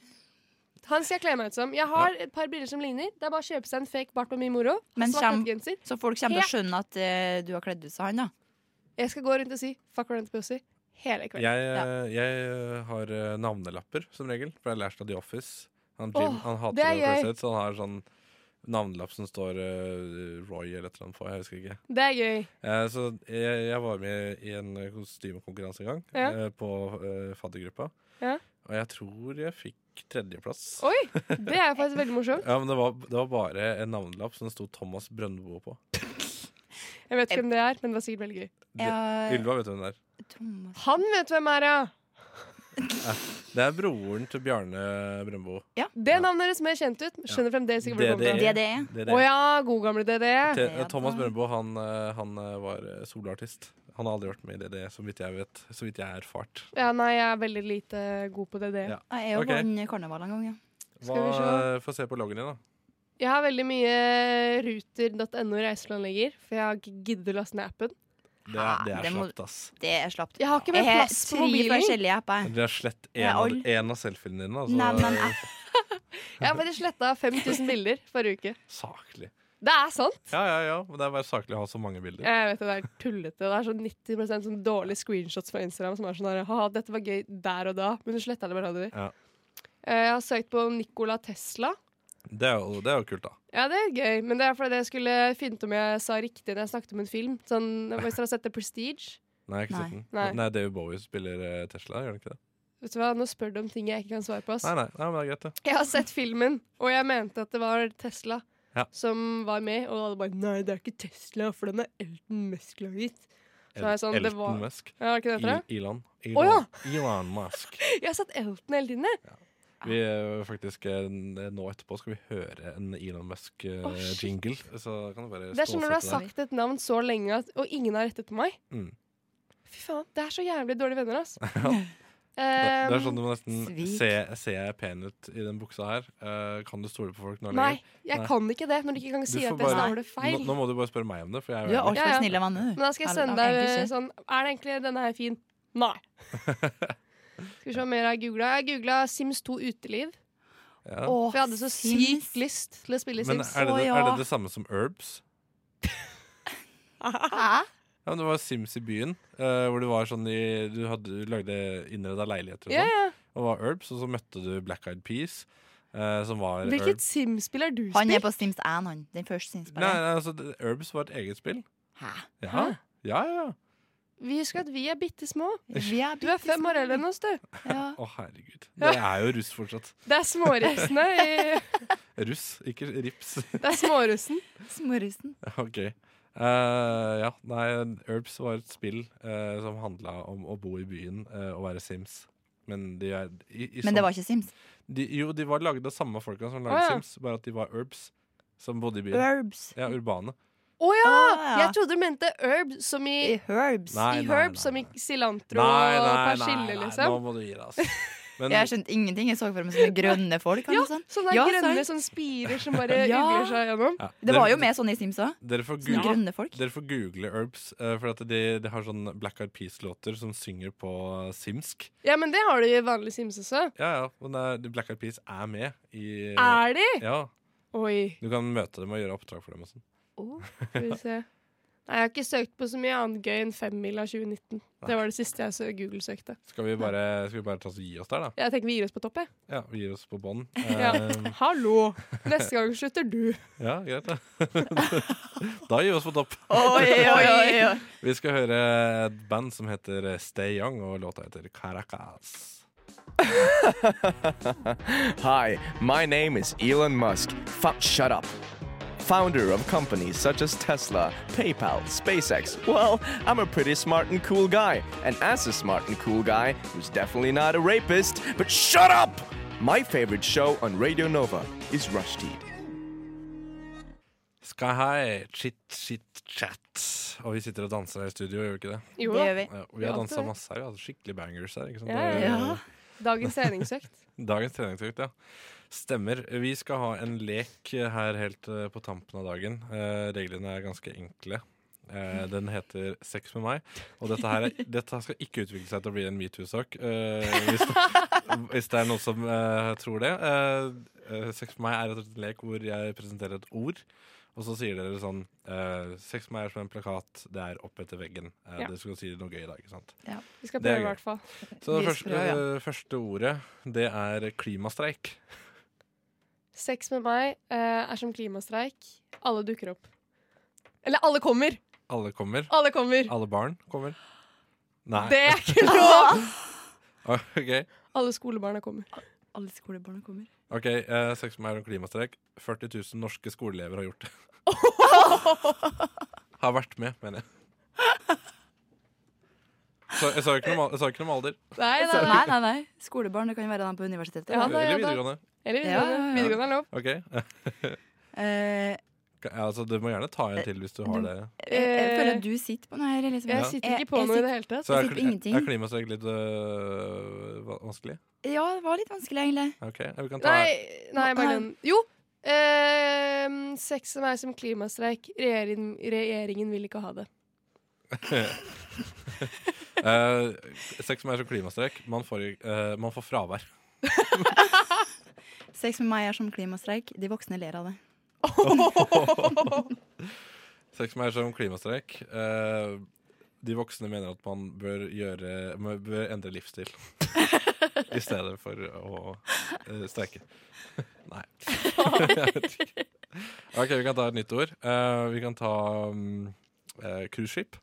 [SPEAKER 5] Han skal jeg kle meg ut som. Jeg har et par briller som ligner. Det er bare å kjøpe seg en fake bart med mye moro.
[SPEAKER 4] Men
[SPEAKER 5] svart
[SPEAKER 4] kjem-
[SPEAKER 5] hettegenser.
[SPEAKER 4] Så folk kommer til å
[SPEAKER 5] Helt-
[SPEAKER 4] skjønne at eh, du har kledd ut som han, da.
[SPEAKER 5] Jeg skal gå rundt og si 'fuck right and pussy' hele kvelden.
[SPEAKER 3] Jeg, jeg har eh, navnelapper som regel, for jeg har lært av The Office. Han, Jim,
[SPEAKER 5] Åh,
[SPEAKER 3] han
[SPEAKER 5] det
[SPEAKER 3] hater
[SPEAKER 5] er
[SPEAKER 3] det,
[SPEAKER 5] gøy.
[SPEAKER 3] det så han har sånn navnelapp som står eh, Roy eller et eller annet på. Jeg husker ikke.
[SPEAKER 5] Det er gøy.
[SPEAKER 3] Eh, så jeg, jeg var med i en kostymekonkurranse en gang,
[SPEAKER 5] Ja.
[SPEAKER 3] eh, på eh, faddergruppa.
[SPEAKER 5] Ja.
[SPEAKER 3] Og jeg tror jeg fikk tredjeplass.
[SPEAKER 5] Oi! Det er jo faktisk veldig morsomt.
[SPEAKER 3] Ja, men det var, det var bare en navnelapp som det sto Thomas Brøndbo på.
[SPEAKER 5] Jeg vet ikke hvem det er, men det var sikkert veldig gøy.
[SPEAKER 3] Det, Ylva vet du hvem det er.
[SPEAKER 5] Han vet hvem er, ja!
[SPEAKER 3] Eh, Det er broren til Bjarne Brøndbo.
[SPEAKER 5] Det navnet høres mer kjent ut. Skjønner fremdeles ikke hvor det kommer fra.
[SPEAKER 3] DDE. DDE.
[SPEAKER 5] Å ja, god gamle E. DDE.
[SPEAKER 3] Til- Thomas Brøndbo han, eh, han eh, var eh, soloartist. Han har aldri vært med i DDE, så vidt jeg vet. Så vidt jeg har erfart.
[SPEAKER 5] Ja, nei, jeg er veldig lite god på E. DDE.
[SPEAKER 3] Ja.
[SPEAKER 4] Nei, Jeg er jo
[SPEAKER 3] Ok.
[SPEAKER 4] på en karneval en gang, ja.
[SPEAKER 3] Hva, eh,
[SPEAKER 5] Skal vi se.
[SPEAKER 3] Få se på loggen din, da.
[SPEAKER 5] Jeg har veldig mye ruter.no reiseplanlegger, for jeg har ikke giddet å laste ned appen.
[SPEAKER 3] Det er, det er
[SPEAKER 4] det må-
[SPEAKER 3] slapt, ass.
[SPEAKER 4] Det er slapt.
[SPEAKER 5] Jeg har ikke mer plass på mobilen.
[SPEAKER 4] forskjellige apper.
[SPEAKER 3] Det er slett
[SPEAKER 4] er
[SPEAKER 3] en, av-
[SPEAKER 4] all-
[SPEAKER 3] en av selfiene dine. Altså,
[SPEAKER 4] Nei, men
[SPEAKER 5] Jeg har faktisk sletta 5000 bilder forrige uke.
[SPEAKER 3] Saklig.
[SPEAKER 5] Det er sant!
[SPEAKER 3] Ja, ja, ja. Men det er bare saklig å ha så mange bilder.
[SPEAKER 5] Jeg vet det, det er tullete. Det er sånn 90 sånn dårlige screenshots fra Instagram som er sånn der, haha, dette var gøy der og da, men du sletta det bare aldri.
[SPEAKER 3] Ja.
[SPEAKER 5] Eh, Jeg har søkt på Nikola Tesla.
[SPEAKER 3] Det er jo, det er jo kult, da.
[SPEAKER 5] Ja, det er gøy, men det er fordi jeg skulle finne ut om jeg sa riktig når jeg snakket om en film. Sånn, Hvis dere har sett The Prestige
[SPEAKER 3] Nei, jeg har ikke
[SPEAKER 5] Nei.
[SPEAKER 3] sett den.
[SPEAKER 5] Nei.
[SPEAKER 3] Nei, David Bowie spiller eh, Tesla, gjør han ikke det?
[SPEAKER 5] Vet du hva, Nå spør du om ting jeg ikke kan svare på. ass.
[SPEAKER 3] Nei, nei, nei, men det er greit, det.
[SPEAKER 5] Jeg har sett filmen, og jeg mente at det var Tesla
[SPEAKER 3] Ja.
[SPEAKER 5] som var med. Og alle bare 'nei, det er ikke Tesla, for den er Elton Musk-laget'. Så er jeg sånn, det
[SPEAKER 3] Elton
[SPEAKER 5] var-
[SPEAKER 3] Musk.
[SPEAKER 5] Ja, var ikke det etter det?
[SPEAKER 3] I- Elon. Elon.
[SPEAKER 5] Å,
[SPEAKER 3] Elon Musk.
[SPEAKER 5] Jeg har sett Elton hele tiden, jeg.
[SPEAKER 3] Vi eh, faktisk eh, Nå etterpå skal vi høre en Elon
[SPEAKER 5] Å, shit.
[SPEAKER 3] Musk-jingle. så kan du bare
[SPEAKER 5] Det er som når du har
[SPEAKER 3] stålsette deg.
[SPEAKER 5] sagt et navn så lenge, at, og ingen har rettet på meg.
[SPEAKER 3] sånn Mm.
[SPEAKER 5] Fy faen, det er så jævlig dårlige venner, ass.
[SPEAKER 3] Det,
[SPEAKER 5] Ehm,
[SPEAKER 3] det er sånn du må nesten
[SPEAKER 5] svik.
[SPEAKER 3] se, Ser jeg pen ut i den buksa her? Eh, kan du stole på folk nå
[SPEAKER 5] Nei,
[SPEAKER 3] lenger?
[SPEAKER 5] jeg
[SPEAKER 3] Nei.
[SPEAKER 5] kan ikke det. Når du ikke kan
[SPEAKER 3] Du
[SPEAKER 5] si
[SPEAKER 3] får
[SPEAKER 5] at jeg
[SPEAKER 3] bare-
[SPEAKER 5] snakker det feil.
[SPEAKER 3] Nå, nå må du bare spørre meg om det. For jeg
[SPEAKER 4] Du er
[SPEAKER 3] uenig.
[SPEAKER 4] alt for snill av vannet, du.
[SPEAKER 5] Men da skal jeg
[SPEAKER 4] Eller,
[SPEAKER 5] sende
[SPEAKER 4] ok,
[SPEAKER 5] deg
[SPEAKER 4] egentlig ikke.
[SPEAKER 5] sånn Er det egentlig denne her fin? Nei. skal vi se hva mer jeg googla. Jeg googla Sims 2 Uteliv.
[SPEAKER 3] Ja.
[SPEAKER 5] For jeg hadde så
[SPEAKER 4] Sims.
[SPEAKER 5] sykt lyst til å spille
[SPEAKER 3] Men
[SPEAKER 5] Sims.
[SPEAKER 3] er det, det- er det det samme som Herbs?
[SPEAKER 4] Hæ?
[SPEAKER 3] Ja, men det var Sims i byen, eh, hvor du var sånn i Du, hadde, du lagde innreda leiligheter og
[SPEAKER 5] Ja,
[SPEAKER 3] sånn.
[SPEAKER 5] ja.
[SPEAKER 3] Og var Herbs, og så møtte du Black Eyed Peas, eh, som var
[SPEAKER 5] Hvilket
[SPEAKER 3] Herbs.
[SPEAKER 5] Sims-spill har du
[SPEAKER 4] Han er
[SPEAKER 5] spilt?
[SPEAKER 4] på Sims 1, han. Den første
[SPEAKER 3] Nei,
[SPEAKER 4] Sims-spilleren.
[SPEAKER 3] nei, altså, det- Herbs var et eget spill.
[SPEAKER 4] Hæ?
[SPEAKER 3] Ja, ja, ja.
[SPEAKER 5] Vi husker at vi er bitte små.
[SPEAKER 4] Vi er
[SPEAKER 5] Du er fem år eldre enn oss, du.
[SPEAKER 4] Ja.
[SPEAKER 3] Å, herregud. Dere er jo russ fortsatt.
[SPEAKER 5] Det er smårussene. i-
[SPEAKER 3] Russ, ikke rips.
[SPEAKER 5] Det er smårussen.
[SPEAKER 4] Smårusen.
[SPEAKER 3] ok. Eh, ja, nei, Herbs var et spill eh, som handla om å bo i byen eh, og være Sims. Men, de er, i, i
[SPEAKER 4] Men det
[SPEAKER 3] sånn-
[SPEAKER 4] var ikke Sims.
[SPEAKER 3] de, Jo, de var lagd av samme folka som lagde
[SPEAKER 5] Å, ja.
[SPEAKER 3] Sims, bare at de var Herbs, som bodde i byen.
[SPEAKER 4] Herbs.
[SPEAKER 3] Ja, urbane.
[SPEAKER 5] Å ja!
[SPEAKER 4] Ah, ja.
[SPEAKER 5] Jeg trodde du mente herb som i
[SPEAKER 4] Herbs.
[SPEAKER 3] Nei,
[SPEAKER 5] i
[SPEAKER 3] nei,
[SPEAKER 5] herb
[SPEAKER 3] nei,
[SPEAKER 5] som i
[SPEAKER 3] nei.
[SPEAKER 5] cilantro
[SPEAKER 3] Nei,
[SPEAKER 5] og
[SPEAKER 3] nei, nei,
[SPEAKER 5] persille,
[SPEAKER 3] nei,
[SPEAKER 5] liksom.
[SPEAKER 3] nå må du gi deg, altså. Men
[SPEAKER 4] Jeg skjønte ingenting. Jeg så for meg sånne grønne folk.
[SPEAKER 5] Ja,
[SPEAKER 4] Ja, sånn.
[SPEAKER 5] sånne
[SPEAKER 4] Ja,
[SPEAKER 5] grønne
[SPEAKER 4] sant.
[SPEAKER 5] sånn spirer som bare
[SPEAKER 4] Ja.
[SPEAKER 5] ugler seg gjennom.
[SPEAKER 3] ja,
[SPEAKER 4] Det var
[SPEAKER 3] dere-
[SPEAKER 4] jo med sånn i Sims òg.
[SPEAKER 3] Dere får,
[SPEAKER 4] Sånne
[SPEAKER 3] google,
[SPEAKER 4] grønne folk.
[SPEAKER 3] dere får google Herbs, eh, for at de, de har sånn Black Eyed Peas-låter som synger på eh, simsk.
[SPEAKER 5] Ja, men det har du i vanlig Sims også.
[SPEAKER 3] Ja, ja, men det er, de Black Eyed Peas er med i
[SPEAKER 5] Er de?
[SPEAKER 3] Ja,
[SPEAKER 5] Oi.
[SPEAKER 3] Du kan møte dem og gjøre oppdrag for dem. og sånn
[SPEAKER 5] Skal vi se. Nei, jeg har ikke søkt på så mye annet gøy enn femmila 2019. Det var det siste jeg så- Google-søkte.
[SPEAKER 3] Skal vi bare, skal vi bare ta oss og gi oss der, da?
[SPEAKER 5] Jeg tenker vi gir oss på topp, jeg.
[SPEAKER 3] Ja, vi gir oss på bånn.
[SPEAKER 5] Ja.
[SPEAKER 3] Eh,
[SPEAKER 5] Hallo! Neste gang slutter du.
[SPEAKER 3] Ja, greit, da. da gir vi oss på topp.
[SPEAKER 5] Oi, oi, oi, oi.
[SPEAKER 3] Vi skal høre et band som heter eh, Stay Young, og låta heter Caracas.
[SPEAKER 11] Hi, my name is Elon Musk. Fuck, shut up. Founder of companies such as Tesla, PayPal, SpaceX. Well, I'm a pretty smart and cool guy. And as a smart and cool guy, who's definitely not a rapist, but shut up! My favorite show on Radio Nova is Rushdie.
[SPEAKER 3] Sky High, chit, chit, chat. Og vi sitter og danser her i studio, gjør vi ikke det?
[SPEAKER 5] Jo da. Det gjør vi.
[SPEAKER 3] Ja, og vi har
[SPEAKER 5] Ja,
[SPEAKER 3] dansa
[SPEAKER 5] det-
[SPEAKER 3] masse her. Vi hadde skikkelig bangers her. ikke sant?
[SPEAKER 5] Ja, ja, ja. Dagens treningsøkt.
[SPEAKER 3] Dagens treningsøkt, ja. Stemmer. Vi skal ha en lek her helt eh, på tampen av dagen. Eh, reglene er ganske enkle. Eh, den heter Sex med meg. Og dette, her er, dette skal ikke utvikle seg til å bli en metoo-sak. Eh, hvis, hvis det er noen som eh, tror det. Eh, eh, sex med meg er rett og slett en lek hvor jeg presenterer et ord. Og så sier dere sånn eh, Sex med meg er som en plakat, det er opp etter veggen. Eh,
[SPEAKER 5] Ja.
[SPEAKER 3] Dere skal si noe gøy i dag, ikke sant?
[SPEAKER 5] Ja. Vi skal
[SPEAKER 3] Det er
[SPEAKER 5] prøve i
[SPEAKER 3] gøy.
[SPEAKER 5] hvert fall.
[SPEAKER 3] Så det
[SPEAKER 5] Vi
[SPEAKER 3] første,
[SPEAKER 5] skal prøve, ja.
[SPEAKER 3] eh, første ordet, det er klimastreik.
[SPEAKER 5] Sex med meg eh, er som klimastreik. Alle dukker opp. Eller alle kommer!
[SPEAKER 3] Alle kommer.
[SPEAKER 5] Alle kommer.
[SPEAKER 3] Alle barn kommer. Ah, Nei.
[SPEAKER 5] Det er ikke lov!
[SPEAKER 3] OK,
[SPEAKER 5] Alle skolebarna kommer.
[SPEAKER 4] Alle skolebarna kommer.
[SPEAKER 3] Ok, eh, sex med meg er om klimastreik. 40 000 norske skoleelever har gjort det. har vært med, mener jeg. Så, jeg, sa jo ikke noe, om al- jeg sa ikke noe om alder.
[SPEAKER 5] Nei,
[SPEAKER 4] nei,
[SPEAKER 5] nei,
[SPEAKER 4] nei. nei, Skolebarn, det kan jo være dem på universitetet.
[SPEAKER 5] Ja, da,
[SPEAKER 3] Eller
[SPEAKER 5] ja, da.
[SPEAKER 3] videregående.
[SPEAKER 5] Eller videregående.
[SPEAKER 4] Ja, ja, ja.
[SPEAKER 5] videregående er lov.
[SPEAKER 3] OK.
[SPEAKER 4] Eh,
[SPEAKER 3] Ja, altså, du må gjerne
[SPEAKER 5] Eh,
[SPEAKER 3] ta en til hvis du har det.
[SPEAKER 4] jeg, jeg føler at du sitter på noe her. Liksom.
[SPEAKER 5] Jeg sitter ikke på noe i det hele tatt.
[SPEAKER 3] Så er,
[SPEAKER 4] Jeg sitter
[SPEAKER 3] kli- er
[SPEAKER 4] ingenting.
[SPEAKER 3] klimastreik litt øh, va- vanskelig?
[SPEAKER 4] Ja, det var litt vanskelig, egentlig.
[SPEAKER 3] OK, ja, vi kan ta
[SPEAKER 5] Nei, nei Marlon. Jo! Uh, sex med meg som klimastreik. Regjeringen, regjeringen vil ikke ha det.
[SPEAKER 3] Eh, sex med meg er som klimastreik. Man får, eh, man får fravær.
[SPEAKER 4] Sex med meg er som klimastreik. De voksne ler av det.
[SPEAKER 3] Sex med meg er som klimastreik. Eh, de voksne mener at man bør, gjøre, man bør endre livsstil i stedet for å eh, streike. Nei. Jeg vet ikke. OK, vi kan ta et nytt ord. Eh, vi kan ta mm, eh, cruiseskip.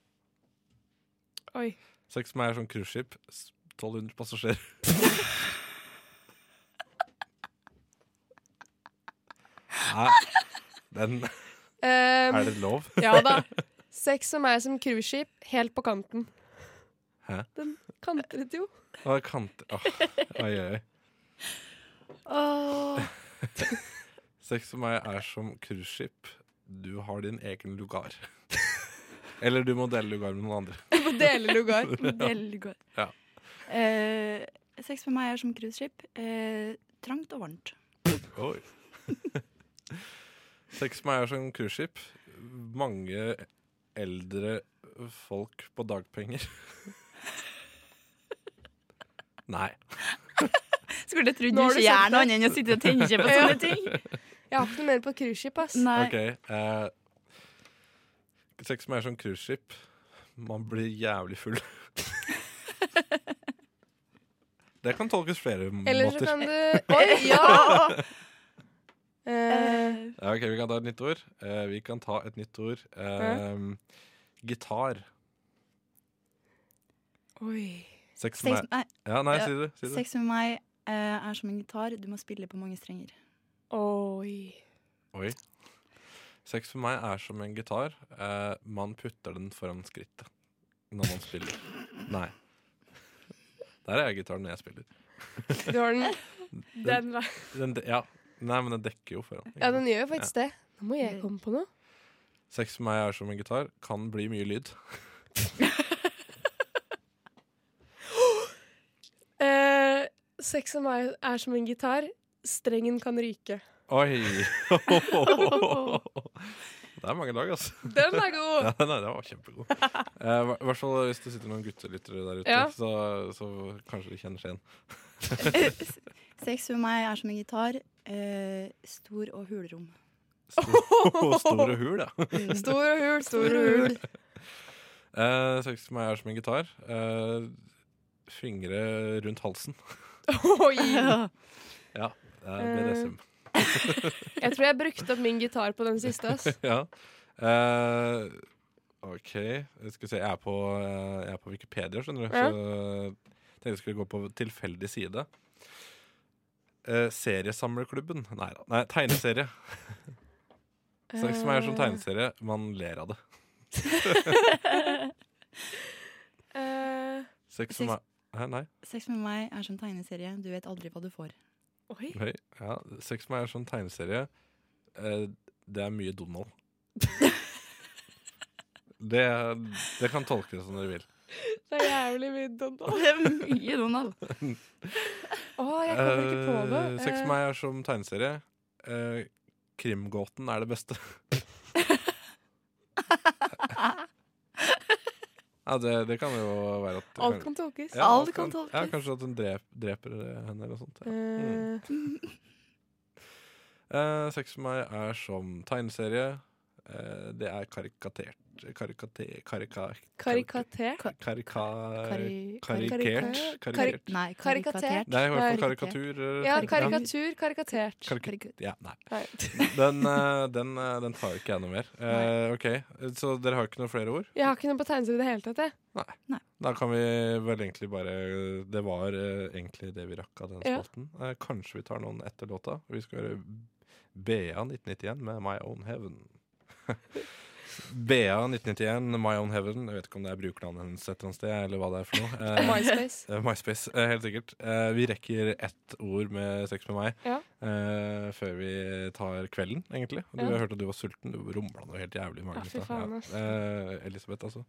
[SPEAKER 5] Oi.
[SPEAKER 3] Sex med meg er som cruiseskip. S- 1200 passasjerer. Nei, den
[SPEAKER 5] Ehm,
[SPEAKER 3] Er det lov?
[SPEAKER 5] ja da. Sex med meg som cruiseskip, helt på kanten.
[SPEAKER 3] Hæ?
[SPEAKER 5] Den kantret jo.
[SPEAKER 3] Å, kant... Åh, oi, oi, oi. Sex for meg er som cruiseskip. Du har din egen lugar. Eller du må dele lugar med noen andre.
[SPEAKER 5] Du må dele lugar.
[SPEAKER 3] Ja.
[SPEAKER 4] Dele lugar.
[SPEAKER 3] Ja.
[SPEAKER 4] Eh, sex med meg er som cruiseskip. Eh, trangt og varmt.
[SPEAKER 3] Oi. Sex for meg er som cruiseskip. Mange eldre folk på dagpenger. Nei.
[SPEAKER 4] Skulle trodd
[SPEAKER 5] Nå har
[SPEAKER 4] du
[SPEAKER 5] du
[SPEAKER 4] ikke gjør
[SPEAKER 5] sagt
[SPEAKER 4] noe
[SPEAKER 5] det.
[SPEAKER 4] annet enn å sitte og tenke på sånne ting.
[SPEAKER 5] Jeg har ikke noe mer på cruiseskip, ass.
[SPEAKER 3] OK. eh, sex med meg er som cruiseskip. Man blir jævlig full. det kan tolkes flere
[SPEAKER 5] Eller så
[SPEAKER 3] måter.
[SPEAKER 5] kan du Oi, ja! Eh,
[SPEAKER 3] Ja, OK, vi kan ta et nytt ord. Eh, vi kan ta et nytt ord. Eh, Gitar.
[SPEAKER 5] Oi.
[SPEAKER 3] Sex
[SPEAKER 4] Eh, Sex
[SPEAKER 3] med
[SPEAKER 4] med meg-
[SPEAKER 3] Ja, nei,
[SPEAKER 4] Ja.
[SPEAKER 3] si det. Si det.
[SPEAKER 4] Sex med meg eh, er som en gitar. Du må spille på mange strenger.
[SPEAKER 5] Oi.
[SPEAKER 3] Oi. Sex for meg er som en gitar. Eh, man putter den foran skrittet når man spiller. Nei. Der er jeg gitaren når jeg spiller.
[SPEAKER 5] Du har den Den veien.
[SPEAKER 3] Den, de- ja. Nei, men den dekker jo foran. ikke
[SPEAKER 5] Ja, den
[SPEAKER 3] sant?
[SPEAKER 5] gjør jo faktisk det. Nå må jeg komme på noe.
[SPEAKER 3] Sex for meg er som en gitar. Kan bli mye lyd.
[SPEAKER 5] Eh, sex med meg er som en gitar. Strengen kan ryke.
[SPEAKER 3] Oi! Det er mange lag, altså.
[SPEAKER 5] Den er god.
[SPEAKER 3] Ja, nei, den var kjempegod. Eh, hva- I hvert fall hvis det sitter noen guttelyttere der ute,
[SPEAKER 5] Ja.
[SPEAKER 3] så, så kanskje de kjenner seg igjen.
[SPEAKER 4] Sex med meg er som en gitar. Eh, stor og hulrom. Mm.
[SPEAKER 3] Stor, store hul, ja.
[SPEAKER 5] Stor og hul, stor og hul.
[SPEAKER 3] Eh, Sex for meg er som en gitar. Eh, fingre rundt halsen.
[SPEAKER 5] Oi!
[SPEAKER 3] Ja, det er BDSM.
[SPEAKER 5] Jeg tror jeg brukte opp min gitar på den siste. ass.
[SPEAKER 3] ja. Eh, OK, skal vi se. Jeg er på, eh, jeg er på Wikipedia, skjønner du.
[SPEAKER 5] Ja.
[SPEAKER 3] Så jeg tenkte jeg skulle gå på tilfeldig side. Eh, seriesamlerklubben? Nei da. Nei, tegneserie. Snakk som er som
[SPEAKER 5] Eh.
[SPEAKER 3] tegneserie. Man ler av det.
[SPEAKER 5] Eh,
[SPEAKER 3] Sex som er Hæ, Nei.
[SPEAKER 4] Sex med meg er som tegneserie. Du vet aldri hva du får.
[SPEAKER 3] Oi. Ja, Sex med meg er sånn tegneserie. Eh, det er mye Donald. det, det kan tolkes som dere vil.
[SPEAKER 5] det er jævlig mye Donald.
[SPEAKER 4] Det er mye Donald.
[SPEAKER 5] Å, jeg kommer ikke på det.
[SPEAKER 3] Eh, Sex
[SPEAKER 5] Eh,
[SPEAKER 3] med meg er som tegneserie. Eh, krimgåten er det beste. ja, det, det kan jo være at
[SPEAKER 5] Alt kan tolkes.
[SPEAKER 3] Ja,
[SPEAKER 5] Alt kan tolkes.
[SPEAKER 3] Ja, kanskje at hun drep, dreper eh, henne eller noe sånt. Ja.
[SPEAKER 5] eh,
[SPEAKER 3] Mm. Eh, sex med meg er som tegneserie. Eh, det er karikatert Karikate... Karika...
[SPEAKER 5] Karikater.
[SPEAKER 3] Karika...
[SPEAKER 5] Kari-
[SPEAKER 3] Karikert?
[SPEAKER 5] Karikatert.
[SPEAKER 3] Karikert?
[SPEAKER 5] Nei, karikatert.
[SPEAKER 3] Nei, i hvert fall
[SPEAKER 5] Nei.
[SPEAKER 3] karikatur. eh,
[SPEAKER 5] Ja, karikatur, karikatert.
[SPEAKER 3] Karikatur. Ja, nei.
[SPEAKER 5] Nei.
[SPEAKER 3] Den, eh, den, eh, den tar ikke jeg noe mer. Eh, ok, Så dere har ikke noen flere ord?
[SPEAKER 5] Jeg har ikke noe på tegneserie i det hele tatt, jeg.
[SPEAKER 3] Da kan vi vel egentlig bare Det var eh, egentlig det vi rakk av den
[SPEAKER 5] Ja.
[SPEAKER 3] spalten. Eh, kanskje vi tar noen etter låta. Vi skal høre BA 1991 med My Own Heaven. BA 1991, My Own Heaven. Jeg vet ikke om det er brukernavnet hennes et eller annet sted, eller hva det er for noe. Eh,
[SPEAKER 5] MySpace.
[SPEAKER 3] eh, MySpace, eh, helt sikkert. Eh, vi rekker ett ord med sex med meg
[SPEAKER 5] Ja.
[SPEAKER 3] eh, før vi tar kvelden, egentlig. Du
[SPEAKER 5] Ja.
[SPEAKER 3] har hørt at du var sulten. Du rumla noe helt jævlig i magen.
[SPEAKER 5] Ja, fy
[SPEAKER 3] ditt, da.
[SPEAKER 5] faen, ass.
[SPEAKER 3] Eh, Elisabeth, altså.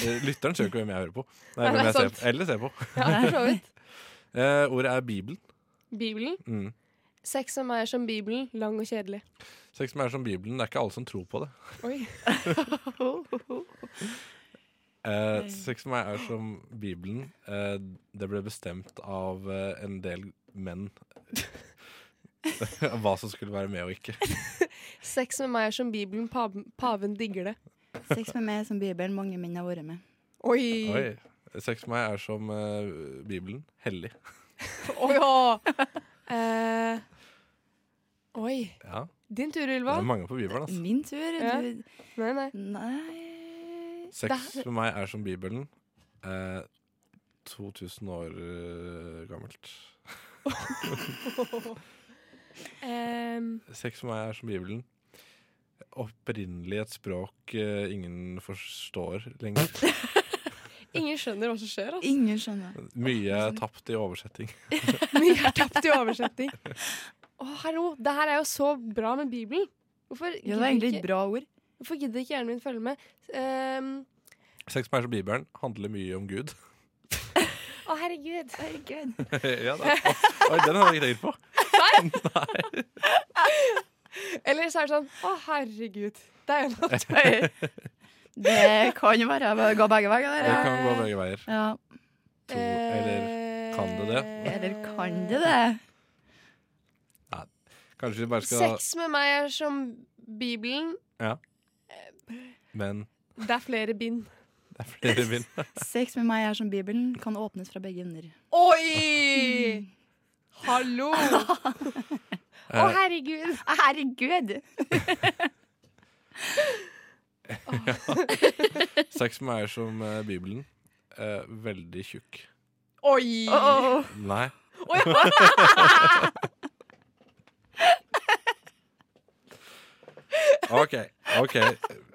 [SPEAKER 3] Eh, lytteren ser jo ikke hvem jeg hører på. Nei,
[SPEAKER 5] Nei,
[SPEAKER 3] hvem
[SPEAKER 5] det er
[SPEAKER 3] jeg ser
[SPEAKER 5] sant.
[SPEAKER 3] på. Eller ser på.
[SPEAKER 5] Ja, for så vidt.
[SPEAKER 3] Eh, ordet er Bibelen.
[SPEAKER 5] Bibelen.
[SPEAKER 3] Mm.
[SPEAKER 5] Sex som er som Bibelen, lang og kjedelig.
[SPEAKER 3] Sex som er som Bibelen. Det er ikke alle som tror på det.
[SPEAKER 5] Oi.
[SPEAKER 3] Eh, sex med meg er som Bibelen. Eh, det ble bestemt av eh, en del menn hva som skulle være med og ikke.
[SPEAKER 5] Sex med meg er som Bibelen, paven, paven digger det.
[SPEAKER 4] Sex med meg som Bibelen mange menn har vært med.
[SPEAKER 5] Oi!
[SPEAKER 3] Oi. Sex med meg er som eh, Bibelen. Hellig.
[SPEAKER 5] Oi, å. Eh, oi.
[SPEAKER 3] Ja.
[SPEAKER 5] Din tur,
[SPEAKER 3] Det
[SPEAKER 5] Ylva.
[SPEAKER 3] er mange på Bibelen, altså.
[SPEAKER 4] Min tur?
[SPEAKER 5] Ja.
[SPEAKER 4] Du,
[SPEAKER 5] Nei, nei.
[SPEAKER 3] Sex
[SPEAKER 5] Det-
[SPEAKER 3] for meg er som Bibelen. Eh, 2000 år eh, gammelt.
[SPEAKER 5] Em,
[SPEAKER 3] Sex for meg er som Bibelen. Opprinnelig et språk eh, ingen forstår lenger.
[SPEAKER 5] ingen skjønner hva som skjer, altså.
[SPEAKER 4] Ingen skjønner.
[SPEAKER 3] Mye er tapt i oversetting.
[SPEAKER 4] altså.
[SPEAKER 5] Mye er tapt i oversetting. Å, hallo! Det her er jo så bra med Bibelen. Hvorfor
[SPEAKER 4] Ja, det var egentlig et bra ord.
[SPEAKER 5] Hvorfor gidder ikke hjernen min følge med? Em,
[SPEAKER 3] Sex for meg er som Bibelen handler mye om Gud.
[SPEAKER 5] Å, herregud. herregud.
[SPEAKER 3] ja da. Oi, den hadde jeg ikke tenkt på.
[SPEAKER 5] Eller så er det sånn Å, herregud. Det er jo noe
[SPEAKER 4] Det kan jo være. Jeg ga begge veier.
[SPEAKER 3] Det
[SPEAKER 4] der.
[SPEAKER 5] Eh,
[SPEAKER 3] kan gå begge veier.
[SPEAKER 4] Ja.
[SPEAKER 3] To, eller kan det det?
[SPEAKER 5] Eh,
[SPEAKER 4] Eller kan det det?
[SPEAKER 3] Kanskje vi bare skal
[SPEAKER 5] Sex med meg er som Bibelen.
[SPEAKER 3] Ja. Men
[SPEAKER 5] Det er flere bind.
[SPEAKER 3] det er flere bind.
[SPEAKER 4] Sex med meg er som Bibelen, kan åpnes fra begge ender.
[SPEAKER 5] Oi! Hallo! Å,
[SPEAKER 3] Eh,
[SPEAKER 5] herregud.
[SPEAKER 4] Herregud!
[SPEAKER 3] Sex med meg er som eh, Bibelen. Eh, veldig tjukk.
[SPEAKER 5] Oi! Oh.
[SPEAKER 3] Nei. OK. ok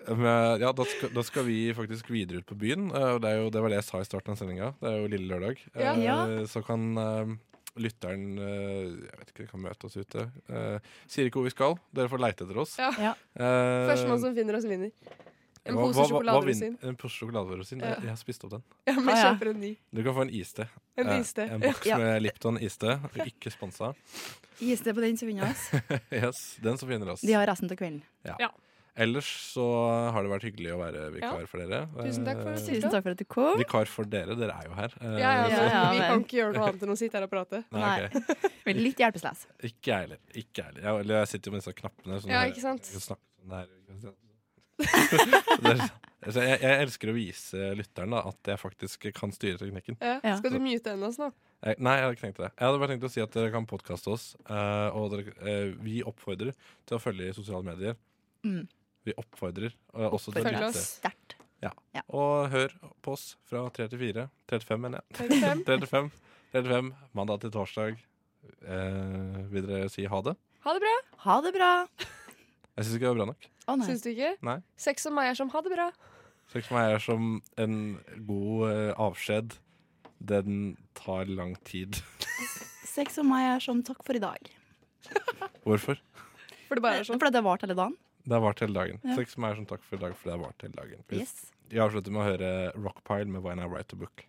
[SPEAKER 3] Men, eh, Ja, da skal, da skal vi faktisk videre ut på byen. eh, Og det, er jo, det var det jeg sa i starten av sendinga. Det er jo lille lørdag.
[SPEAKER 5] Ja.
[SPEAKER 3] Eh,
[SPEAKER 5] Ja.
[SPEAKER 3] Så kan eh, lytteren eh, Jeg vet ikke, kan møte oss ute. Eh, sier ikke hvor vi skal. Dere får leite etter oss.
[SPEAKER 5] Ja.
[SPEAKER 4] Ja.
[SPEAKER 3] Eh,
[SPEAKER 5] Førstemann som finner oss, vinner. En
[SPEAKER 3] hva-
[SPEAKER 5] pose
[SPEAKER 3] hva- hva- hva
[SPEAKER 5] sjokoladerosin.
[SPEAKER 3] vinner- En pose sjokoladerosin. Jeg,
[SPEAKER 5] Ja.
[SPEAKER 3] jeg har spist opp den.
[SPEAKER 5] Ja, men
[SPEAKER 4] Ah, ja.
[SPEAKER 5] kjøper en ny.
[SPEAKER 3] Du kan få en iste.
[SPEAKER 5] En
[SPEAKER 3] Eh,
[SPEAKER 5] iste.
[SPEAKER 3] En boks
[SPEAKER 4] Ja.
[SPEAKER 3] med Lipton iste. Ikke sponsa.
[SPEAKER 4] Gis det på den som vinner oss.
[SPEAKER 3] yes, den som finner oss.
[SPEAKER 4] De har resten av kvelden.
[SPEAKER 3] Ja.
[SPEAKER 5] Ja.
[SPEAKER 3] Ellers så har det vært hyggelig å være vikar
[SPEAKER 5] Ja.
[SPEAKER 3] for dere.
[SPEAKER 5] Tusen takk for at du
[SPEAKER 3] Eh,
[SPEAKER 5] stilte Tusen takk for
[SPEAKER 4] at du kom.
[SPEAKER 3] Vikar for dere, dere er jo her. Eh,
[SPEAKER 5] Ja,
[SPEAKER 3] så-
[SPEAKER 5] ja, men vi kan ikke gjøre noe annet enn å sitte her og prate.
[SPEAKER 3] Nei, ok.
[SPEAKER 4] Men litt hjelpeløs.
[SPEAKER 3] Ikke jeg heller. Ikke jeg heller. Jeg, eller jeg sitter jo med disse knappene. Sånn
[SPEAKER 5] Ja,
[SPEAKER 3] her-
[SPEAKER 5] ikke sant?
[SPEAKER 3] Jeg, snakker sånn her. Det er- så jeg, jeg elsker å vise lytteren da, at jeg faktisk kan styre teknikken.
[SPEAKER 5] Ja. Skal du mute henne oss nå?
[SPEAKER 3] Jeg, Eh, nei, jeg hadde ikke tenkt det. Jeg hadde bare tenkt å si at dere kan podkaste oss. eh, og dere, eh, vi oppfordrer til å følge i sosiale medier.
[SPEAKER 4] Mm.
[SPEAKER 3] Vi oppfordrer eh, også til å
[SPEAKER 4] Oppfordrer
[SPEAKER 3] lytte.
[SPEAKER 4] oss sterkt.
[SPEAKER 3] Ja. Og hør på oss fra 3 til 4. 35, mener jeg.
[SPEAKER 5] 35.
[SPEAKER 3] 35, 35 mandag til torsdag. Eh, vil dere si ha det?
[SPEAKER 5] Ha det bra!
[SPEAKER 4] Ha det bra!
[SPEAKER 3] Jeg syns ikke det var bra nok.
[SPEAKER 5] Syns du ikke?
[SPEAKER 3] Nei.
[SPEAKER 5] Sex som meg er som ha det bra.
[SPEAKER 3] Sex for meg er som en god eh, avskjed. Den tar lang tid.
[SPEAKER 4] Sex og meg er som takk for i dag.
[SPEAKER 3] Hvorfor?
[SPEAKER 5] For det
[SPEAKER 4] bare er sånn. Fordi det har vart hele dagen.
[SPEAKER 3] Det har vart hele dagen.
[SPEAKER 4] Ja.
[SPEAKER 3] Sex for meg er som takk for i dag, for det har vart hele dagen.
[SPEAKER 4] Yes.
[SPEAKER 3] Vi avslutter med å høre Rockpile med When I Write a Book.